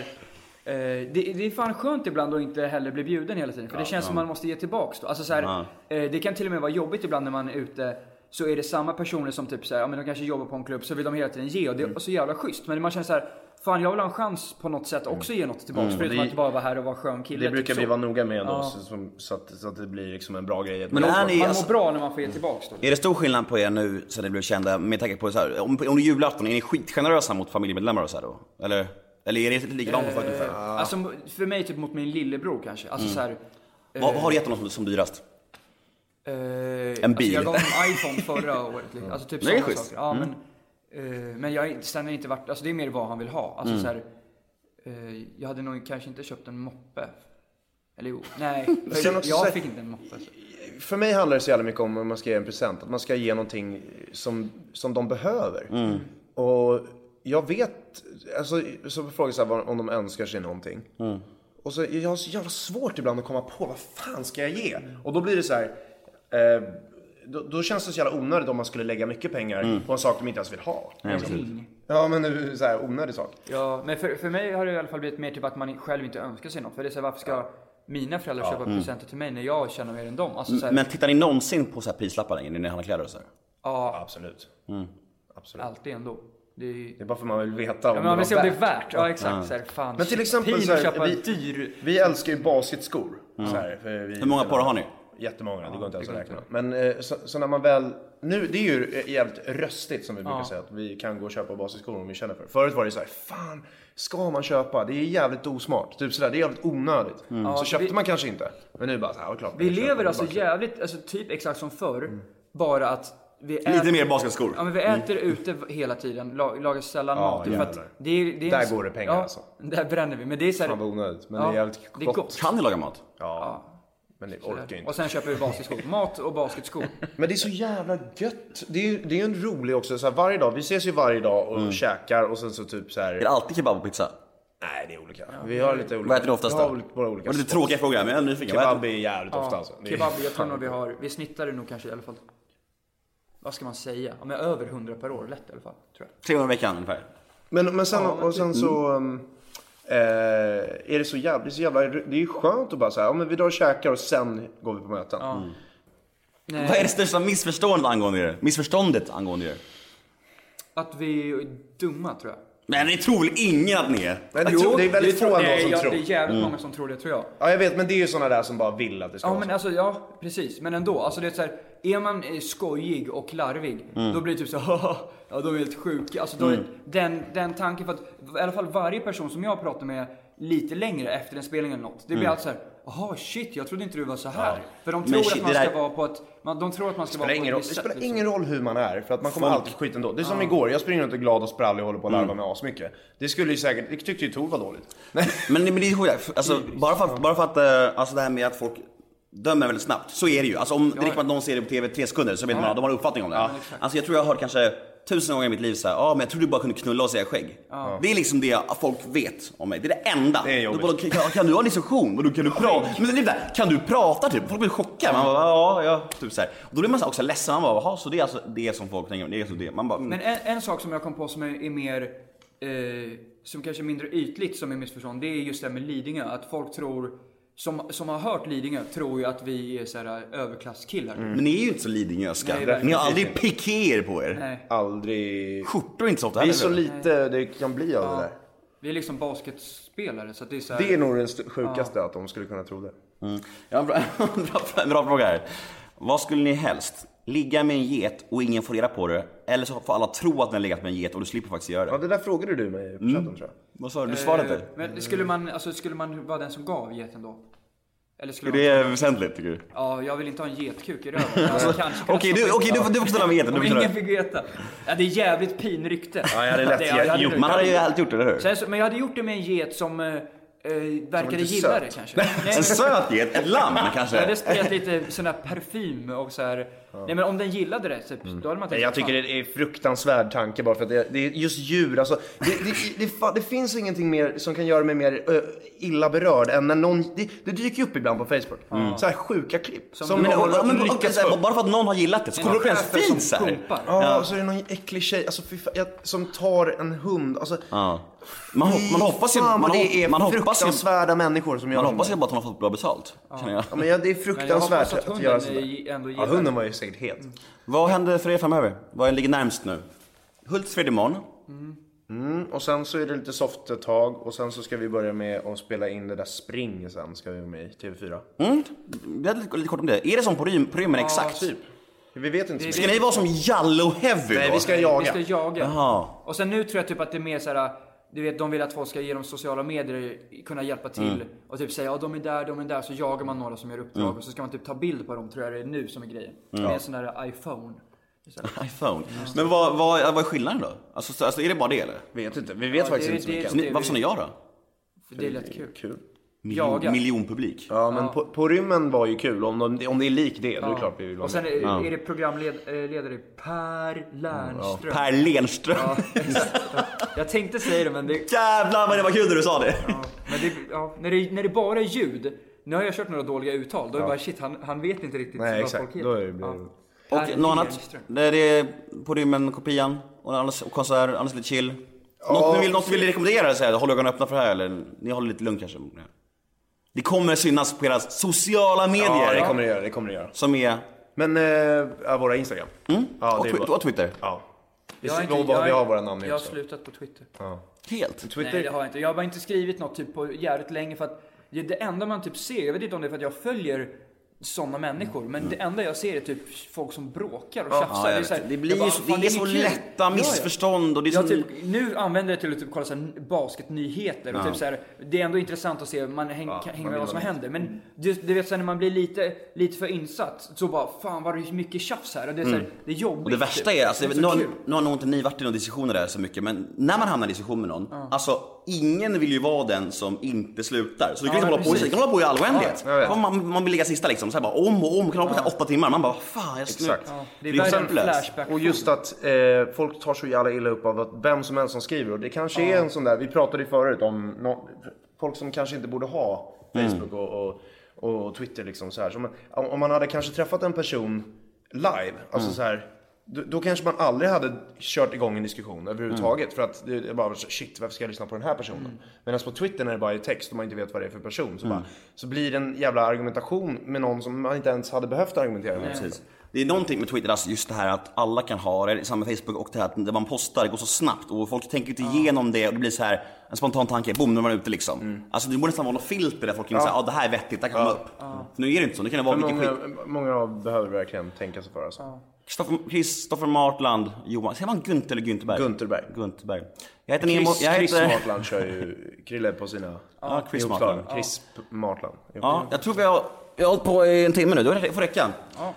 Speaker 2: eh, det, det är fan skönt ibland att inte heller bli bjuden hela tiden. För det känns som man måste ge tillbaks då. Alltså så här, eh, det kan till och med vara jobbigt ibland när man är ute. Så är det samma personer som typ så här, ja men de kanske jobbar på en klubb så vill de hela tiden ge och det
Speaker 3: Mm.
Speaker 2: är så jävla schysst. Men man känner så här, fan jag vill ha en chans på något sätt också ge något tillbaks. Förutom
Speaker 3: Mm. Det-
Speaker 2: att bara vara här och vara skön kille.
Speaker 3: Det brukar
Speaker 2: typ
Speaker 3: vi
Speaker 2: så.
Speaker 3: vara noga med ändå, så, som, så, att, så att det blir liksom en bra grej.
Speaker 1: Men är ni,
Speaker 2: Man
Speaker 1: alltså,
Speaker 2: mår bra när man får ge tillbaks då. liksom.
Speaker 1: är det stor skillnad på er nu sen ni blev kända med tanke på så här, om, om det är julafton, är ni skitgenerösa mot familjemedlemmar och så här då? Eller? Eller är det likadant på folk ungefär?
Speaker 2: Alltså för mig typ mot min lillebror kanske. Alltså
Speaker 1: Mm.
Speaker 2: så här,
Speaker 1: Vad, vad har du gett honom som, som dyrast?
Speaker 2: Eh,
Speaker 1: bil. Mm.
Speaker 2: Alltså jag gav en iPhone
Speaker 1: *laughs*
Speaker 2: förra året. Liksom. Alltså typ
Speaker 1: Det är
Speaker 2: sådana
Speaker 1: schysst. Mm.
Speaker 2: saker. Ja, men, eh, men jag, har inte- sen har jag inte varit, alltså det är mer vad han vill ha.
Speaker 1: Mm.
Speaker 2: Alltså så här, eh, jag hade nog kanske inte köpt en moppe. Eller jo,
Speaker 1: *laughs*
Speaker 2: nej. för
Speaker 3: Sen också så här-
Speaker 2: jag fick inte en moppe. så.
Speaker 3: För mig handlar det så jävla mycket om om man ska ge en present. Att man ska ge någonting som, som de behöver. Och jag vet, alltså så frågas jag vad- om de önskar sig någonting. Och så jag har så jävla svårt ibland att komma på vad fan ska jag ge? Och då blir det så här. Eh, då, då känns det så jävla onödigt om man skulle lägga mycket pengar på en sak de inte ens vill ha.
Speaker 2: Ting.
Speaker 3: Ja men det är så här onödig sak.
Speaker 2: Ja, men för, för mig har det i alla fall blivit mer typ att man själv inte önskar sig något. För det är så här, varför ska mina föräldrar köpa presenter till mig när jag känner mer än dem? Alltså så här,
Speaker 1: Mm. Men tittar ni någonsin på så här prislappar längre när ni handlar kläder och så här?
Speaker 2: ja,
Speaker 3: Absolut. Absolut.
Speaker 2: alltid ändå. Det är,
Speaker 3: Det är bara för man vill veta om
Speaker 2: men man vill se om det
Speaker 3: värt.
Speaker 2: är värt. Ja, exakt. Så här, fan,
Speaker 3: Men till exempel
Speaker 2: pin
Speaker 3: så här,
Speaker 2: att köpa en
Speaker 3: vi-
Speaker 2: dyr
Speaker 3: Vi älskar ju basketskor. Så här, för vi,
Speaker 1: Hur många par har ni?
Speaker 3: Jättemånga, det går inte ens att räkna. Men eh, så, så när man väl... Nu, det är ju eh, jävligt röstigt som vi brukar säga, att vi kan gå och köpa basketskor om vi känner för det. Förut var det så här, fan, ska man köpa? Det är jävligt osmart. Typ sådär, det är jävligt onödigt. Så köpte
Speaker 2: Mm. vi-
Speaker 3: man kanske inte. Men nu bara så här, ja, klart. man
Speaker 2: Vi
Speaker 3: köper.
Speaker 2: lever
Speaker 3: Det är
Speaker 2: alltså
Speaker 3: bara kul.
Speaker 2: jävligt, alltså typ exakt som förr. Bara att vi äter...
Speaker 1: Lite mer basketskor.
Speaker 2: Ja men vi äter ute hela tiden, la- lagar sällan
Speaker 3: Mm. Ja,
Speaker 2: mat. För att
Speaker 3: jävlar.
Speaker 2: det är, det är
Speaker 3: Där
Speaker 2: en-
Speaker 3: går det pengar,
Speaker 2: ja,
Speaker 3: alltså.
Speaker 2: Där bränner vi. Men det är såhär...
Speaker 3: Fan vad onödigt, men det är jävligt
Speaker 2: Det är gott.
Speaker 1: Kan ni laga mat?
Speaker 3: Ja. Men det orkar ju inte.
Speaker 2: Och sen köper vi
Speaker 3: *laughs*
Speaker 2: basketskor. Mat och basketskor.
Speaker 3: Men det är så jävla gött. Det är ju det är ju en rolig också, så här, varje dag. Vi ses ju varje dag
Speaker 2: Mm.
Speaker 3: och käkar och sen så typ så här.
Speaker 1: Är det alltid kebab och pizza?
Speaker 3: Nej, det är olika. vi har lite olika.
Speaker 1: Vad äter ni oftast
Speaker 3: vi
Speaker 1: då?
Speaker 3: har väl Våra olika
Speaker 1: Var det lite tråkiga frågor här, men jag är nyfiken. Vad äter
Speaker 3: Kebab
Speaker 1: ni?
Speaker 3: är jävligt ofta alltså. Det är-
Speaker 2: Kebab, jag tror nog vi har... Vi snittar det nog kanske i alla fall. Vad ska man säga? Ja, men över 100 per år, lätt i alla fall. Tror jag.
Speaker 1: 300 i veckan ungefär.
Speaker 3: Men, men sen, och sen så... um, Eh, är det så jävla, det är så jävla... Det är ju skönt att bara säga, ja men vi drar och käkar och sen går vi på möten. Mm.
Speaker 2: Nej,
Speaker 1: Vad är det största missförståndet angående er? Missförståndet angående er?
Speaker 2: Att vi är dumma tror jag.
Speaker 1: Men ni tror väl ingen att ni är?
Speaker 3: Men det, tror, det är väldigt få ändå som
Speaker 2: jag,
Speaker 3: tror. Mm.
Speaker 2: Det är jävligt många som tror det tror jag.
Speaker 3: Ja jag vet, men det är ju såna där som bara vill att det ska
Speaker 2: Ja
Speaker 3: vara
Speaker 2: men
Speaker 3: så.
Speaker 2: alltså, ja precis. Men ändå. Alltså det är så här, är man eh, skojig och larvig,
Speaker 3: Mm.
Speaker 2: då blir det typ så här, *laughs* "Haha, ja de är helt sjuka. Alltså då är den, den tanken, för att i alla fall varje person som jag pratar med lite längre efter en spelning eller något.
Speaker 3: Mm.
Speaker 2: Det blir alltid så här, jaha shit, jag trodde inte du var så här. För de
Speaker 1: Men
Speaker 2: tror
Speaker 1: shit,
Speaker 2: att man
Speaker 1: det
Speaker 2: ska
Speaker 1: där-
Speaker 2: vara på ett, man, de tror att man ska vara
Speaker 3: spelar ingen
Speaker 2: på
Speaker 3: roll,
Speaker 2: ett
Speaker 3: det
Speaker 2: visst sätt.
Speaker 3: spelar
Speaker 2: Liksom.
Speaker 3: ingen roll hur man är, för att man kommer
Speaker 1: Folk-
Speaker 3: alltid skit ändå. Det är som igår, jag springer runt och är glad och sprallig och håller på att larva mig asmycket. Det skulle ju säkert, det tyckte ju Tor var dåligt.
Speaker 1: Men, men det är sjukt, alltså, bara för att, bara för att eh, alltså, det här med att folk dömer väldigt snabbt, så är det ju. Alltså, om det räcker med att någon ser det på TV tre sekunder så vet man att de har en uppfattning om det. alltså, jag tror jag har hört kanske tusen gånger i mitt liv såhär, ja men jag trodde du bara kunde knulla och säga skägg. Det är liksom det folk vet om mig, det är det enda.
Speaker 3: Det är jobbigt.
Speaker 1: Då bara, kan, kan du ha en diskussion? Vadå, Kan du prata? Men det är där, kan du prata typ? Folk blir chockade. Man bara, ja, ja. Typ så här. Och då blir man så här också ledsen, man bara, jaha så det är alltså det som folk tänker om, det är alltså det. Man bara, mm.
Speaker 2: Men en, en sak som jag kom på som är, är mer, eh, som kanske är mindre ytligt som är missförstånd. Det är just det här med Lidingö. Att folk tror, som, som har hört Lidingö, tror ju att vi är så här eh, överklasskillar.
Speaker 1: men ni är ju inte så lidingöska.
Speaker 2: Nej, verkligen
Speaker 1: Ni har aldrig pikéer på er.
Speaker 2: Nej.
Speaker 3: Aldrig...
Speaker 1: Skjortor är inte så ofta
Speaker 3: Det är
Speaker 1: heller,
Speaker 3: så
Speaker 1: eller?
Speaker 3: lite det kan bli av det där.
Speaker 2: Vi är liksom basketspelare så att det är så här,
Speaker 3: Det är nog den st- sjukaste, att de skulle kunna tro det.
Speaker 1: Jag har en bra, *laughs* en bra fråga här. Vad skulle ni helst? Ligga med en get och ingen får reda på det? Eller så får alla tro att ni har legat med en get och du slipper faktiskt göra
Speaker 3: Ja,
Speaker 1: det?
Speaker 3: det där frågade du mig på chatten tror jag.
Speaker 1: Vad sa du? Du svarade
Speaker 2: Eh,
Speaker 1: inte?
Speaker 2: Men skulle man, alltså, skulle man vara den som gav geten då? Eller skulle
Speaker 1: Är
Speaker 2: man...
Speaker 1: det väsentligt tycker du?
Speaker 2: Ja, jag vill inte ha en getkuk i röven. Jag hade kanske kunnat
Speaker 1: Alltså, Okej, du,
Speaker 2: stoppa
Speaker 1: okej,
Speaker 2: in-
Speaker 1: du, får- du får ställa med geten.
Speaker 2: Om
Speaker 1: Du får
Speaker 2: ingen
Speaker 1: ställa.
Speaker 2: fick veta. Ja, det är jävligt pinrykte.
Speaker 3: Ja, jag hade lätt
Speaker 2: jag hade
Speaker 3: gjort-
Speaker 2: gjort.
Speaker 1: Man hade ju alltid gjort det, eller hur?
Speaker 2: Sen så, men jag hade gjort det med en get som eh, eh, verkade
Speaker 3: inte
Speaker 2: gilla
Speaker 3: söt.
Speaker 2: det
Speaker 3: *laughs*
Speaker 2: kanske. Nej, men-
Speaker 1: En söt get? Ett lamm kanske?
Speaker 2: Jag hade sprejat lite sån här parfym och så här. Nej men om den gillade det, så,
Speaker 3: Mm.
Speaker 2: då hade man tänkt
Speaker 3: Jag tycker
Speaker 2: "Fan."
Speaker 3: det är en fruktansvärd tanke bara för att det, det är just djur. Alltså, det, det, det, fa- det finns ingenting mer som kan göra mig mer ö, illa berörd än när någon... Det, det dyker ju upp ibland på Facebook.
Speaker 1: Mm.
Speaker 3: Så här sjuka klipp. Som,
Speaker 1: Men,
Speaker 3: någon
Speaker 1: och, och, men,
Speaker 3: har
Speaker 1: och,
Speaker 3: lyckats
Speaker 1: så här,
Speaker 3: få.
Speaker 1: bara för att någon har gillat det så kommer det upp en
Speaker 2: chefer
Speaker 1: fin
Speaker 2: som
Speaker 1: såhär.
Speaker 2: pumpar.
Speaker 3: Ja, och så är det någon äcklig tjej alltså, fy fan, jag, som tar en hund. Alltså,
Speaker 1: Ja. Man, hop- man hoppas ju...
Speaker 3: Fan,
Speaker 1: Man,
Speaker 3: vad
Speaker 1: hop-
Speaker 3: det är
Speaker 1: man hoppas ju...
Speaker 3: fruktansvärda människor som gör
Speaker 1: Man
Speaker 3: sånt
Speaker 1: hoppas ju
Speaker 3: där.
Speaker 1: bara att man har fått bra betalt. känner jag.
Speaker 3: ja, men ja, Det är
Speaker 2: Men jag
Speaker 3: fruktansvärt
Speaker 2: hoppas
Speaker 3: att,
Speaker 2: att
Speaker 3: göra
Speaker 2: hunden
Speaker 3: sånt där.
Speaker 2: i- ändå
Speaker 3: Ja,
Speaker 2: gillar
Speaker 3: hunden var ju säkert het.
Speaker 1: Vad händer för er framöver? Vad ligger närmst nu? Hultsfred imorgon.
Speaker 3: Mm, och sen så är det lite soft ett tag och sen så ska vi börja med att spela in det där spring sen ska vi vara med i TV4.
Speaker 1: Mm, vi hade lite, lite kort om det. Är det som på rym, på rymmen exakt?
Speaker 3: Typ. Vi vet inte.
Speaker 1: Ska ni vara som Jallo Heavy
Speaker 3: Nej,
Speaker 1: då?
Speaker 3: vi ska
Speaker 2: det.
Speaker 3: jaga.
Speaker 2: Vi ska jaga.
Speaker 1: Jaha.
Speaker 2: Och sen nu tror jag typ att det är mer så här. Du vet, de vill att folk ska genom sociala medier kunna hjälpa till.
Speaker 3: Mm.
Speaker 2: Och typ säga, ja de är där, de är där. Så jagar man några som gör uppdrag. Och så ska man typ ta bild på dem, tror jag det är nu som är grejen. Med en sån där iPhone.
Speaker 1: iPhone. Men vad, vad, vad är skillnaden då? Alltså, så- alltså är det bara det eller?
Speaker 3: vet inte. Vi vet
Speaker 2: Ja,
Speaker 3: faktiskt
Speaker 2: det-
Speaker 3: inte så
Speaker 2: det-
Speaker 3: mycket.
Speaker 1: Så ni, varför sa ni ja då?
Speaker 2: För det är lätt kul.
Speaker 3: Kul.
Speaker 1: Miljon,
Speaker 2: Jaga.
Speaker 1: Miljonpublik.
Speaker 3: Ja, men På, på rymmen var ju kul. Om, de, om det är lik det, då är det klart vi vill vara
Speaker 2: Och sen
Speaker 3: med.
Speaker 2: är, är det programledare Per Lernström.
Speaker 1: Per Lenström.
Speaker 2: Jag tänkte säga det men
Speaker 1: *laughs*
Speaker 2: det...
Speaker 1: Jävlar vad det var kul när du sa det.
Speaker 2: Ja, men det, ja, när, det när det bara är ljud. Nu har jag kört några dåliga uttal. Då är det bara shit, han, han vet inte riktigt
Speaker 3: Nej,
Speaker 2: vad
Speaker 3: exakt.
Speaker 2: folk heter.
Speaker 3: Då är det, blir
Speaker 2: Ja.
Speaker 3: det...
Speaker 1: *laughs* Och
Speaker 2: Per
Speaker 1: något annat?
Speaker 2: Lenström.
Speaker 1: Det det är på rymmen, kopian och annars och konsert, annars lite chill. Något ni vill, något ni vill rekommendera? Så här, håll ögonen öppna för det här eller? Ni håller lite lugnt kanske? Det kommer synas på era sociala
Speaker 3: Ja,
Speaker 1: medier.
Speaker 3: det kommer det göra. Det kommer det göra.
Speaker 1: Som är
Speaker 3: Men, eh, ja, våra Instagram.
Speaker 2: Mm.
Speaker 3: Ja,
Speaker 1: och,
Speaker 3: det är
Speaker 1: Twi-
Speaker 3: bra.
Speaker 1: och Twitter.
Speaker 3: Ja. Vi,
Speaker 2: Jag har
Speaker 3: vi,
Speaker 2: inte-
Speaker 3: har- vi
Speaker 2: jag-
Speaker 3: har våra namn i
Speaker 2: Jag har
Speaker 3: också.
Speaker 2: slutat på Twitter.
Speaker 1: Helt.
Speaker 3: Twitter.
Speaker 2: Nej, det har jag inte. Jag har bara inte skrivit något typ på jävligt länge för att det det enda man typ ser, jag vet inte om det är för att jag följer sådana människor, men
Speaker 3: Mm.
Speaker 2: det enda jag ser är typ folk som bråkar och tjafsar.
Speaker 1: Ja, jag
Speaker 2: är så här-
Speaker 1: vet. det
Speaker 2: jag
Speaker 1: blir
Speaker 2: bara,
Speaker 1: ju så,
Speaker 2: fan,
Speaker 1: det är
Speaker 2: inget
Speaker 1: så
Speaker 2: kul. Ja,
Speaker 1: lätta
Speaker 2: ja.
Speaker 1: missförstånd och det är
Speaker 2: Jag
Speaker 1: så...
Speaker 2: typ, nu använder jag det till att typ kolla så här basketnyheter och typ så här, det är ändå intressant att se, man häng, kan- hänger med vad som händer.
Speaker 1: Mm.
Speaker 2: Men du, du vet sen när man blir lite, lite för insatt så bara fan vad det är mycket tjafs här och det är, så här, det är jobbigt.
Speaker 1: Mm. Och det värsta
Speaker 2: typ.
Speaker 1: är, alltså,
Speaker 2: Det
Speaker 1: nu,
Speaker 2: så
Speaker 1: har,
Speaker 2: kul.
Speaker 1: nu har nog inte ni varit i några diskussioner där så mycket, men när man hamnar i diskussion med någon, alltså ingen vill ju vara den som inte slutar. Så du kan
Speaker 2: Ja,
Speaker 1: liksom hålla på, i-
Speaker 2: precis.
Speaker 1: du kan hålla på i all oändlighet.
Speaker 3: Ja, jag vet.
Speaker 1: Fan, man, man vill ligga sista liksom, så här bara om och om, kan hålla på i så här åtta timmar. Man bara, "Vad fan jag snu...
Speaker 3: Exakt.
Speaker 2: Ja, det är
Speaker 1: Det är
Speaker 2: värre än
Speaker 1: hopplöst.
Speaker 2: flashback.
Speaker 3: Och just att eh, folk tar så jävla illa upp av att vem som helst som skriver. Och det kanske är en sån där, vi pratade ju förut om nå- folk som kanske inte borde ha Facebook och, och, och Twitter liksom så här. Så om, man, om man hade kanske träffat en person live, alltså så här. Då, då kanske man aldrig hade kört igång en diskussion överhuvudtaget. För att det är bara så, shit varför ska jag lyssna på den här personen? Medan på Twitter när det bara är text och man inte vet vad det är för person. Så, bara, så blir det en jävla argumentation med någon som man inte ens hade behövt argumentera med.
Speaker 1: Precis. Det är någonting med Twitter, alltså just det här att alla kan ha det, samma Facebook och det här att det man postar går så snabbt och folk tänker inte igenom det och det blir så här en spontan tanke, boom, nu är man ute liksom.
Speaker 3: Mm.
Speaker 1: Alltså det borde nästan vara något filter där folk inser att ah, det här är vettigt, det här kan man upp. För nu är det inte så, nu kan det vara
Speaker 3: Men
Speaker 1: mycket skit.
Speaker 3: Många, många behöver verkligen tänka sig för alltså.
Speaker 1: Kristoffer- Kristoffer Martland, Johan. Säger man Gunt eller Gunterberg?
Speaker 3: Gunterberg.
Speaker 1: Gunterberg. Jag heter Nemo.
Speaker 3: Chris,
Speaker 1: Jag
Speaker 3: Chris
Speaker 1: heter...
Speaker 3: Martland kör ju Krille på sina...
Speaker 1: Ja, Chris
Speaker 3: i
Speaker 1: Martland.
Speaker 3: uppslagen. Chris P- Martland.
Speaker 1: Ja, jag tror vi har, vi har hållit på i en timme nu. Det får räcka.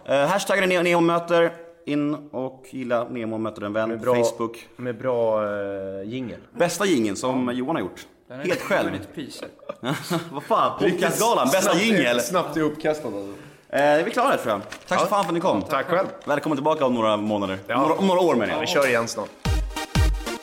Speaker 1: Ja. hashtaggen är Nemo möter. In och gilla Nemo möter en vän
Speaker 3: Med
Speaker 1: på
Speaker 3: bra,
Speaker 1: Facebook.
Speaker 3: Med bra uh, jingel.
Speaker 1: Bästa jingeln som Johan har gjort.
Speaker 2: Den är-
Speaker 1: Helt själv.
Speaker 2: den är ett pris.
Speaker 1: *laughs* Vad fan, Podcastgalan, bästa jingel.
Speaker 3: Snabbt ihopkastad alltså.
Speaker 1: Eh, är vi klara tror jag. Tack så fan för att ni kom.
Speaker 3: Tack själv.
Speaker 1: Välkommen tillbaka om några månader.
Speaker 3: Ja.
Speaker 1: Om, några, om några år menar jag.
Speaker 3: Vi kör igen snart.